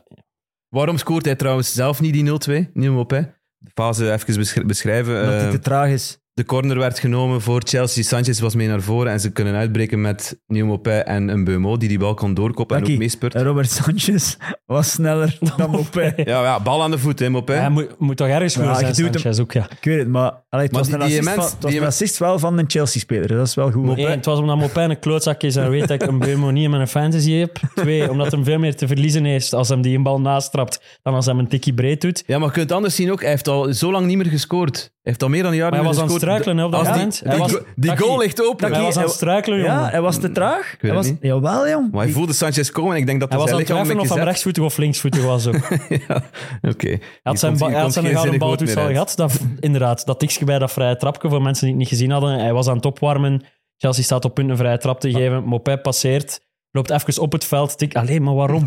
Speaker 1: Waarom scoort hij trouwens zelf niet die 0-2, Nieuw Mopé? De fase even besch- beschrijven.
Speaker 6: Dat
Speaker 1: eh,
Speaker 6: het te traag is.
Speaker 1: De corner werd genomen voor Chelsea. Sanchez was mee naar voren en ze kunnen uitbreken met Nieuw-Mopé en een Beumo die die bal kan doorkoppen en
Speaker 6: Dankie.
Speaker 1: ook meespurt.
Speaker 6: En Robert Sanchez was sneller dan Mopé.
Speaker 1: Ja, ja, bal aan de voet, hè, Mopé.
Speaker 5: Hij moet, moet toch ergens goed
Speaker 6: Ja,
Speaker 5: zijn,
Speaker 6: je doet hem-
Speaker 5: Sanchez ook, ja.
Speaker 6: Ik weet het, maar, allee, het
Speaker 1: Maar
Speaker 6: was
Speaker 1: die-
Speaker 6: een
Speaker 1: die mens-
Speaker 6: assist, van, het was
Speaker 1: die
Speaker 6: een
Speaker 1: men-
Speaker 6: assist wel van een Chelsea-speler. dus Dat is wel goed.
Speaker 5: Eén, het was omdat Mopijn een klootzak is en weet dat ik een Beumo niet in mijn fantasy heb. Twee, omdat hem veel meer te verliezen heeft als hem die een bal nastrapt dan als hij hem een tikkie breed doet.
Speaker 1: Ja, maar je kunt het anders zien ook. Hij heeft al zo lang niet meer gescoord. Hij heeft al meer dan een jaar
Speaker 5: Maar hij
Speaker 1: niet
Speaker 5: was
Speaker 1: meer
Speaker 5: aan het
Speaker 1: gescoord.
Speaker 5: struikelen hè, op dat
Speaker 1: Als die-
Speaker 5: moment.
Speaker 1: Die,
Speaker 5: Hij was-
Speaker 1: go- die
Speaker 5: Taki,
Speaker 1: goal ligt open.
Speaker 5: Hij was aan het struikelen, jongen.
Speaker 6: Ja, hij was te traag.
Speaker 1: weet
Speaker 6: hij was,
Speaker 1: het niet.
Speaker 6: Jawel, jong.
Speaker 1: Maar hij voelde Sanchez komen en ik denk dat dus
Speaker 5: Hij
Speaker 1: dat
Speaker 5: was aan
Speaker 1: zijn
Speaker 5: het
Speaker 1: lichaam
Speaker 5: twijfelen of hij
Speaker 1: een
Speaker 5: rechtsvoetig of linksvoetig was ook. Hij
Speaker 1: beetje zet. Ja, oké. Hij
Speaker 5: had zijn, ba- hij had zijn gouden baltoets al gehad. Dat, inderdaad, dat tikje bij dat vrije trapje, voor mensen die het niet gezien hadden. Hij was aan het opwarmen. Chelsea staat op punt een vrije trap te geven. Mopé passeert. Loopt even op het veld. Tik, alleen maar waarom?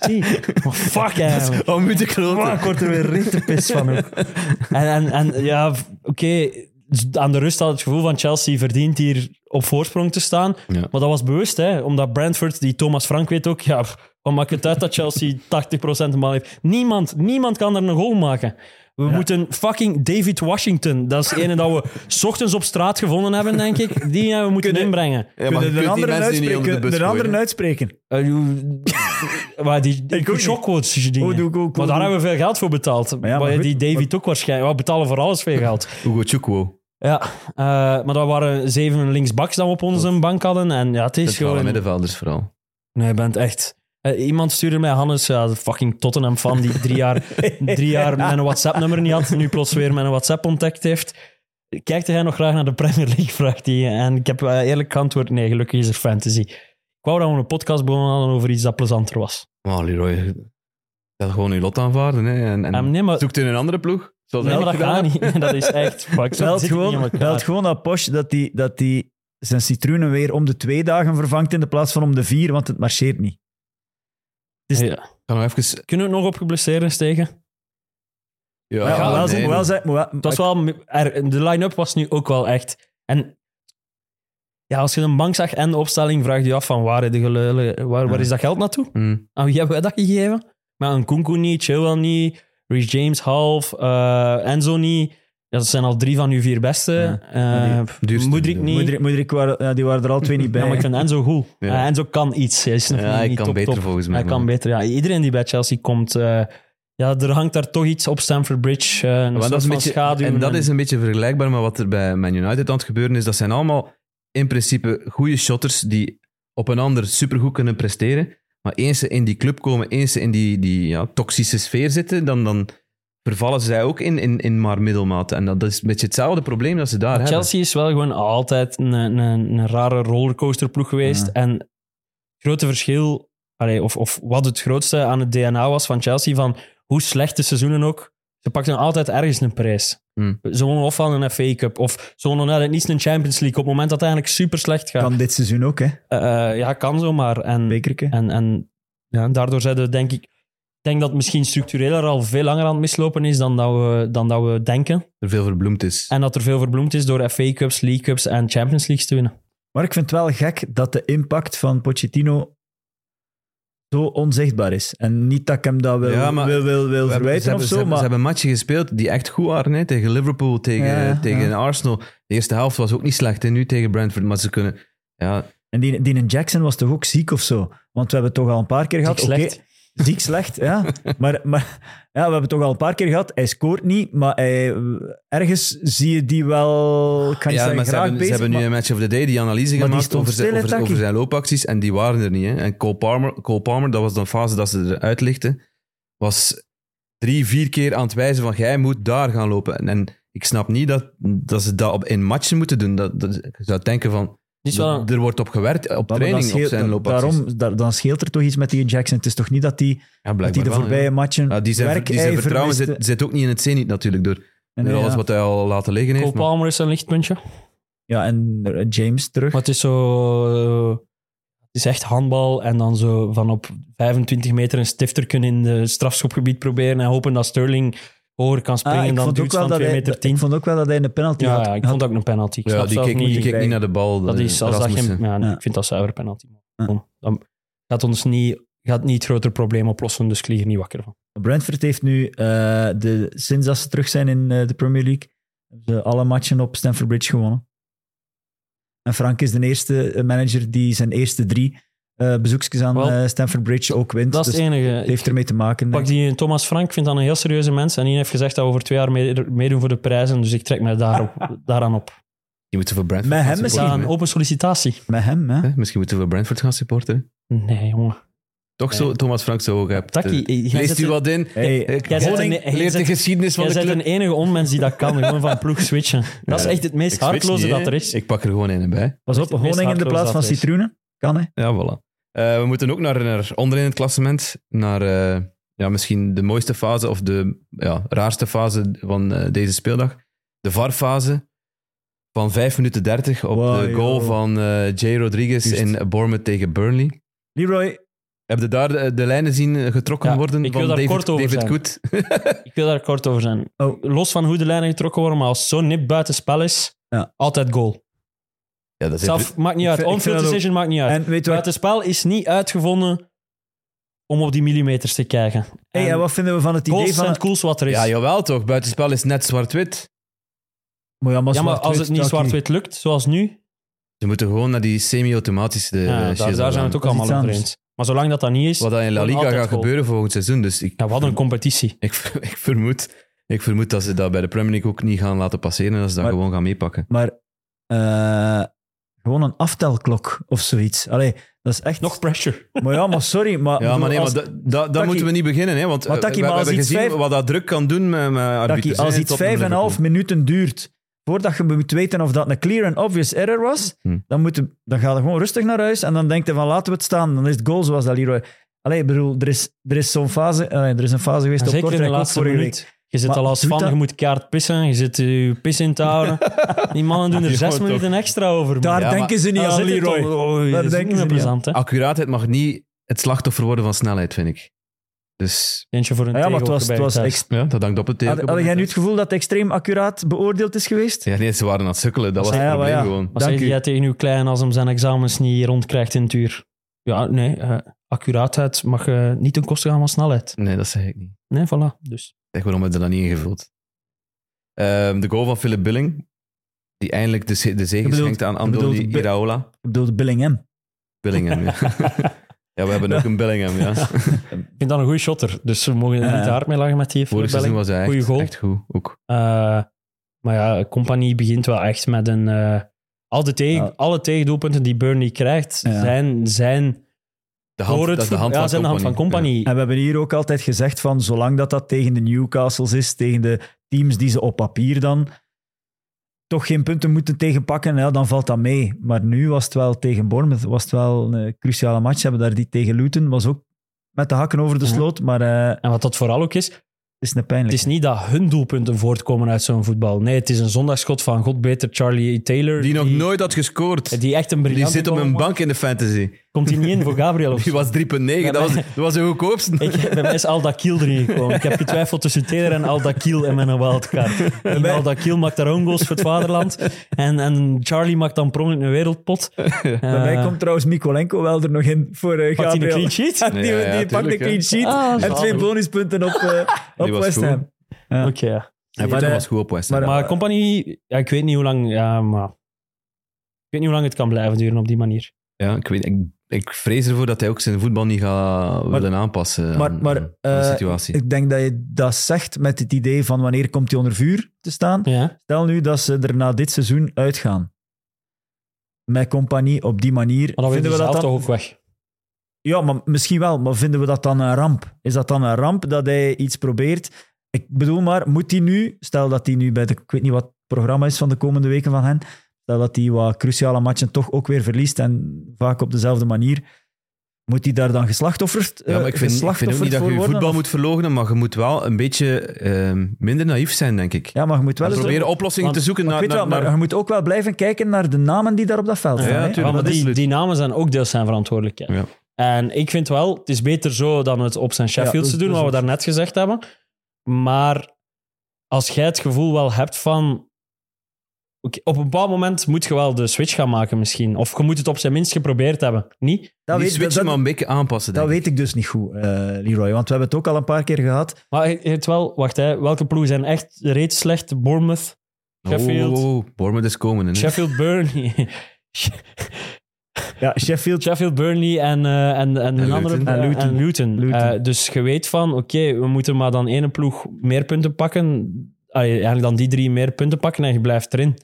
Speaker 5: Zie, maar fuck hem.
Speaker 1: Oh, moet ik
Speaker 5: Wow, ik word er weer rete pis van. ook. En, en, en ja, v- oké. dus Aan de rust had het gevoel van Chelsea verdient hier op voorsprong te staan.
Speaker 1: Ja.
Speaker 5: Maar dat was bewust, hè, omdat Brentford, die Thomas Frank weet ook, ja, pff, wat maakt het uit dat Chelsea 80% de bal heeft? Niemand, niemand kan er een goal maken. We moeten fucking David Washington, dat is de ene dat we 's ochtends op straat gevonden hebben, denk ik, die hebben we moeten inbrengen.
Speaker 1: Ja, maar je
Speaker 6: de
Speaker 1: kunt die
Speaker 6: andere
Speaker 1: mensen nu niet onder de
Speaker 6: uitspreken.
Speaker 1: bus
Speaker 6: De
Speaker 1: gooien,
Speaker 6: andere
Speaker 1: hè.
Speaker 6: uitspreken.
Speaker 5: Eh, je- Waar die
Speaker 6: ook niet.
Speaker 5: shockquotes die dingen.
Speaker 6: Oh, doe ik ook,
Speaker 5: maar
Speaker 6: oh,
Speaker 5: daar
Speaker 6: doe ik.
Speaker 5: hebben we veel geld voor betaald.
Speaker 6: Maar ja, maar
Speaker 5: Waar
Speaker 6: goed,
Speaker 5: die David ook waarschijnlijk. We betalen voor alles veel geld.
Speaker 1: Hugo Chukwu.
Speaker 5: ja, eh, maar dat waren zeven linksbacks dat we op onze bank hadden. En ja, het is
Speaker 1: Centrale
Speaker 5: gewoon...
Speaker 1: middenvelders dus vooral.
Speaker 5: Nee, je bent echt... eh, iemand stuurde mij, Hannes, ja, de fucking Tottenham-fan, die drie jaar, drie jaar mijn WhatsApp-nummer niet had, nu plots weer mijn WhatsApp ontdekt heeft. Kijkt hij nog graag naar de Premier League, vraagt hij. En ik heb eh, eerlijk geantwoord, nee, gelukkig is er fantasy. Ik wou dat we een podcast begonnen hadden over iets dat plezanter was.
Speaker 1: Maar Leroy, dat gewoon je lot aanvaarden. Hè. En, en
Speaker 5: Ah, nee, maar-
Speaker 1: zoekt in een andere ploeg. Zoals
Speaker 5: Nee,
Speaker 1: hij
Speaker 5: maar dat
Speaker 1: ook gedaan
Speaker 5: gaat
Speaker 1: heeft.
Speaker 5: niet. Nee, Dat is echt... Fuck, zo
Speaker 6: Belt
Speaker 5: zit het niet in
Speaker 6: gewoon,
Speaker 5: elkaar.
Speaker 6: belt gewoon dat Posh dat hij dat die zijn citroenen weer om de twee dagen vervangt in de plaats van om de vier, want het marcheert niet.
Speaker 5: Ja.
Speaker 1: Gaan we even...
Speaker 5: Dus Kunnen we het nog op geblesseerd steken?
Speaker 1: Ja,
Speaker 6: Maar ja,
Speaker 5: ja,
Speaker 6: wel
Speaker 1: nee,
Speaker 6: zeggen,
Speaker 1: nee.
Speaker 6: wel zeggen, maar wel-
Speaker 5: Het was wel, er- de line-up was nu ook wel echt... En ja, als je een bank zag en de opstelling, vraag je je af van waar, heb je geleulen- waar, waar is dat geld naartoe?
Speaker 1: Mm.
Speaker 5: Aan wie hebben wij dat gegeven? Maar een Kunku niet, Chilwell niet, Reece James half, eh, Enzo niet. Ja, dat zijn al drie van uw vier beste. Eh
Speaker 1: Duurste.
Speaker 5: Mudrik niet.
Speaker 6: Moederik, Moederik waren, ja, die waren er al twee niet bij.
Speaker 5: Ja, maar ik vind Enzo goed.
Speaker 1: Ja.
Speaker 5: Eh, Enzo kan iets. Hij is nog
Speaker 1: Ja,
Speaker 5: niet-
Speaker 1: hij
Speaker 5: niet
Speaker 1: kan
Speaker 5: top,
Speaker 1: beter
Speaker 5: top.
Speaker 1: volgens mij,
Speaker 5: Hij kan
Speaker 1: maar-
Speaker 5: beter, ja. Iedereen die bij Chelsea komt... eh, ja, er hangt daar toch iets op Stamford Bridge. eh, een
Speaker 1: Maar dat
Speaker 5: soort
Speaker 1: is een
Speaker 5: van
Speaker 1: beetje,
Speaker 5: schaduw.
Speaker 1: en dat is een beetje vergelijkbaar met wat er bij Man United aan het gebeuren is. Dat zijn allemaal in principe goede shotters die op een ander supergoed kunnen presteren. Maar eens ze in die club komen, eens ze in die, die ja, toxische sfeer zitten, dan, dan vervallen zij ook in, in, in maar middelmaat. En dat is een beetje hetzelfde probleem dat ze daar hebben.
Speaker 5: Chelsea is wel gewoon altijd een, een, een rare rollercoasterploeg geweest.
Speaker 6: Ja.
Speaker 5: En het grote verschil, allee, of, of wat het grootste aan het DNA was van Chelsea, van hoe slecht de seizoenen ook, ze pakten altijd ergens een prijs.
Speaker 1: Hmm.
Speaker 5: Ze wonnen ofwel een FA Cup, of ze wonnen net niet een Champions League, op het moment dat het eigenlijk super slecht gaat.
Speaker 6: Kan dit seizoen ook, hè?
Speaker 1: Hm.
Speaker 5: Eh, eh, ja, kan zomaar. En,
Speaker 6: Bekerke.
Speaker 5: en, en ja, daardoor zijn we, denk ik, ik denk dat het misschien structureel er al veel langer aan het mislopen is dan dat we, dan dat we denken.
Speaker 1: Er veel verbloemd is.
Speaker 5: En dat er veel verbloemd is door FA Cups, League Cups en Champions Leagues te winnen.
Speaker 6: Maar ik vind het wel gek dat de impact van Pochettino zo onzichtbaar is. En niet dat ik hem dat wil,
Speaker 1: Ja, maar
Speaker 6: wil, wil, wil
Speaker 1: We hebben-
Speaker 6: verwijten
Speaker 1: ze hebben,
Speaker 6: of
Speaker 1: ze
Speaker 6: zo,
Speaker 1: hebben-
Speaker 6: maar
Speaker 1: Ze hebben matchen gespeeld die echt goed waren. Hè? Tegen Liverpool, tegen,
Speaker 6: Ja,
Speaker 1: tegen
Speaker 6: ja.
Speaker 1: Arsenal. De eerste helft was ook niet slecht. En nu tegen Brentford. Maar ze kunnen... Ja,
Speaker 6: En die, die in Jackson was toch ook ziek of zo? Want we hebben het toch al een paar keer gehad.
Speaker 5: Ziek
Speaker 6: oké,
Speaker 5: slecht.
Speaker 6: ziek slecht, ja. Maar, maar ja, we hebben het toch al een paar keer gehad. Hij scoort niet, maar hij, ergens zie je die wel. Ik ga
Speaker 1: ja
Speaker 6: niet zeggen,
Speaker 1: maar ze
Speaker 6: graag
Speaker 1: hebben, ze
Speaker 6: bezig,
Speaker 1: hebben nu
Speaker 6: maar-
Speaker 1: een match of the day die analyse
Speaker 6: Maar die
Speaker 1: gemaakt
Speaker 6: stond
Speaker 1: over, zijn-
Speaker 6: stil, hè,
Speaker 1: over, over
Speaker 6: Taki?
Speaker 1: zijn loopacties. En die waren er niet. Hè? En Cole Palmer, Cole Palmer, dat was dan fase dat ze eruit lichten, was drie, vier keer aan het wijzen van jij moet daar gaan lopen. En, en ik snap niet dat, dat ze dat op, in matchen moeten doen. Dat, dat, je zou denken van,
Speaker 5: Het is wel een-
Speaker 1: er wordt op gewerkt, op
Speaker 6: maar dan
Speaker 1: training, op
Speaker 6: scheelt-
Speaker 1: zijn loopacties.
Speaker 6: daarom, daar- dan scheelt er toch iets met die Jackson. Het is toch niet dat die,
Speaker 1: ja,
Speaker 6: dat die
Speaker 1: blijkbaar
Speaker 6: de
Speaker 1: wel,
Speaker 6: voorbije
Speaker 1: ja.
Speaker 6: matchen.
Speaker 1: Ja, die zijn,
Speaker 6: werk,
Speaker 1: die zijn
Speaker 6: hij
Speaker 1: vertrouwen
Speaker 6: vermiste-
Speaker 1: zit, zit ook niet in het zeeniet natuurlijk, door,
Speaker 6: en
Speaker 1: door
Speaker 6: ja.
Speaker 1: alles wat hij al laten liggen heeft.
Speaker 5: Cole
Speaker 1: maar-
Speaker 5: Palmer is een lichtpuntje.
Speaker 6: Ja, en eh, James terug.
Speaker 5: Maar het is zo... eh, Het is echt handbal en dan zo van op 25 meter een stifter kunnen in het strafschopgebied proberen en hopen dat Sterling hoger kan
Speaker 6: Ah,
Speaker 5: springen
Speaker 6: ik,
Speaker 5: dan
Speaker 6: vond ook
Speaker 5: dudes
Speaker 6: wel
Speaker 5: van
Speaker 6: dat
Speaker 5: 2
Speaker 6: hij,
Speaker 5: meter
Speaker 6: dat- ik
Speaker 5: 10.
Speaker 6: vond ook wel dat hij een penalty
Speaker 5: Ja,
Speaker 6: had.
Speaker 5: ja, ik vond ook een penalty. Ik
Speaker 1: ja,
Speaker 5: snap
Speaker 1: die
Speaker 5: zelf
Speaker 1: keek, die
Speaker 5: niet...
Speaker 1: keek niet
Speaker 6: bij-
Speaker 1: naar de bal.
Speaker 5: Dat
Speaker 1: eh,
Speaker 5: is, als dat
Speaker 1: Rasmussen.
Speaker 5: geen, ja, nee,
Speaker 6: Ja.
Speaker 5: Ik vind dat zuiver penalty.
Speaker 6: Ja.
Speaker 5: Dan gaat ons niet, gaat niet het grotere probleem oplossen, dus ik lig er niet wakker van.
Speaker 6: Brentford heeft nu, eh, de, sinds dat ze terug zijn in eh, de Premier League, hebben ze alle matchen op Stamford Bridge gewonnen. En Frank is de eerste eh, manager die zijn eerste drie eh bezoekjes aan
Speaker 5: Wel,
Speaker 6: eh, Stamford Bridge ook wint.
Speaker 5: Dat is
Speaker 6: dus
Speaker 5: het enige.
Speaker 6: het
Speaker 5: Ik
Speaker 6: heeft ermee te maken.
Speaker 5: pak die Thomas Frank, vind dat een heel serieuze mens. En die heeft gezegd dat we over twee jaar mee- meedoen voor de prijzen, dus ik trek mij daarop, daaraan op.
Speaker 1: Die moeten voor Brentford
Speaker 6: Met
Speaker 1: gaan
Speaker 6: hem
Speaker 5: Is
Speaker 1: supporteren,
Speaker 5: dat een
Speaker 1: hè.
Speaker 5: open sollicitatie?
Speaker 6: Met hem, hè?
Speaker 1: Hè? Misschien moeten we Brentford gaan supporteren.
Speaker 5: Nee, jongen.
Speaker 1: Toch zo, Thomas Frank zo ook hebt.
Speaker 5: Taki,
Speaker 1: eh,
Speaker 5: jij
Speaker 1: leest
Speaker 5: zet
Speaker 1: u
Speaker 5: een-
Speaker 1: wat in?
Speaker 6: Hey,
Speaker 1: Ik
Speaker 5: jij zet
Speaker 1: Honing
Speaker 5: een- jij
Speaker 1: leert
Speaker 5: zet-
Speaker 1: de geschiedenis van
Speaker 5: Jij
Speaker 1: de
Speaker 5: bent
Speaker 1: club.
Speaker 5: een enige onmens die dat kan, gewoon van ploeg switchen. Dat is echt het meest
Speaker 1: Ik switch
Speaker 5: hartloze
Speaker 1: niet, hè.
Speaker 5: dat er is.
Speaker 1: Ik pak er gewoon een bij.
Speaker 6: pas op,
Speaker 5: het meest
Speaker 6: Honing in de plaats van
Speaker 5: hartloos dat is.
Speaker 6: citroenen. Kan, hè?
Speaker 1: Ja, voilà. Eh, we moeten ook naar, naar onderin het klassement. Naar eh, ja, misschien de mooiste fase of de ja, raarste fase van eh, deze speeldag. De VAR-fase van 5 minuten 30 op
Speaker 6: Wow,
Speaker 1: de goal
Speaker 6: joh.
Speaker 1: van eh, Jay Rodriguez
Speaker 6: Juist.
Speaker 1: in Bournemouth tegen Burnley.
Speaker 6: Leroy,
Speaker 1: Heb je daar eh, de, de lijnen zien getrokken
Speaker 5: Ja,
Speaker 1: worden
Speaker 5: ik
Speaker 1: van
Speaker 5: wil daar
Speaker 1: David,
Speaker 5: kort over
Speaker 1: David
Speaker 5: zijn.
Speaker 1: Goed?
Speaker 5: Ik wil daar kort over zijn.
Speaker 6: Oh.
Speaker 5: Los van hoe de lijnen getrokken worden, maar als zo'n nip buitenspel is,
Speaker 6: Ja.
Speaker 5: altijd goal.
Speaker 1: Ja, dat is
Speaker 5: Zelf maakt niet uit.
Speaker 6: vind- ik vind
Speaker 5: Onfield
Speaker 6: dat ook-
Speaker 5: decision maakt niet uit.
Speaker 6: en weet je wat?
Speaker 5: Buitenspel is niet uitgevonden om op die millimeters te kijken.
Speaker 6: Hey, en wat vinden we van het idee
Speaker 5: goals
Speaker 6: van...
Speaker 5: zijn het coolste wat er is.
Speaker 1: Ja, jawel toch. Buitenspel is net zwart-wit.
Speaker 6: Maar ja, maar,
Speaker 5: Ja, maar als
Speaker 6: zwart-wit,
Speaker 5: het niet
Speaker 6: Taki.
Speaker 5: zwart-wit lukt, zoals nu,
Speaker 1: Ze moeten gewoon naar die semi-automatische eh,
Speaker 5: ja, daar,
Speaker 1: shit
Speaker 5: daar zijn we
Speaker 1: gaan.
Speaker 5: het
Speaker 6: Dat is
Speaker 5: ook allemaal
Speaker 6: iets
Speaker 5: over
Speaker 6: anders.
Speaker 5: eens. Maar zolang dat dat niet is,
Speaker 1: Wat dat in La
Speaker 5: wordt
Speaker 1: Liga
Speaker 5: altijd
Speaker 1: gaat
Speaker 5: goal.
Speaker 1: gebeuren volgend seizoen. Dus ik,
Speaker 5: Ja, wat een competitie.
Speaker 1: ik, ik, vermoed, ik vermoed dat ze dat bij de Premier League ook niet gaan laten passeren. En dat ze dat
Speaker 6: Maar-
Speaker 1: gewoon gaan meepakken.
Speaker 6: Maar eh, gewoon een aftelklok of zoiets. Allee, dat is echt...
Speaker 5: Nog pressure.
Speaker 6: Maar ja, maar sorry, maar...
Speaker 1: Ja, maar nee,
Speaker 6: als-
Speaker 1: maar da- da- daar
Speaker 6: Taki-
Speaker 1: moeten we niet beginnen. Hè, want eh,
Speaker 6: Maar Taki,
Speaker 1: we,
Speaker 6: maar
Speaker 1: we
Speaker 6: als
Speaker 1: hebben
Speaker 6: iets
Speaker 1: gezien
Speaker 6: vijf-
Speaker 1: wat dat druk kan doen met, met
Speaker 6: Taki,
Speaker 1: arbiters.
Speaker 6: als
Speaker 1: hè,
Speaker 6: iets
Speaker 1: Tottenham,
Speaker 6: 5,5
Speaker 1: Liverpool.
Speaker 6: minuten duurt voordat je moet weten of dat een clear and obvious error was,
Speaker 1: Hmm.
Speaker 6: dan, moet je, dan ga je gewoon rustig naar huis en dan denkt je van laten we het staan. Dan is het goal zoals dat Leroy... Allee, ik bedoel, er is, er is zo'n fase... allee, er is een fase geweest
Speaker 5: En
Speaker 6: op
Speaker 5: zeker in de
Speaker 6: Kortrijk ook
Speaker 5: laatste
Speaker 6: vorige
Speaker 5: minuut. Je zit
Speaker 6: Maar
Speaker 5: al als
Speaker 6: doet
Speaker 5: fan,
Speaker 6: dat-
Speaker 5: je moet kaart pissen, je zit je pis in te houden. Die mannen doen er
Speaker 1: Ja,
Speaker 5: zes
Speaker 1: toch.
Speaker 5: minuten extra over.
Speaker 6: week. Daar
Speaker 1: Ja,
Speaker 6: denken ze niet aan, Leroy. Daar
Speaker 5: Daar dat is ook
Speaker 6: denken ze
Speaker 5: niet Ah. meer
Speaker 6: niet aan.
Speaker 5: plezant, hè?
Speaker 1: Accuraatheid mag niet het slachtoffer worden van snelheid, vind ik. Dus
Speaker 5: Eentje voor een
Speaker 6: Ja, maar het was, het
Speaker 5: tegenhoek
Speaker 6: was
Speaker 5: erbij
Speaker 6: ex-
Speaker 1: ja, dat hangt op het
Speaker 6: had,
Speaker 1: tegen.
Speaker 6: had jij nu het gevoel dat het extreem accuraat beoordeeld is geweest?
Speaker 1: Ja, nee, ze waren aan het sukkelen. Dat was
Speaker 6: Ah,
Speaker 1: het
Speaker 6: ja, maar
Speaker 1: probleem
Speaker 6: ja.
Speaker 1: gewoon.
Speaker 5: Wat
Speaker 6: Dank
Speaker 5: zeg
Speaker 6: u.
Speaker 5: jij tegen uw klein als hem zijn examens niet rondkrijgt in het uur? Ja, nee. eh, accuraatheid mag eh, niet ten koste gaan van snelheid.
Speaker 1: Nee, dat zeg ik niet.
Speaker 5: Nee, voilà. Dus.
Speaker 1: Zeg, waarom hebben ze dat niet ingevuld? Ehm, de goal van Philip Billing, die eindelijk de, ze- de zegen
Speaker 6: Je bedoelt-
Speaker 1: schenkt aan
Speaker 6: je bedoelt
Speaker 1: Andoni
Speaker 6: Bi-
Speaker 1: Iraola.
Speaker 6: Ik bedoel, Billingham.
Speaker 1: Billingham, ja. ja, we hebben ook een Billingham, ja.
Speaker 5: Ik vind dat een goede shotter, dus we mogen er
Speaker 6: Ja.
Speaker 5: niet te hard mee lachen met die
Speaker 1: Vorig seizoen
Speaker 5: voorspelling.
Speaker 1: was hij
Speaker 5: Goeie
Speaker 1: echt,
Speaker 5: goal.
Speaker 1: echt goed. Ook.
Speaker 5: Eh, maar ja, Compagnie begint wel echt met een... eh, al de tegen,
Speaker 6: Ja.
Speaker 5: Alle tegendoelpunten die Burnley krijgt,
Speaker 6: Ja.
Speaker 5: zijn, zijn
Speaker 1: De hand,
Speaker 5: Door het
Speaker 1: dat is de
Speaker 5: voet-
Speaker 1: hand
Speaker 5: ja,
Speaker 1: van
Speaker 5: zijn de hand van
Speaker 1: Company.
Speaker 5: Company.
Speaker 6: En we hebben hier ook altijd gezegd van, zolang dat dat tegen de Newcastles is, tegen de teams die ze op papier dan toch geen punten moeten tegenpakken, ja, dan valt dat mee. Maar nu was het wel tegen Bournemouth, was het wel een cruciale match. Ze hebben daar die tegen Luton, was ook met de hakken over de
Speaker 5: Ja.
Speaker 6: sloot, maar eh, het
Speaker 5: En wat dat vooral ook is,
Speaker 6: is een pijnlijk.
Speaker 5: het is niet dat hun doelpunten voortkomen uit zo'n voetbal. Nee, het is een zondagsschot van God beter Charlie Taylor.
Speaker 1: Die nog nooit had gescoord. Die,
Speaker 5: Die echt een briljant
Speaker 1: zit op een bank in de fantasy.
Speaker 5: Komt hij niet in voor Gabriel of
Speaker 1: Die was 3,9. Dat was, dat was de goedkoopste.
Speaker 5: Ik, bij mij is Al Dakil erin gekomen. Ik heb getwijfeld tussen Taylor en Al Dakil en mijn wildcard. En Al Dakil maakt daar own goals voor het vaderland. En, en Charlie maakt dan prong in een wereldpot. Eh,
Speaker 6: Daarbij komt trouwens Mikolenko wel er nog in voor eh,
Speaker 5: Pakt hij een
Speaker 6: Gabriel.
Speaker 5: clean sheet?
Speaker 6: die
Speaker 1: Ja, ja,
Speaker 6: die pakt de
Speaker 1: tuurlijk, hè.
Speaker 6: clean sheet
Speaker 5: Ah,
Speaker 6: en
Speaker 5: zalig.
Speaker 6: twee bonuspunten op, eh, op
Speaker 1: was
Speaker 6: West Ham.
Speaker 5: Oké, ja.
Speaker 1: Hij
Speaker 6: Maar, eh,
Speaker 1: was goed op West Ham.
Speaker 6: maar-
Speaker 5: Maar Compagnie, ja, ik weet niet hoe lang... Ja, maar... Ik weet niet hoe lang het kan blijven duren op die manier.
Speaker 1: ja, ik, weet, ik, ik vrees ervoor dat hij ook zijn voetbal niet gaat willen aanpassen
Speaker 6: Maar-
Speaker 1: aan,
Speaker 6: maar,
Speaker 1: aan de
Speaker 6: eh,
Speaker 1: situatie.
Speaker 6: Ik denk dat je dat zegt met het idee van wanneer komt hij onder vuur te staan.
Speaker 5: Ja.
Speaker 6: Stel nu dat ze er na dit seizoen uitgaan. Met compagnie op die manier.
Speaker 5: Maar dan vinden we dat
Speaker 6: dan,
Speaker 5: toch ook weg.
Speaker 6: Ja, maar misschien wel. Maar vinden we dat dan een ramp? Is dat dan een ramp dat hij iets probeert? Ik bedoel maar, moet hij nu... Stel dat hij nu bij de... Ik weet niet wat het programma is van de komende weken van hen. Stel dat hij wat cruciale matchen toch ook weer verliest. En vaak op dezelfde manier. Moet hij daar dan geslachtofferd eh,
Speaker 1: Ja, maar ik vind, ik vind ook niet dat je je voetbal moet verlogenen, maar je moet wel een beetje ehm, minder naïef zijn, denk ik.
Speaker 6: Ja, maar je moet wel
Speaker 1: en
Speaker 6: eens...
Speaker 1: proberen oplossingen
Speaker 5: want-
Speaker 1: te zoeken
Speaker 6: Maar
Speaker 1: naar...
Speaker 6: ik weet wel,
Speaker 1: naar,
Speaker 6: maar
Speaker 1: naar-
Speaker 6: je moet ook wel blijven kijken naar de namen die daar op dat veld
Speaker 5: Ja,
Speaker 6: staan. hè.
Speaker 1: tuurlijk.
Speaker 5: maar
Speaker 1: dat is
Speaker 5: die,
Speaker 1: leuk.
Speaker 5: die namen zijn ook deels zijn verantwoordelijkheid.
Speaker 1: Ja.
Speaker 5: En ik vind wel, het is beter zo dan het op zijn Sheffield
Speaker 6: Ja,
Speaker 5: te
Speaker 6: dus-
Speaker 5: doen,
Speaker 6: dus
Speaker 5: wat we
Speaker 6: dus-
Speaker 5: daarnet gezegd hebben. Maar als jij het gevoel wel hebt van... oké, op een bepaald moment moet je wel de switch gaan maken misschien. Of je moet het op zijn minst geprobeerd hebben. Niet?
Speaker 6: eh, dat,
Speaker 1: die
Speaker 6: weet,
Speaker 1: switchen
Speaker 6: dat,
Speaker 1: maar een beetje aanpassen,
Speaker 6: dat
Speaker 1: denk ik.
Speaker 6: weet ik dus niet goed, eh, Leroy. Want we hebben het ook al een paar keer gehad.
Speaker 5: Maar je- je hebt wel... Wacht, hè, welke ploegen zijn echt reeds slecht? Bournemouth, Sheffield.
Speaker 1: Oh, oh, oh, Bournemouth is komen. hè.
Speaker 5: Sheffield Burnley.
Speaker 6: Ja, Sheffield.
Speaker 5: Sheffield Burnley en, eh, en, en, een andere
Speaker 1: Luton.
Speaker 5: eh,
Speaker 6: En Luton.
Speaker 5: en Luton.
Speaker 6: Luton.
Speaker 5: Eh, dus je weet van, oké, we moeten maar dan ene ploeg meer punten pakken. Allee, eigenlijk dan die drie meer punten pakken en je blijft erin.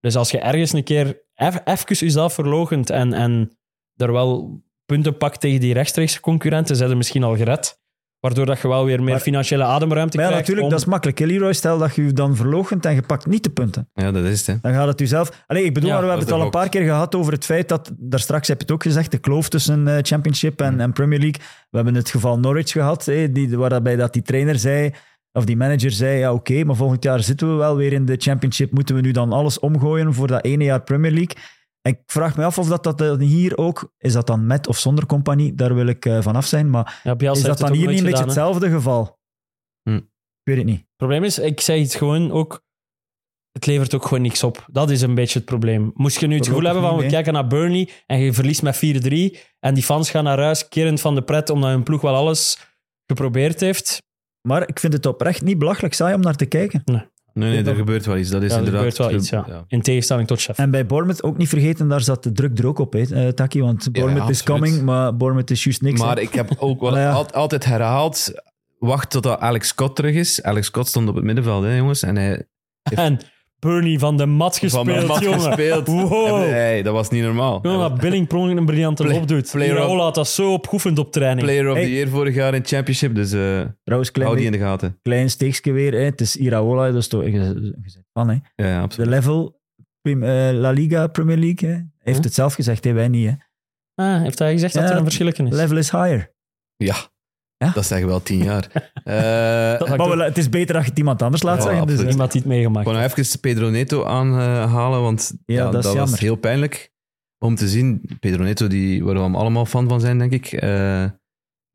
Speaker 5: Dus als je ergens een keer eff- even jezelf verlogent en, en er wel punten pakt tegen die rechtstreekse concurrenten, zijn er misschien al gered. Waardoor dat je wel weer meer
Speaker 6: Maar-
Speaker 5: financiële ademruimte
Speaker 6: Maar ja,
Speaker 5: krijgt.
Speaker 6: natuurlijk,
Speaker 5: om-
Speaker 6: dat is makkelijk. hè, Leroy, stel dat je je dan verlogent en je pakt niet de punten.
Speaker 1: Ja, dat is het, hè.
Speaker 6: Dan gaat het u zelf... Allee, ik bedoel,
Speaker 5: Ja,
Speaker 6: maar we
Speaker 1: dat
Speaker 6: hebben
Speaker 1: is
Speaker 6: het al
Speaker 1: de
Speaker 6: een paar
Speaker 1: gok.
Speaker 6: keer gehad over het feit dat... Daar straks heb je het ook gezegd, de kloof tussen eh, Championship en, en Premier League. We hebben het geval Norwich gehad, hè, die, waarbij dat die trainer zei... Of die manager zei, ja oké, maar volgend jaar zitten we wel weer in de Championship. Moeten we nu dan alles omgooien voor dat ene jaar Premier League? En ik vraag me af of dat, dat dan hier ook... Is dat dan met of zonder compagnie? Daar wil ik eh, vanaf zijn. Maar
Speaker 5: Ja, Bielsa
Speaker 6: is
Speaker 5: heeft
Speaker 6: dat dan
Speaker 5: het ook
Speaker 6: hier
Speaker 5: nooit
Speaker 6: niet een beetje
Speaker 5: gedaan, hè.
Speaker 6: hetzelfde geval?
Speaker 1: Hm.
Speaker 6: Ik weet het niet.
Speaker 5: Het probleem is, ik zeg het gewoon ook, het levert ook gewoon niks op. Dat is een beetje het probleem. Moest je nu het
Speaker 6: Voorlopig
Speaker 5: gevoel hebben van,
Speaker 6: niet,
Speaker 5: we
Speaker 6: nee.
Speaker 5: kijken naar Burnley en je verliest met 4-3 en die fans gaan naar huis kerend van de pret omdat hun ploeg wel alles geprobeerd heeft.
Speaker 6: Maar ik vind het oprecht niet belachelijk saai om naar te kijken.
Speaker 1: Nee, nee,
Speaker 6: Ja,
Speaker 1: er
Speaker 6: dat-
Speaker 1: gebeurt wel iets. Dat is
Speaker 5: Ja, er
Speaker 1: inderdaad...
Speaker 5: gebeurt wel iets, ja. In tegenstelling tot Sheffield.
Speaker 6: En bij Bournemouth ook niet vergeten, daar zat de druk er ook op, hè, eh, Taki. Want Bournemouth is
Speaker 1: absoluut.
Speaker 6: coming, maar Bournemouth is juist niks. hè.
Speaker 1: Maar ik heb ook wel
Speaker 6: Maar ja.
Speaker 1: al- altijd herhaald... Wacht totdat Alex Scott terug is. Alex Scott stond op het middenveld, hè, jongens. En hij
Speaker 5: En Burnley van de mat gespeeld,
Speaker 1: van mijn mat
Speaker 5: jongen.
Speaker 1: gespeeld.
Speaker 5: Wow.
Speaker 1: En, hey, dat was niet normaal.
Speaker 5: Jongen, dat Billing Prong een briljante
Speaker 1: Play-
Speaker 5: lop doet.
Speaker 1: player of-
Speaker 5: Iraola had dat zo opgeoefend op training.
Speaker 1: Player of
Speaker 6: Hey.
Speaker 1: the Year vorig jaar in Championship, dus eh,
Speaker 6: Trouwens, klein,
Speaker 1: hou die in de gaten.
Speaker 6: klein steekje weer. Hè. Het is Iraola, dus toch, je, je zit van. Hè.
Speaker 1: Ja, ja,
Speaker 6: De
Speaker 1: absoluut.
Speaker 6: level, prim- eh, La Liga, Premier League, hè. Hij heeft
Speaker 5: Hm.
Speaker 6: het zelf gezegd, hè, wij niet. Hè.
Speaker 5: Ah, heeft hij gezegd dat
Speaker 6: Ja,
Speaker 5: er een verschil in is?
Speaker 6: Level is higher.
Speaker 1: Ja.
Speaker 6: Ja?
Speaker 1: dat zeggen we al tien jaar. Eh ik
Speaker 5: Dat-
Speaker 6: Maar
Speaker 5: doe-
Speaker 6: wel, het is beter als je het iemand anders laat
Speaker 1: Ja,
Speaker 6: zeggen. Dus,
Speaker 1: absoluut.
Speaker 6: hè.
Speaker 5: Niemand die het meegemaakt.
Speaker 1: wou nog even Pedro Neto aanhalen, want
Speaker 6: Ja,
Speaker 1: ja,
Speaker 6: dat
Speaker 1: dat,
Speaker 6: is
Speaker 1: was
Speaker 6: jammer.
Speaker 1: heel pijnlijk om te zien. Pedro Neto, die, waar we hem allemaal fan van zijn, denk ik, eh,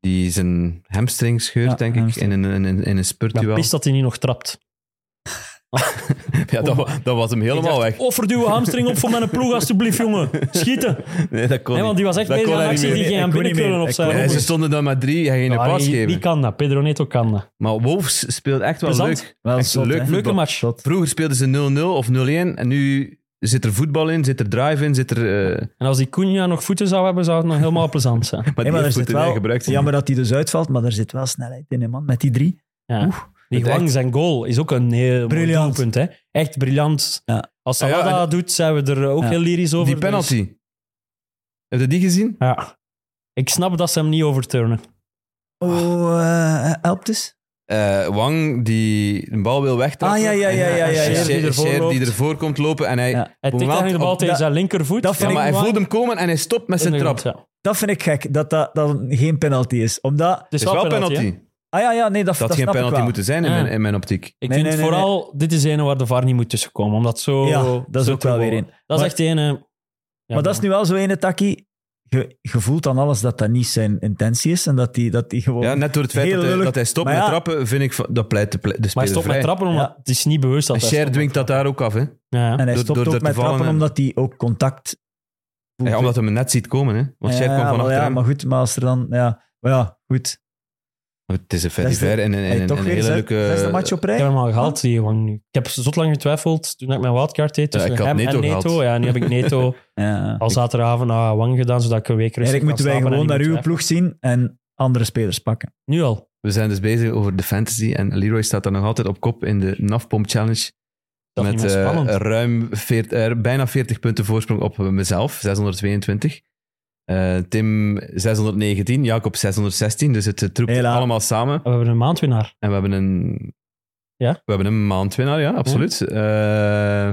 Speaker 1: die zijn hamstring scheurt,
Speaker 6: Ja,
Speaker 1: denk ik, in
Speaker 6: hamstring.
Speaker 1: een, in een, in een
Speaker 5: Maar
Speaker 1: spurtduel.
Speaker 5: pist dat hij niet nog trapt.
Speaker 1: Ja, dat, wa- dat was hem helemaal weg.
Speaker 5: Offer duw "Oh, hamstring op voor mijn ploeg, alstublieft, jongen. Schieten.
Speaker 1: Nee, dat kon
Speaker 5: Nee, want
Speaker 1: niet.
Speaker 5: die was echt
Speaker 1: Dat
Speaker 5: bezig
Speaker 1: kon
Speaker 5: aan
Speaker 1: hij niet
Speaker 5: actie
Speaker 1: meer.
Speaker 5: die
Speaker 6: Ik
Speaker 5: ging aan
Speaker 6: kon niet
Speaker 5: binnenkrullen
Speaker 6: meer.
Speaker 5: op
Speaker 6: Ik
Speaker 5: zijn
Speaker 6: kon-
Speaker 1: Nee,
Speaker 5: rommel.
Speaker 1: ze stonden dan maar drie, hij ging een
Speaker 5: Ja,
Speaker 1: pas
Speaker 5: wie, wie
Speaker 1: geven.
Speaker 5: kan dat? Pedro Neto kan dat.
Speaker 1: Maar Wolves speelt echt wel
Speaker 5: Plezant.
Speaker 1: leuk.
Speaker 6: Wel
Speaker 1: Echt
Speaker 6: zot,
Speaker 1: leuk
Speaker 6: hè.
Speaker 1: voetbal.
Speaker 5: Leuke match.
Speaker 6: Zot.
Speaker 1: Vroeger speelden ze 0-0 of 0-1 en nu zit er voetbal in, zit er drive in, zit er... eh,
Speaker 5: En als die Cunha nog voeten zou hebben, zou het nog helemaal plezant zijn.
Speaker 1: maar
Speaker 6: Hey,
Speaker 1: die
Speaker 6: maar er
Speaker 1: heeft
Speaker 6: zit
Speaker 1: voeten wel,
Speaker 6: wel,
Speaker 1: gebruikt. ze niet.
Speaker 6: jammer dat hij dus uitvalt, maar er zit wel snelheid in, hè, man, met die drie.
Speaker 5: Ja. Die
Speaker 1: het
Speaker 5: Wang
Speaker 1: echt-
Speaker 5: zijn goal is ook een heel briljant.
Speaker 6: Briljant.
Speaker 5: doelpunt. Hè? Echt briljant.
Speaker 6: Ja.
Speaker 5: Als Salah
Speaker 1: Ja, ja, en-
Speaker 5: dat doet, zijn we er ook
Speaker 6: Ja.
Speaker 5: heel lyrisch over.
Speaker 1: Die
Speaker 5: dus-
Speaker 1: penalty. Heb je die gezien?
Speaker 5: Ja. Ik snap dat ze hem niet overturnen.
Speaker 1: Ah.
Speaker 6: Oh, eh helpt eens.
Speaker 1: Eh, Wang die de bal wil wegtrappen.
Speaker 6: Ah, ja, ja, ja, ja, ja, ja.
Speaker 1: En
Speaker 6: Scheer
Speaker 1: Scheer-
Speaker 6: die ervoor
Speaker 1: Scheer die
Speaker 6: loopt.
Speaker 1: ervoor komt lopen en hij...
Speaker 6: Ja.
Speaker 1: op
Speaker 5: Hij
Speaker 1: het
Speaker 5: tikt
Speaker 1: moment-
Speaker 5: eigenlijk de bal
Speaker 1: op-
Speaker 5: tegen
Speaker 6: dat-
Speaker 5: zijn linkervoet.
Speaker 6: dat
Speaker 1: Ja,
Speaker 6: vind
Speaker 5: En
Speaker 1: maar hij
Speaker 5: Wang-
Speaker 1: voelt hem komen en hij stopt met zijn trap.
Speaker 5: Inderdaad,
Speaker 1: Het
Speaker 5: ja.
Speaker 6: Dat vind ik gek, dat dat dan geen penalty is. Omdat...
Speaker 5: Het
Speaker 1: is wel penalty.
Speaker 5: hè?
Speaker 6: Ah ja, ja, nee, dat,
Speaker 1: Dat
Speaker 6: dat
Speaker 1: had geen
Speaker 6: snap ik
Speaker 1: penalty
Speaker 6: wel.
Speaker 1: moeten zijn in,
Speaker 5: Ja.
Speaker 1: mijn, in mijn optiek.
Speaker 5: Ik
Speaker 6: Nee,
Speaker 5: vind
Speaker 6: nee, nee,
Speaker 5: vooral, dit is ene waar de VAR niet moet tussenkomen. Omdat zo...
Speaker 6: Ja, dat is
Speaker 5: zo
Speaker 6: ook wel
Speaker 5: te-
Speaker 6: weer een.
Speaker 5: Dat
Speaker 6: Maar-
Speaker 5: is echt ene... Ja,
Speaker 6: maar dat is nu wel zo ene takkie. Je, je voelt aan alles dat dat niet zijn intentie is en dat die, dat die gewoon...
Speaker 1: Ja, net door het feit
Speaker 6: Heel
Speaker 1: dat hij,
Speaker 6: lullig.
Speaker 1: dat hij stopt
Speaker 6: Maar
Speaker 1: met
Speaker 6: ja.
Speaker 1: trappen, vind ik van- dat pleit de, ple- de
Speaker 5: Maar
Speaker 1: speler
Speaker 5: hij stopt
Speaker 1: vrij.
Speaker 5: met trappen, omdat
Speaker 6: Ja.
Speaker 5: het is niet bewust dat
Speaker 1: En
Speaker 5: hij
Speaker 1: Scheer
Speaker 5: stopt.
Speaker 1: dwingt dat daar ook af, hè?
Speaker 5: Ja, ja.
Speaker 6: En hij
Speaker 1: door-
Speaker 6: stopt
Speaker 1: door
Speaker 6: ook
Speaker 1: er te
Speaker 6: met
Speaker 1: vallen
Speaker 6: trappen
Speaker 1: en-
Speaker 6: omdat hij ook contact voelt.
Speaker 1: Ja, omdat we hem net ziet komen, hè? Want Scheer
Speaker 6: Ja,
Speaker 1: komt van
Speaker 6: maar
Speaker 1: achter
Speaker 6: ja,
Speaker 1: hem.
Speaker 6: maar goed, maar als er dan... Ja, maar ja goed.
Speaker 1: Maar Het is een
Speaker 6: Dat is de-
Speaker 1: fediver en een,
Speaker 6: Hey,
Speaker 1: en een,
Speaker 6: toch
Speaker 1: een
Speaker 6: weer
Speaker 1: hele
Speaker 6: zes-
Speaker 1: leuke...
Speaker 6: zesde match op
Speaker 5: Ik
Speaker 6: rij.
Speaker 5: heb hem al gehaald, die Wang nu. Ik heb zot lang getwijfeld toen ik mijn wildcard deed tussen
Speaker 1: ik had
Speaker 5: hem
Speaker 1: Neto
Speaker 5: en Neto.
Speaker 1: gehaald.
Speaker 5: Ja, nu heb ik Neto
Speaker 6: Ja.
Speaker 5: al zaterdagavond naar Wang gedaan, zodat ik een week rustig
Speaker 6: Eigenlijk moeten
Speaker 5: kan
Speaker 6: wij
Speaker 5: slapen en
Speaker 6: gewoon
Speaker 5: niet
Speaker 6: naar
Speaker 5: moet
Speaker 6: uw ploeg zien en andere spelers pakken.
Speaker 5: twijfelen. Nu al.
Speaker 1: We zijn dus bezig over de fantasy en Leroy staat daar nog altijd op kop in de NAFPOM Challenge.
Speaker 5: Dat is
Speaker 1: met
Speaker 5: niet meer
Speaker 1: eh,
Speaker 5: spannend.
Speaker 1: ruim veert- eh, bijna 40 punten voorsprong op mezelf, 622. Eh, Tim 619, Jacob 616, dus het eh, troept
Speaker 6: Hela.
Speaker 1: allemaal samen.
Speaker 5: we hebben een maandwinnaar.
Speaker 1: En we hebben een,
Speaker 5: Ja?
Speaker 1: we hebben een maandwinnaar, ja, absoluut. Eh,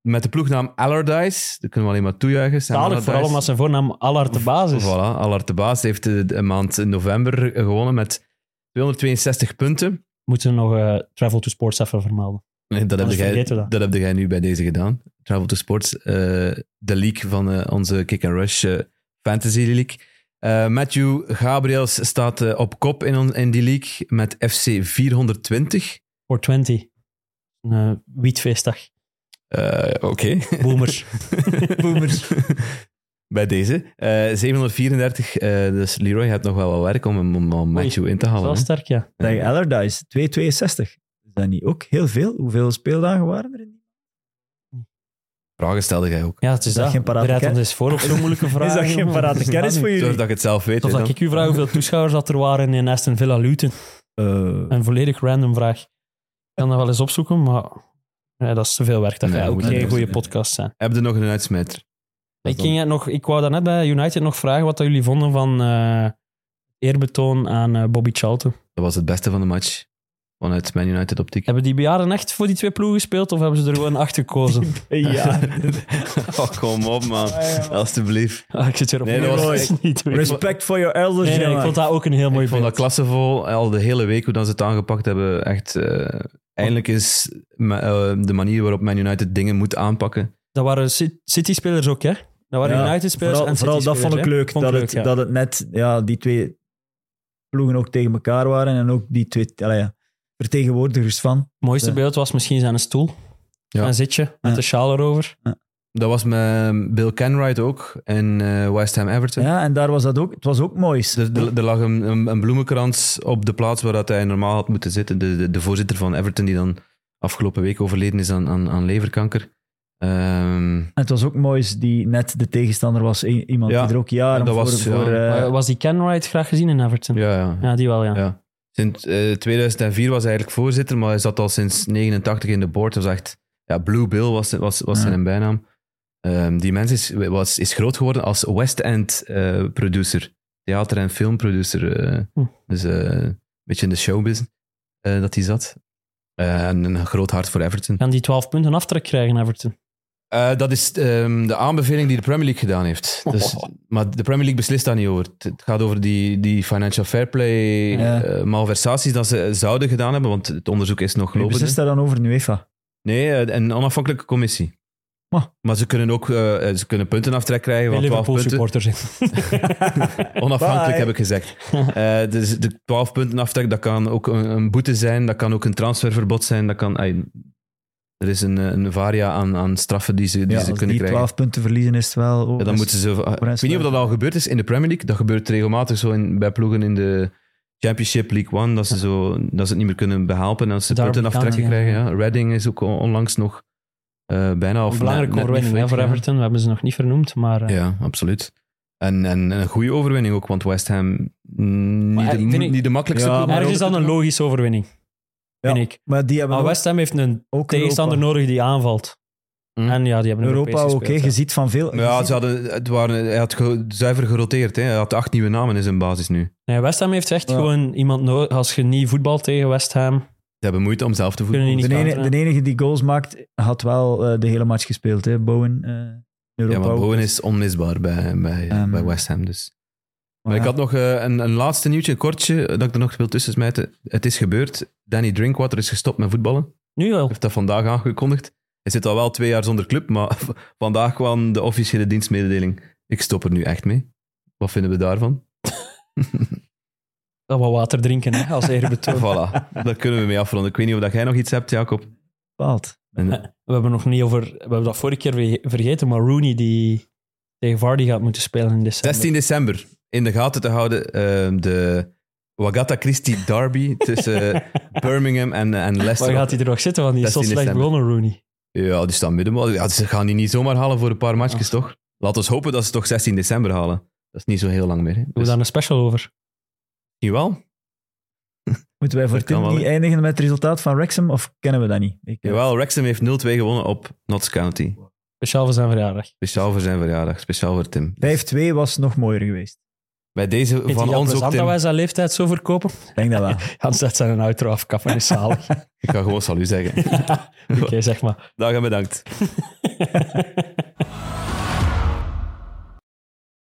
Speaker 1: met de ploegnaam Allardyce, daar kunnen we alleen maar toejuichen. Sam
Speaker 5: Zalig
Speaker 1: Allardyce.
Speaker 5: vooral omdat zijn voornaam Allard de baas is.
Speaker 1: Voilà, Allard de Baas heeft eh, de maand november eh, gewonnen met 262 punten.
Speaker 5: Moeten we nog eh, Travel to Sports even vermelden.
Speaker 1: Nee, dat, heb
Speaker 5: Anders
Speaker 1: jij,
Speaker 5: vergeten we
Speaker 1: dat.
Speaker 5: Nou, dat.
Speaker 1: heb jij nu bij deze gedaan. Travel to Sports, eh, de league van eh, onze Kick and Rush eh, Fantasy League. Eh, Matthew Gabriels staat eh, op kop in, on- in die league met FC 420.
Speaker 5: Voor 20. Een eh, wietfeestdag.
Speaker 1: Eh, Oké.
Speaker 5: Boomers.
Speaker 1: Boomers. Bij deze. Eh, 734, eh, dus Leroy had nog wel wat werk om, hem- om, om
Speaker 5: Oei,
Speaker 1: Matthew in te
Speaker 5: Dat is wel
Speaker 1: halen. hè.
Speaker 5: sterk, ja.
Speaker 6: Zeg Allardyce, 2,62. Is dat niet ook heel veel? Hoeveel speeldagen waren er? in?
Speaker 1: Vragen stelde jij ook.
Speaker 5: Ja, het is
Speaker 6: dat
Speaker 5: dat.
Speaker 6: geen parate
Speaker 5: Bereid
Speaker 6: kern?
Speaker 5: ons eens voor op zo'n moeilijke vraag.
Speaker 6: Is dat geen parate kern is voor
Speaker 1: Zorg
Speaker 6: jullie?
Speaker 1: dat ik het zelf weet.
Speaker 5: Of
Speaker 1: hè,
Speaker 5: dat
Speaker 1: dan.
Speaker 5: ik u vraag hoeveel toeschouwers dat er waren in Aston Villa Luton.
Speaker 6: Eh,
Speaker 5: Een volledig random vraag. Ik kan dat wel eens opzoeken, maar ja, dat is te veel werk. Dat
Speaker 1: Nee,
Speaker 5: gaat ook
Speaker 1: goed,
Speaker 5: geen
Speaker 1: dat
Speaker 5: goede
Speaker 1: is-
Speaker 5: podcast zijn.
Speaker 1: Heb je nog een uitsmijter?
Speaker 5: Ik, ging het nog, ik wou daarnet bij United nog vragen wat dat jullie vonden van eh, eerbetoon aan eh, Bobby Charlton.
Speaker 1: Dat was het beste van de match. Vanuit Man United optiek.
Speaker 5: Hebben die bejaarden echt voor die twee ploegen gespeeld of hebben ze er gewoon acht gekozen?
Speaker 6: ja.
Speaker 1: Oh, kom op, man. Alsjeblieft.
Speaker 5: Ah, ik zit weer op
Speaker 1: Nee, dat
Speaker 6: was-
Speaker 5: Ik- niet meer.
Speaker 6: Respect voor your elders,
Speaker 5: Nee, nee, ik
Speaker 6: jongen.
Speaker 5: vond dat ook een heel mooi
Speaker 1: Ik vond dat
Speaker 5: beeld.
Speaker 1: klassevol. Al de hele week hoe dat ze het aangepakt hebben. Echt, eh, eindelijk is me- eh, de manier waarop Man United dingen moet aanpakken.
Speaker 5: Dat waren Ci- City-spelers ook, hè? Dat waren
Speaker 6: Ja,
Speaker 5: United-spelers
Speaker 6: vooral,
Speaker 5: en
Speaker 6: vooral dat
Speaker 5: City-spelers,
Speaker 6: vond ik
Speaker 5: hè?
Speaker 6: leuk. dat, het,
Speaker 5: ja.
Speaker 6: dat het net ja, die twee ploegen ook tegen elkaar waren en ook die twee allee, ja, vertegenwoordigers van.
Speaker 5: Het mooiste
Speaker 6: Ja.
Speaker 5: beeld was misschien zijn stoel.
Speaker 1: Ja.
Speaker 5: Een zitje met
Speaker 6: Ja.
Speaker 5: de sjaal erover.
Speaker 1: Dat was met Bill Kenwright ook in eh, West Ham Everton.
Speaker 6: Ja, en daar was dat ook. Het was ook mooi.
Speaker 1: Er, er- er lag een, een, een bloemenkrans op de plaats waar dat hij normaal had moeten zitten. De, de, de voorzitter van Everton, die dan afgelopen week overleden is aan, aan, aan leverkanker. Ehm,
Speaker 6: En het was ook mooi die net de tegenstander was. I- Iemand
Speaker 1: Ja,
Speaker 6: die er ook jaren
Speaker 1: dat
Speaker 6: voor...
Speaker 1: was, ja.
Speaker 6: voor eh,
Speaker 5: Maar was die Ken Wright graag gezien in Everton?
Speaker 1: ja, ja.
Speaker 5: Ja, die wel, ja.
Speaker 1: Ja. Sinds eh, 2004 was hij eigenlijk voorzitter, maar hij zat al sinds 89 in de board. Dat was echt, ja, Blue Bill was, was, was
Speaker 6: Ja.
Speaker 1: zijn bijnaam. Ehm, die mens is, was, is groot geworden als West End eh, producer, theater- en filmproducer. eh.
Speaker 5: Hm.
Speaker 1: Dus eh, een beetje in de showbiz eh, dat hij zat. Eh, en een groot hart voor Everton.
Speaker 5: Gaan die 12 punten aftrek krijgen, Everton?
Speaker 1: Eh, dat is ehm, de aanbeveling die de Premier League gedaan heeft. Dus,
Speaker 5: Oh.
Speaker 1: Maar de Premier League beslist daar niet over. Het- Het gaat over die, die financial fair play
Speaker 6: Ja.
Speaker 1: eh, malversaties dat ze zouden gedaan hebben, want het onderzoek is nog
Speaker 6: wie
Speaker 1: lopend.
Speaker 6: beslist daar dan over nu, UEFA?
Speaker 1: Nee, eh, een onafhankelijke commissie.
Speaker 6: Maar-
Speaker 1: Maar ze kunnen ook eh, eh, ze kunnen puntenaftrek krijgen van 12
Speaker 5: Liverpool
Speaker 1: punten.
Speaker 5: supporters in.
Speaker 1: Onafhankelijk
Speaker 6: Bye.
Speaker 1: heb ik gezegd. Eh, dus de 12 punten aftrek, dat kan ook een, een boete zijn, dat kan ook een transferverbod zijn, dat kan... ai, er is een, eh, een varia aan, aan straffen die ze, die
Speaker 6: Ja,
Speaker 1: ze
Speaker 6: als
Speaker 1: kunnen
Speaker 6: die
Speaker 1: krijgen.
Speaker 6: 12 punten verliezen is het wel... oh,
Speaker 1: Ja, dan
Speaker 6: dus-
Speaker 1: moeten ze, ik weet niet of dat al gebeurd is in de Premier League. Dat gebeurt regelmatig zo in, bij ploegen in de Championship League One. Dat ze, zo, dat ze het niet meer kunnen behelpen. En dat ze
Speaker 5: Derby
Speaker 1: punten aftrekken
Speaker 5: County,
Speaker 1: krijgen. Ja. Reading is ook on- onlangs nog eh, bijna... Of
Speaker 5: Een belangrijke
Speaker 1: net- net niet
Speaker 5: overwinning hè,
Speaker 1: fit,
Speaker 5: voor
Speaker 1: ja.
Speaker 5: Everton. We hebben ze nog niet vernoemd, maar... eh,
Speaker 1: Ja, absoluut. En, en een goede overwinning ook, want West Ham mm,
Speaker 5: Maar
Speaker 1: niet, de,
Speaker 5: ik vind
Speaker 1: mo-
Speaker 5: ik-
Speaker 1: niet de makkelijkste
Speaker 6: Ja,
Speaker 1: ploeg,
Speaker 6: maar
Speaker 5: Ergens
Speaker 1: ook-
Speaker 5: dan een logische overwinning,
Speaker 6: Ja.
Speaker 5: vind ik.
Speaker 6: Maar die hebben
Speaker 1: Ah,
Speaker 5: Maar
Speaker 6: ook-
Speaker 5: West Ham heeft een
Speaker 6: ook
Speaker 5: tegenstander
Speaker 6: Europa.
Speaker 5: nodig die aanvalt.
Speaker 1: Hm.
Speaker 5: En ja, die hebben
Speaker 6: Europa, oké,
Speaker 5: Europees gespeeld,
Speaker 6: je ziet van veel... je
Speaker 1: Ja,
Speaker 6: ziet-
Speaker 1: ze hadden, het waren, hij had ge- zuiver geroteerd. Hè. Hij had acht nieuwe namen in zijn basis nu. Ze
Speaker 5: Nee, West Ham heeft echt
Speaker 6: Ja.
Speaker 5: gewoon iemand nodig. Als je niet voetbalt tegen West Ham,
Speaker 1: hebben moeite om zelf te
Speaker 5: kunnen
Speaker 1: voetballen.
Speaker 5: die niet
Speaker 6: de,
Speaker 5: counteren.
Speaker 6: enige, de enige die goals maakt, had wel eh, de hele match gespeeld, hè. Bowen. eh, in Europa
Speaker 1: Ja, maar
Speaker 6: ook.
Speaker 1: Bowen is onmisbaar bij, bij,
Speaker 6: Ehm,
Speaker 1: bij West Ham. Dus. Maar
Speaker 6: ja.
Speaker 1: ik had nog eh, een, een laatste nieuwtje, een kortje, eh, dat ik er nog wil tussen smijten. Het is gebeurd. Danny Drinkwater is gestopt met voetballen. Hij
Speaker 5: Nu wel.
Speaker 1: heeft dat vandaag aangekondigd. Hij zit al wel twee jaar zonder club, maar v- vandaag kwam de officiële dienstmededeling. Ik stop er nu echt mee. Wat vinden we daarvan?
Speaker 5: Wel wat water drinken, hè, als eerbetoon.
Speaker 1: Voilà, daar kunnen we mee afronden. Ik weet niet of dat jij nog iets hebt, Jacob.
Speaker 6: bepaald.
Speaker 1: En,
Speaker 5: We hebben nog niet over... We hebben dat vorige keer weer vergeten, maar Rooney die tegen Vardy gaat moeten spelen in december.
Speaker 1: 16 december, in de gaten te houden, eh, de Wagata Christie Derby tussen eh, Birmingham en, en Leicester.
Speaker 5: Waar gaat hij er nog zitten? Want die is zo
Speaker 1: 16
Speaker 5: slecht
Speaker 1: december.
Speaker 5: begonnen, Rooney.
Speaker 1: Ja, die staan middenmoot. Ja, ze gaan die niet zomaar halen voor een paar matchjes, toch? Laten we hopen dat ze toch 16 december halen. Dat is niet zo heel lang meer. Hè?
Speaker 5: Doen we
Speaker 1: Dus,
Speaker 5: daar een special over?
Speaker 1: misschien wel.
Speaker 6: Moeten wij voor
Speaker 1: Dat kan
Speaker 6: Tim
Speaker 1: wel,
Speaker 6: niet
Speaker 1: hè.
Speaker 6: eindigen met het resultaat van Wrexham, of kennen we dat niet? Ik, eh,
Speaker 1: Jawel, Wrexham heeft 0-2 gewonnen op Notts County.
Speaker 5: Speciaal voor zijn verjaardag.
Speaker 1: Speciaal voor zijn verjaardag, speciaal voor Tim.
Speaker 6: 5-2 was nog mooier geweest.
Speaker 1: Bij deze
Speaker 5: Vindt
Speaker 1: van
Speaker 5: hij
Speaker 1: ons
Speaker 5: dat
Speaker 1: ook,
Speaker 5: plezant dat
Speaker 1: Tim.
Speaker 5: wij zijn leeftijd zo verkopen?
Speaker 6: Ik denk dat wel.
Speaker 5: Hans zet zijn een outro af, kappen is zalig.
Speaker 1: Ik ga gewoon salut zeggen.
Speaker 5: Oké, zeg maar.
Speaker 1: Dag en bedankt.
Speaker 3: Rooney.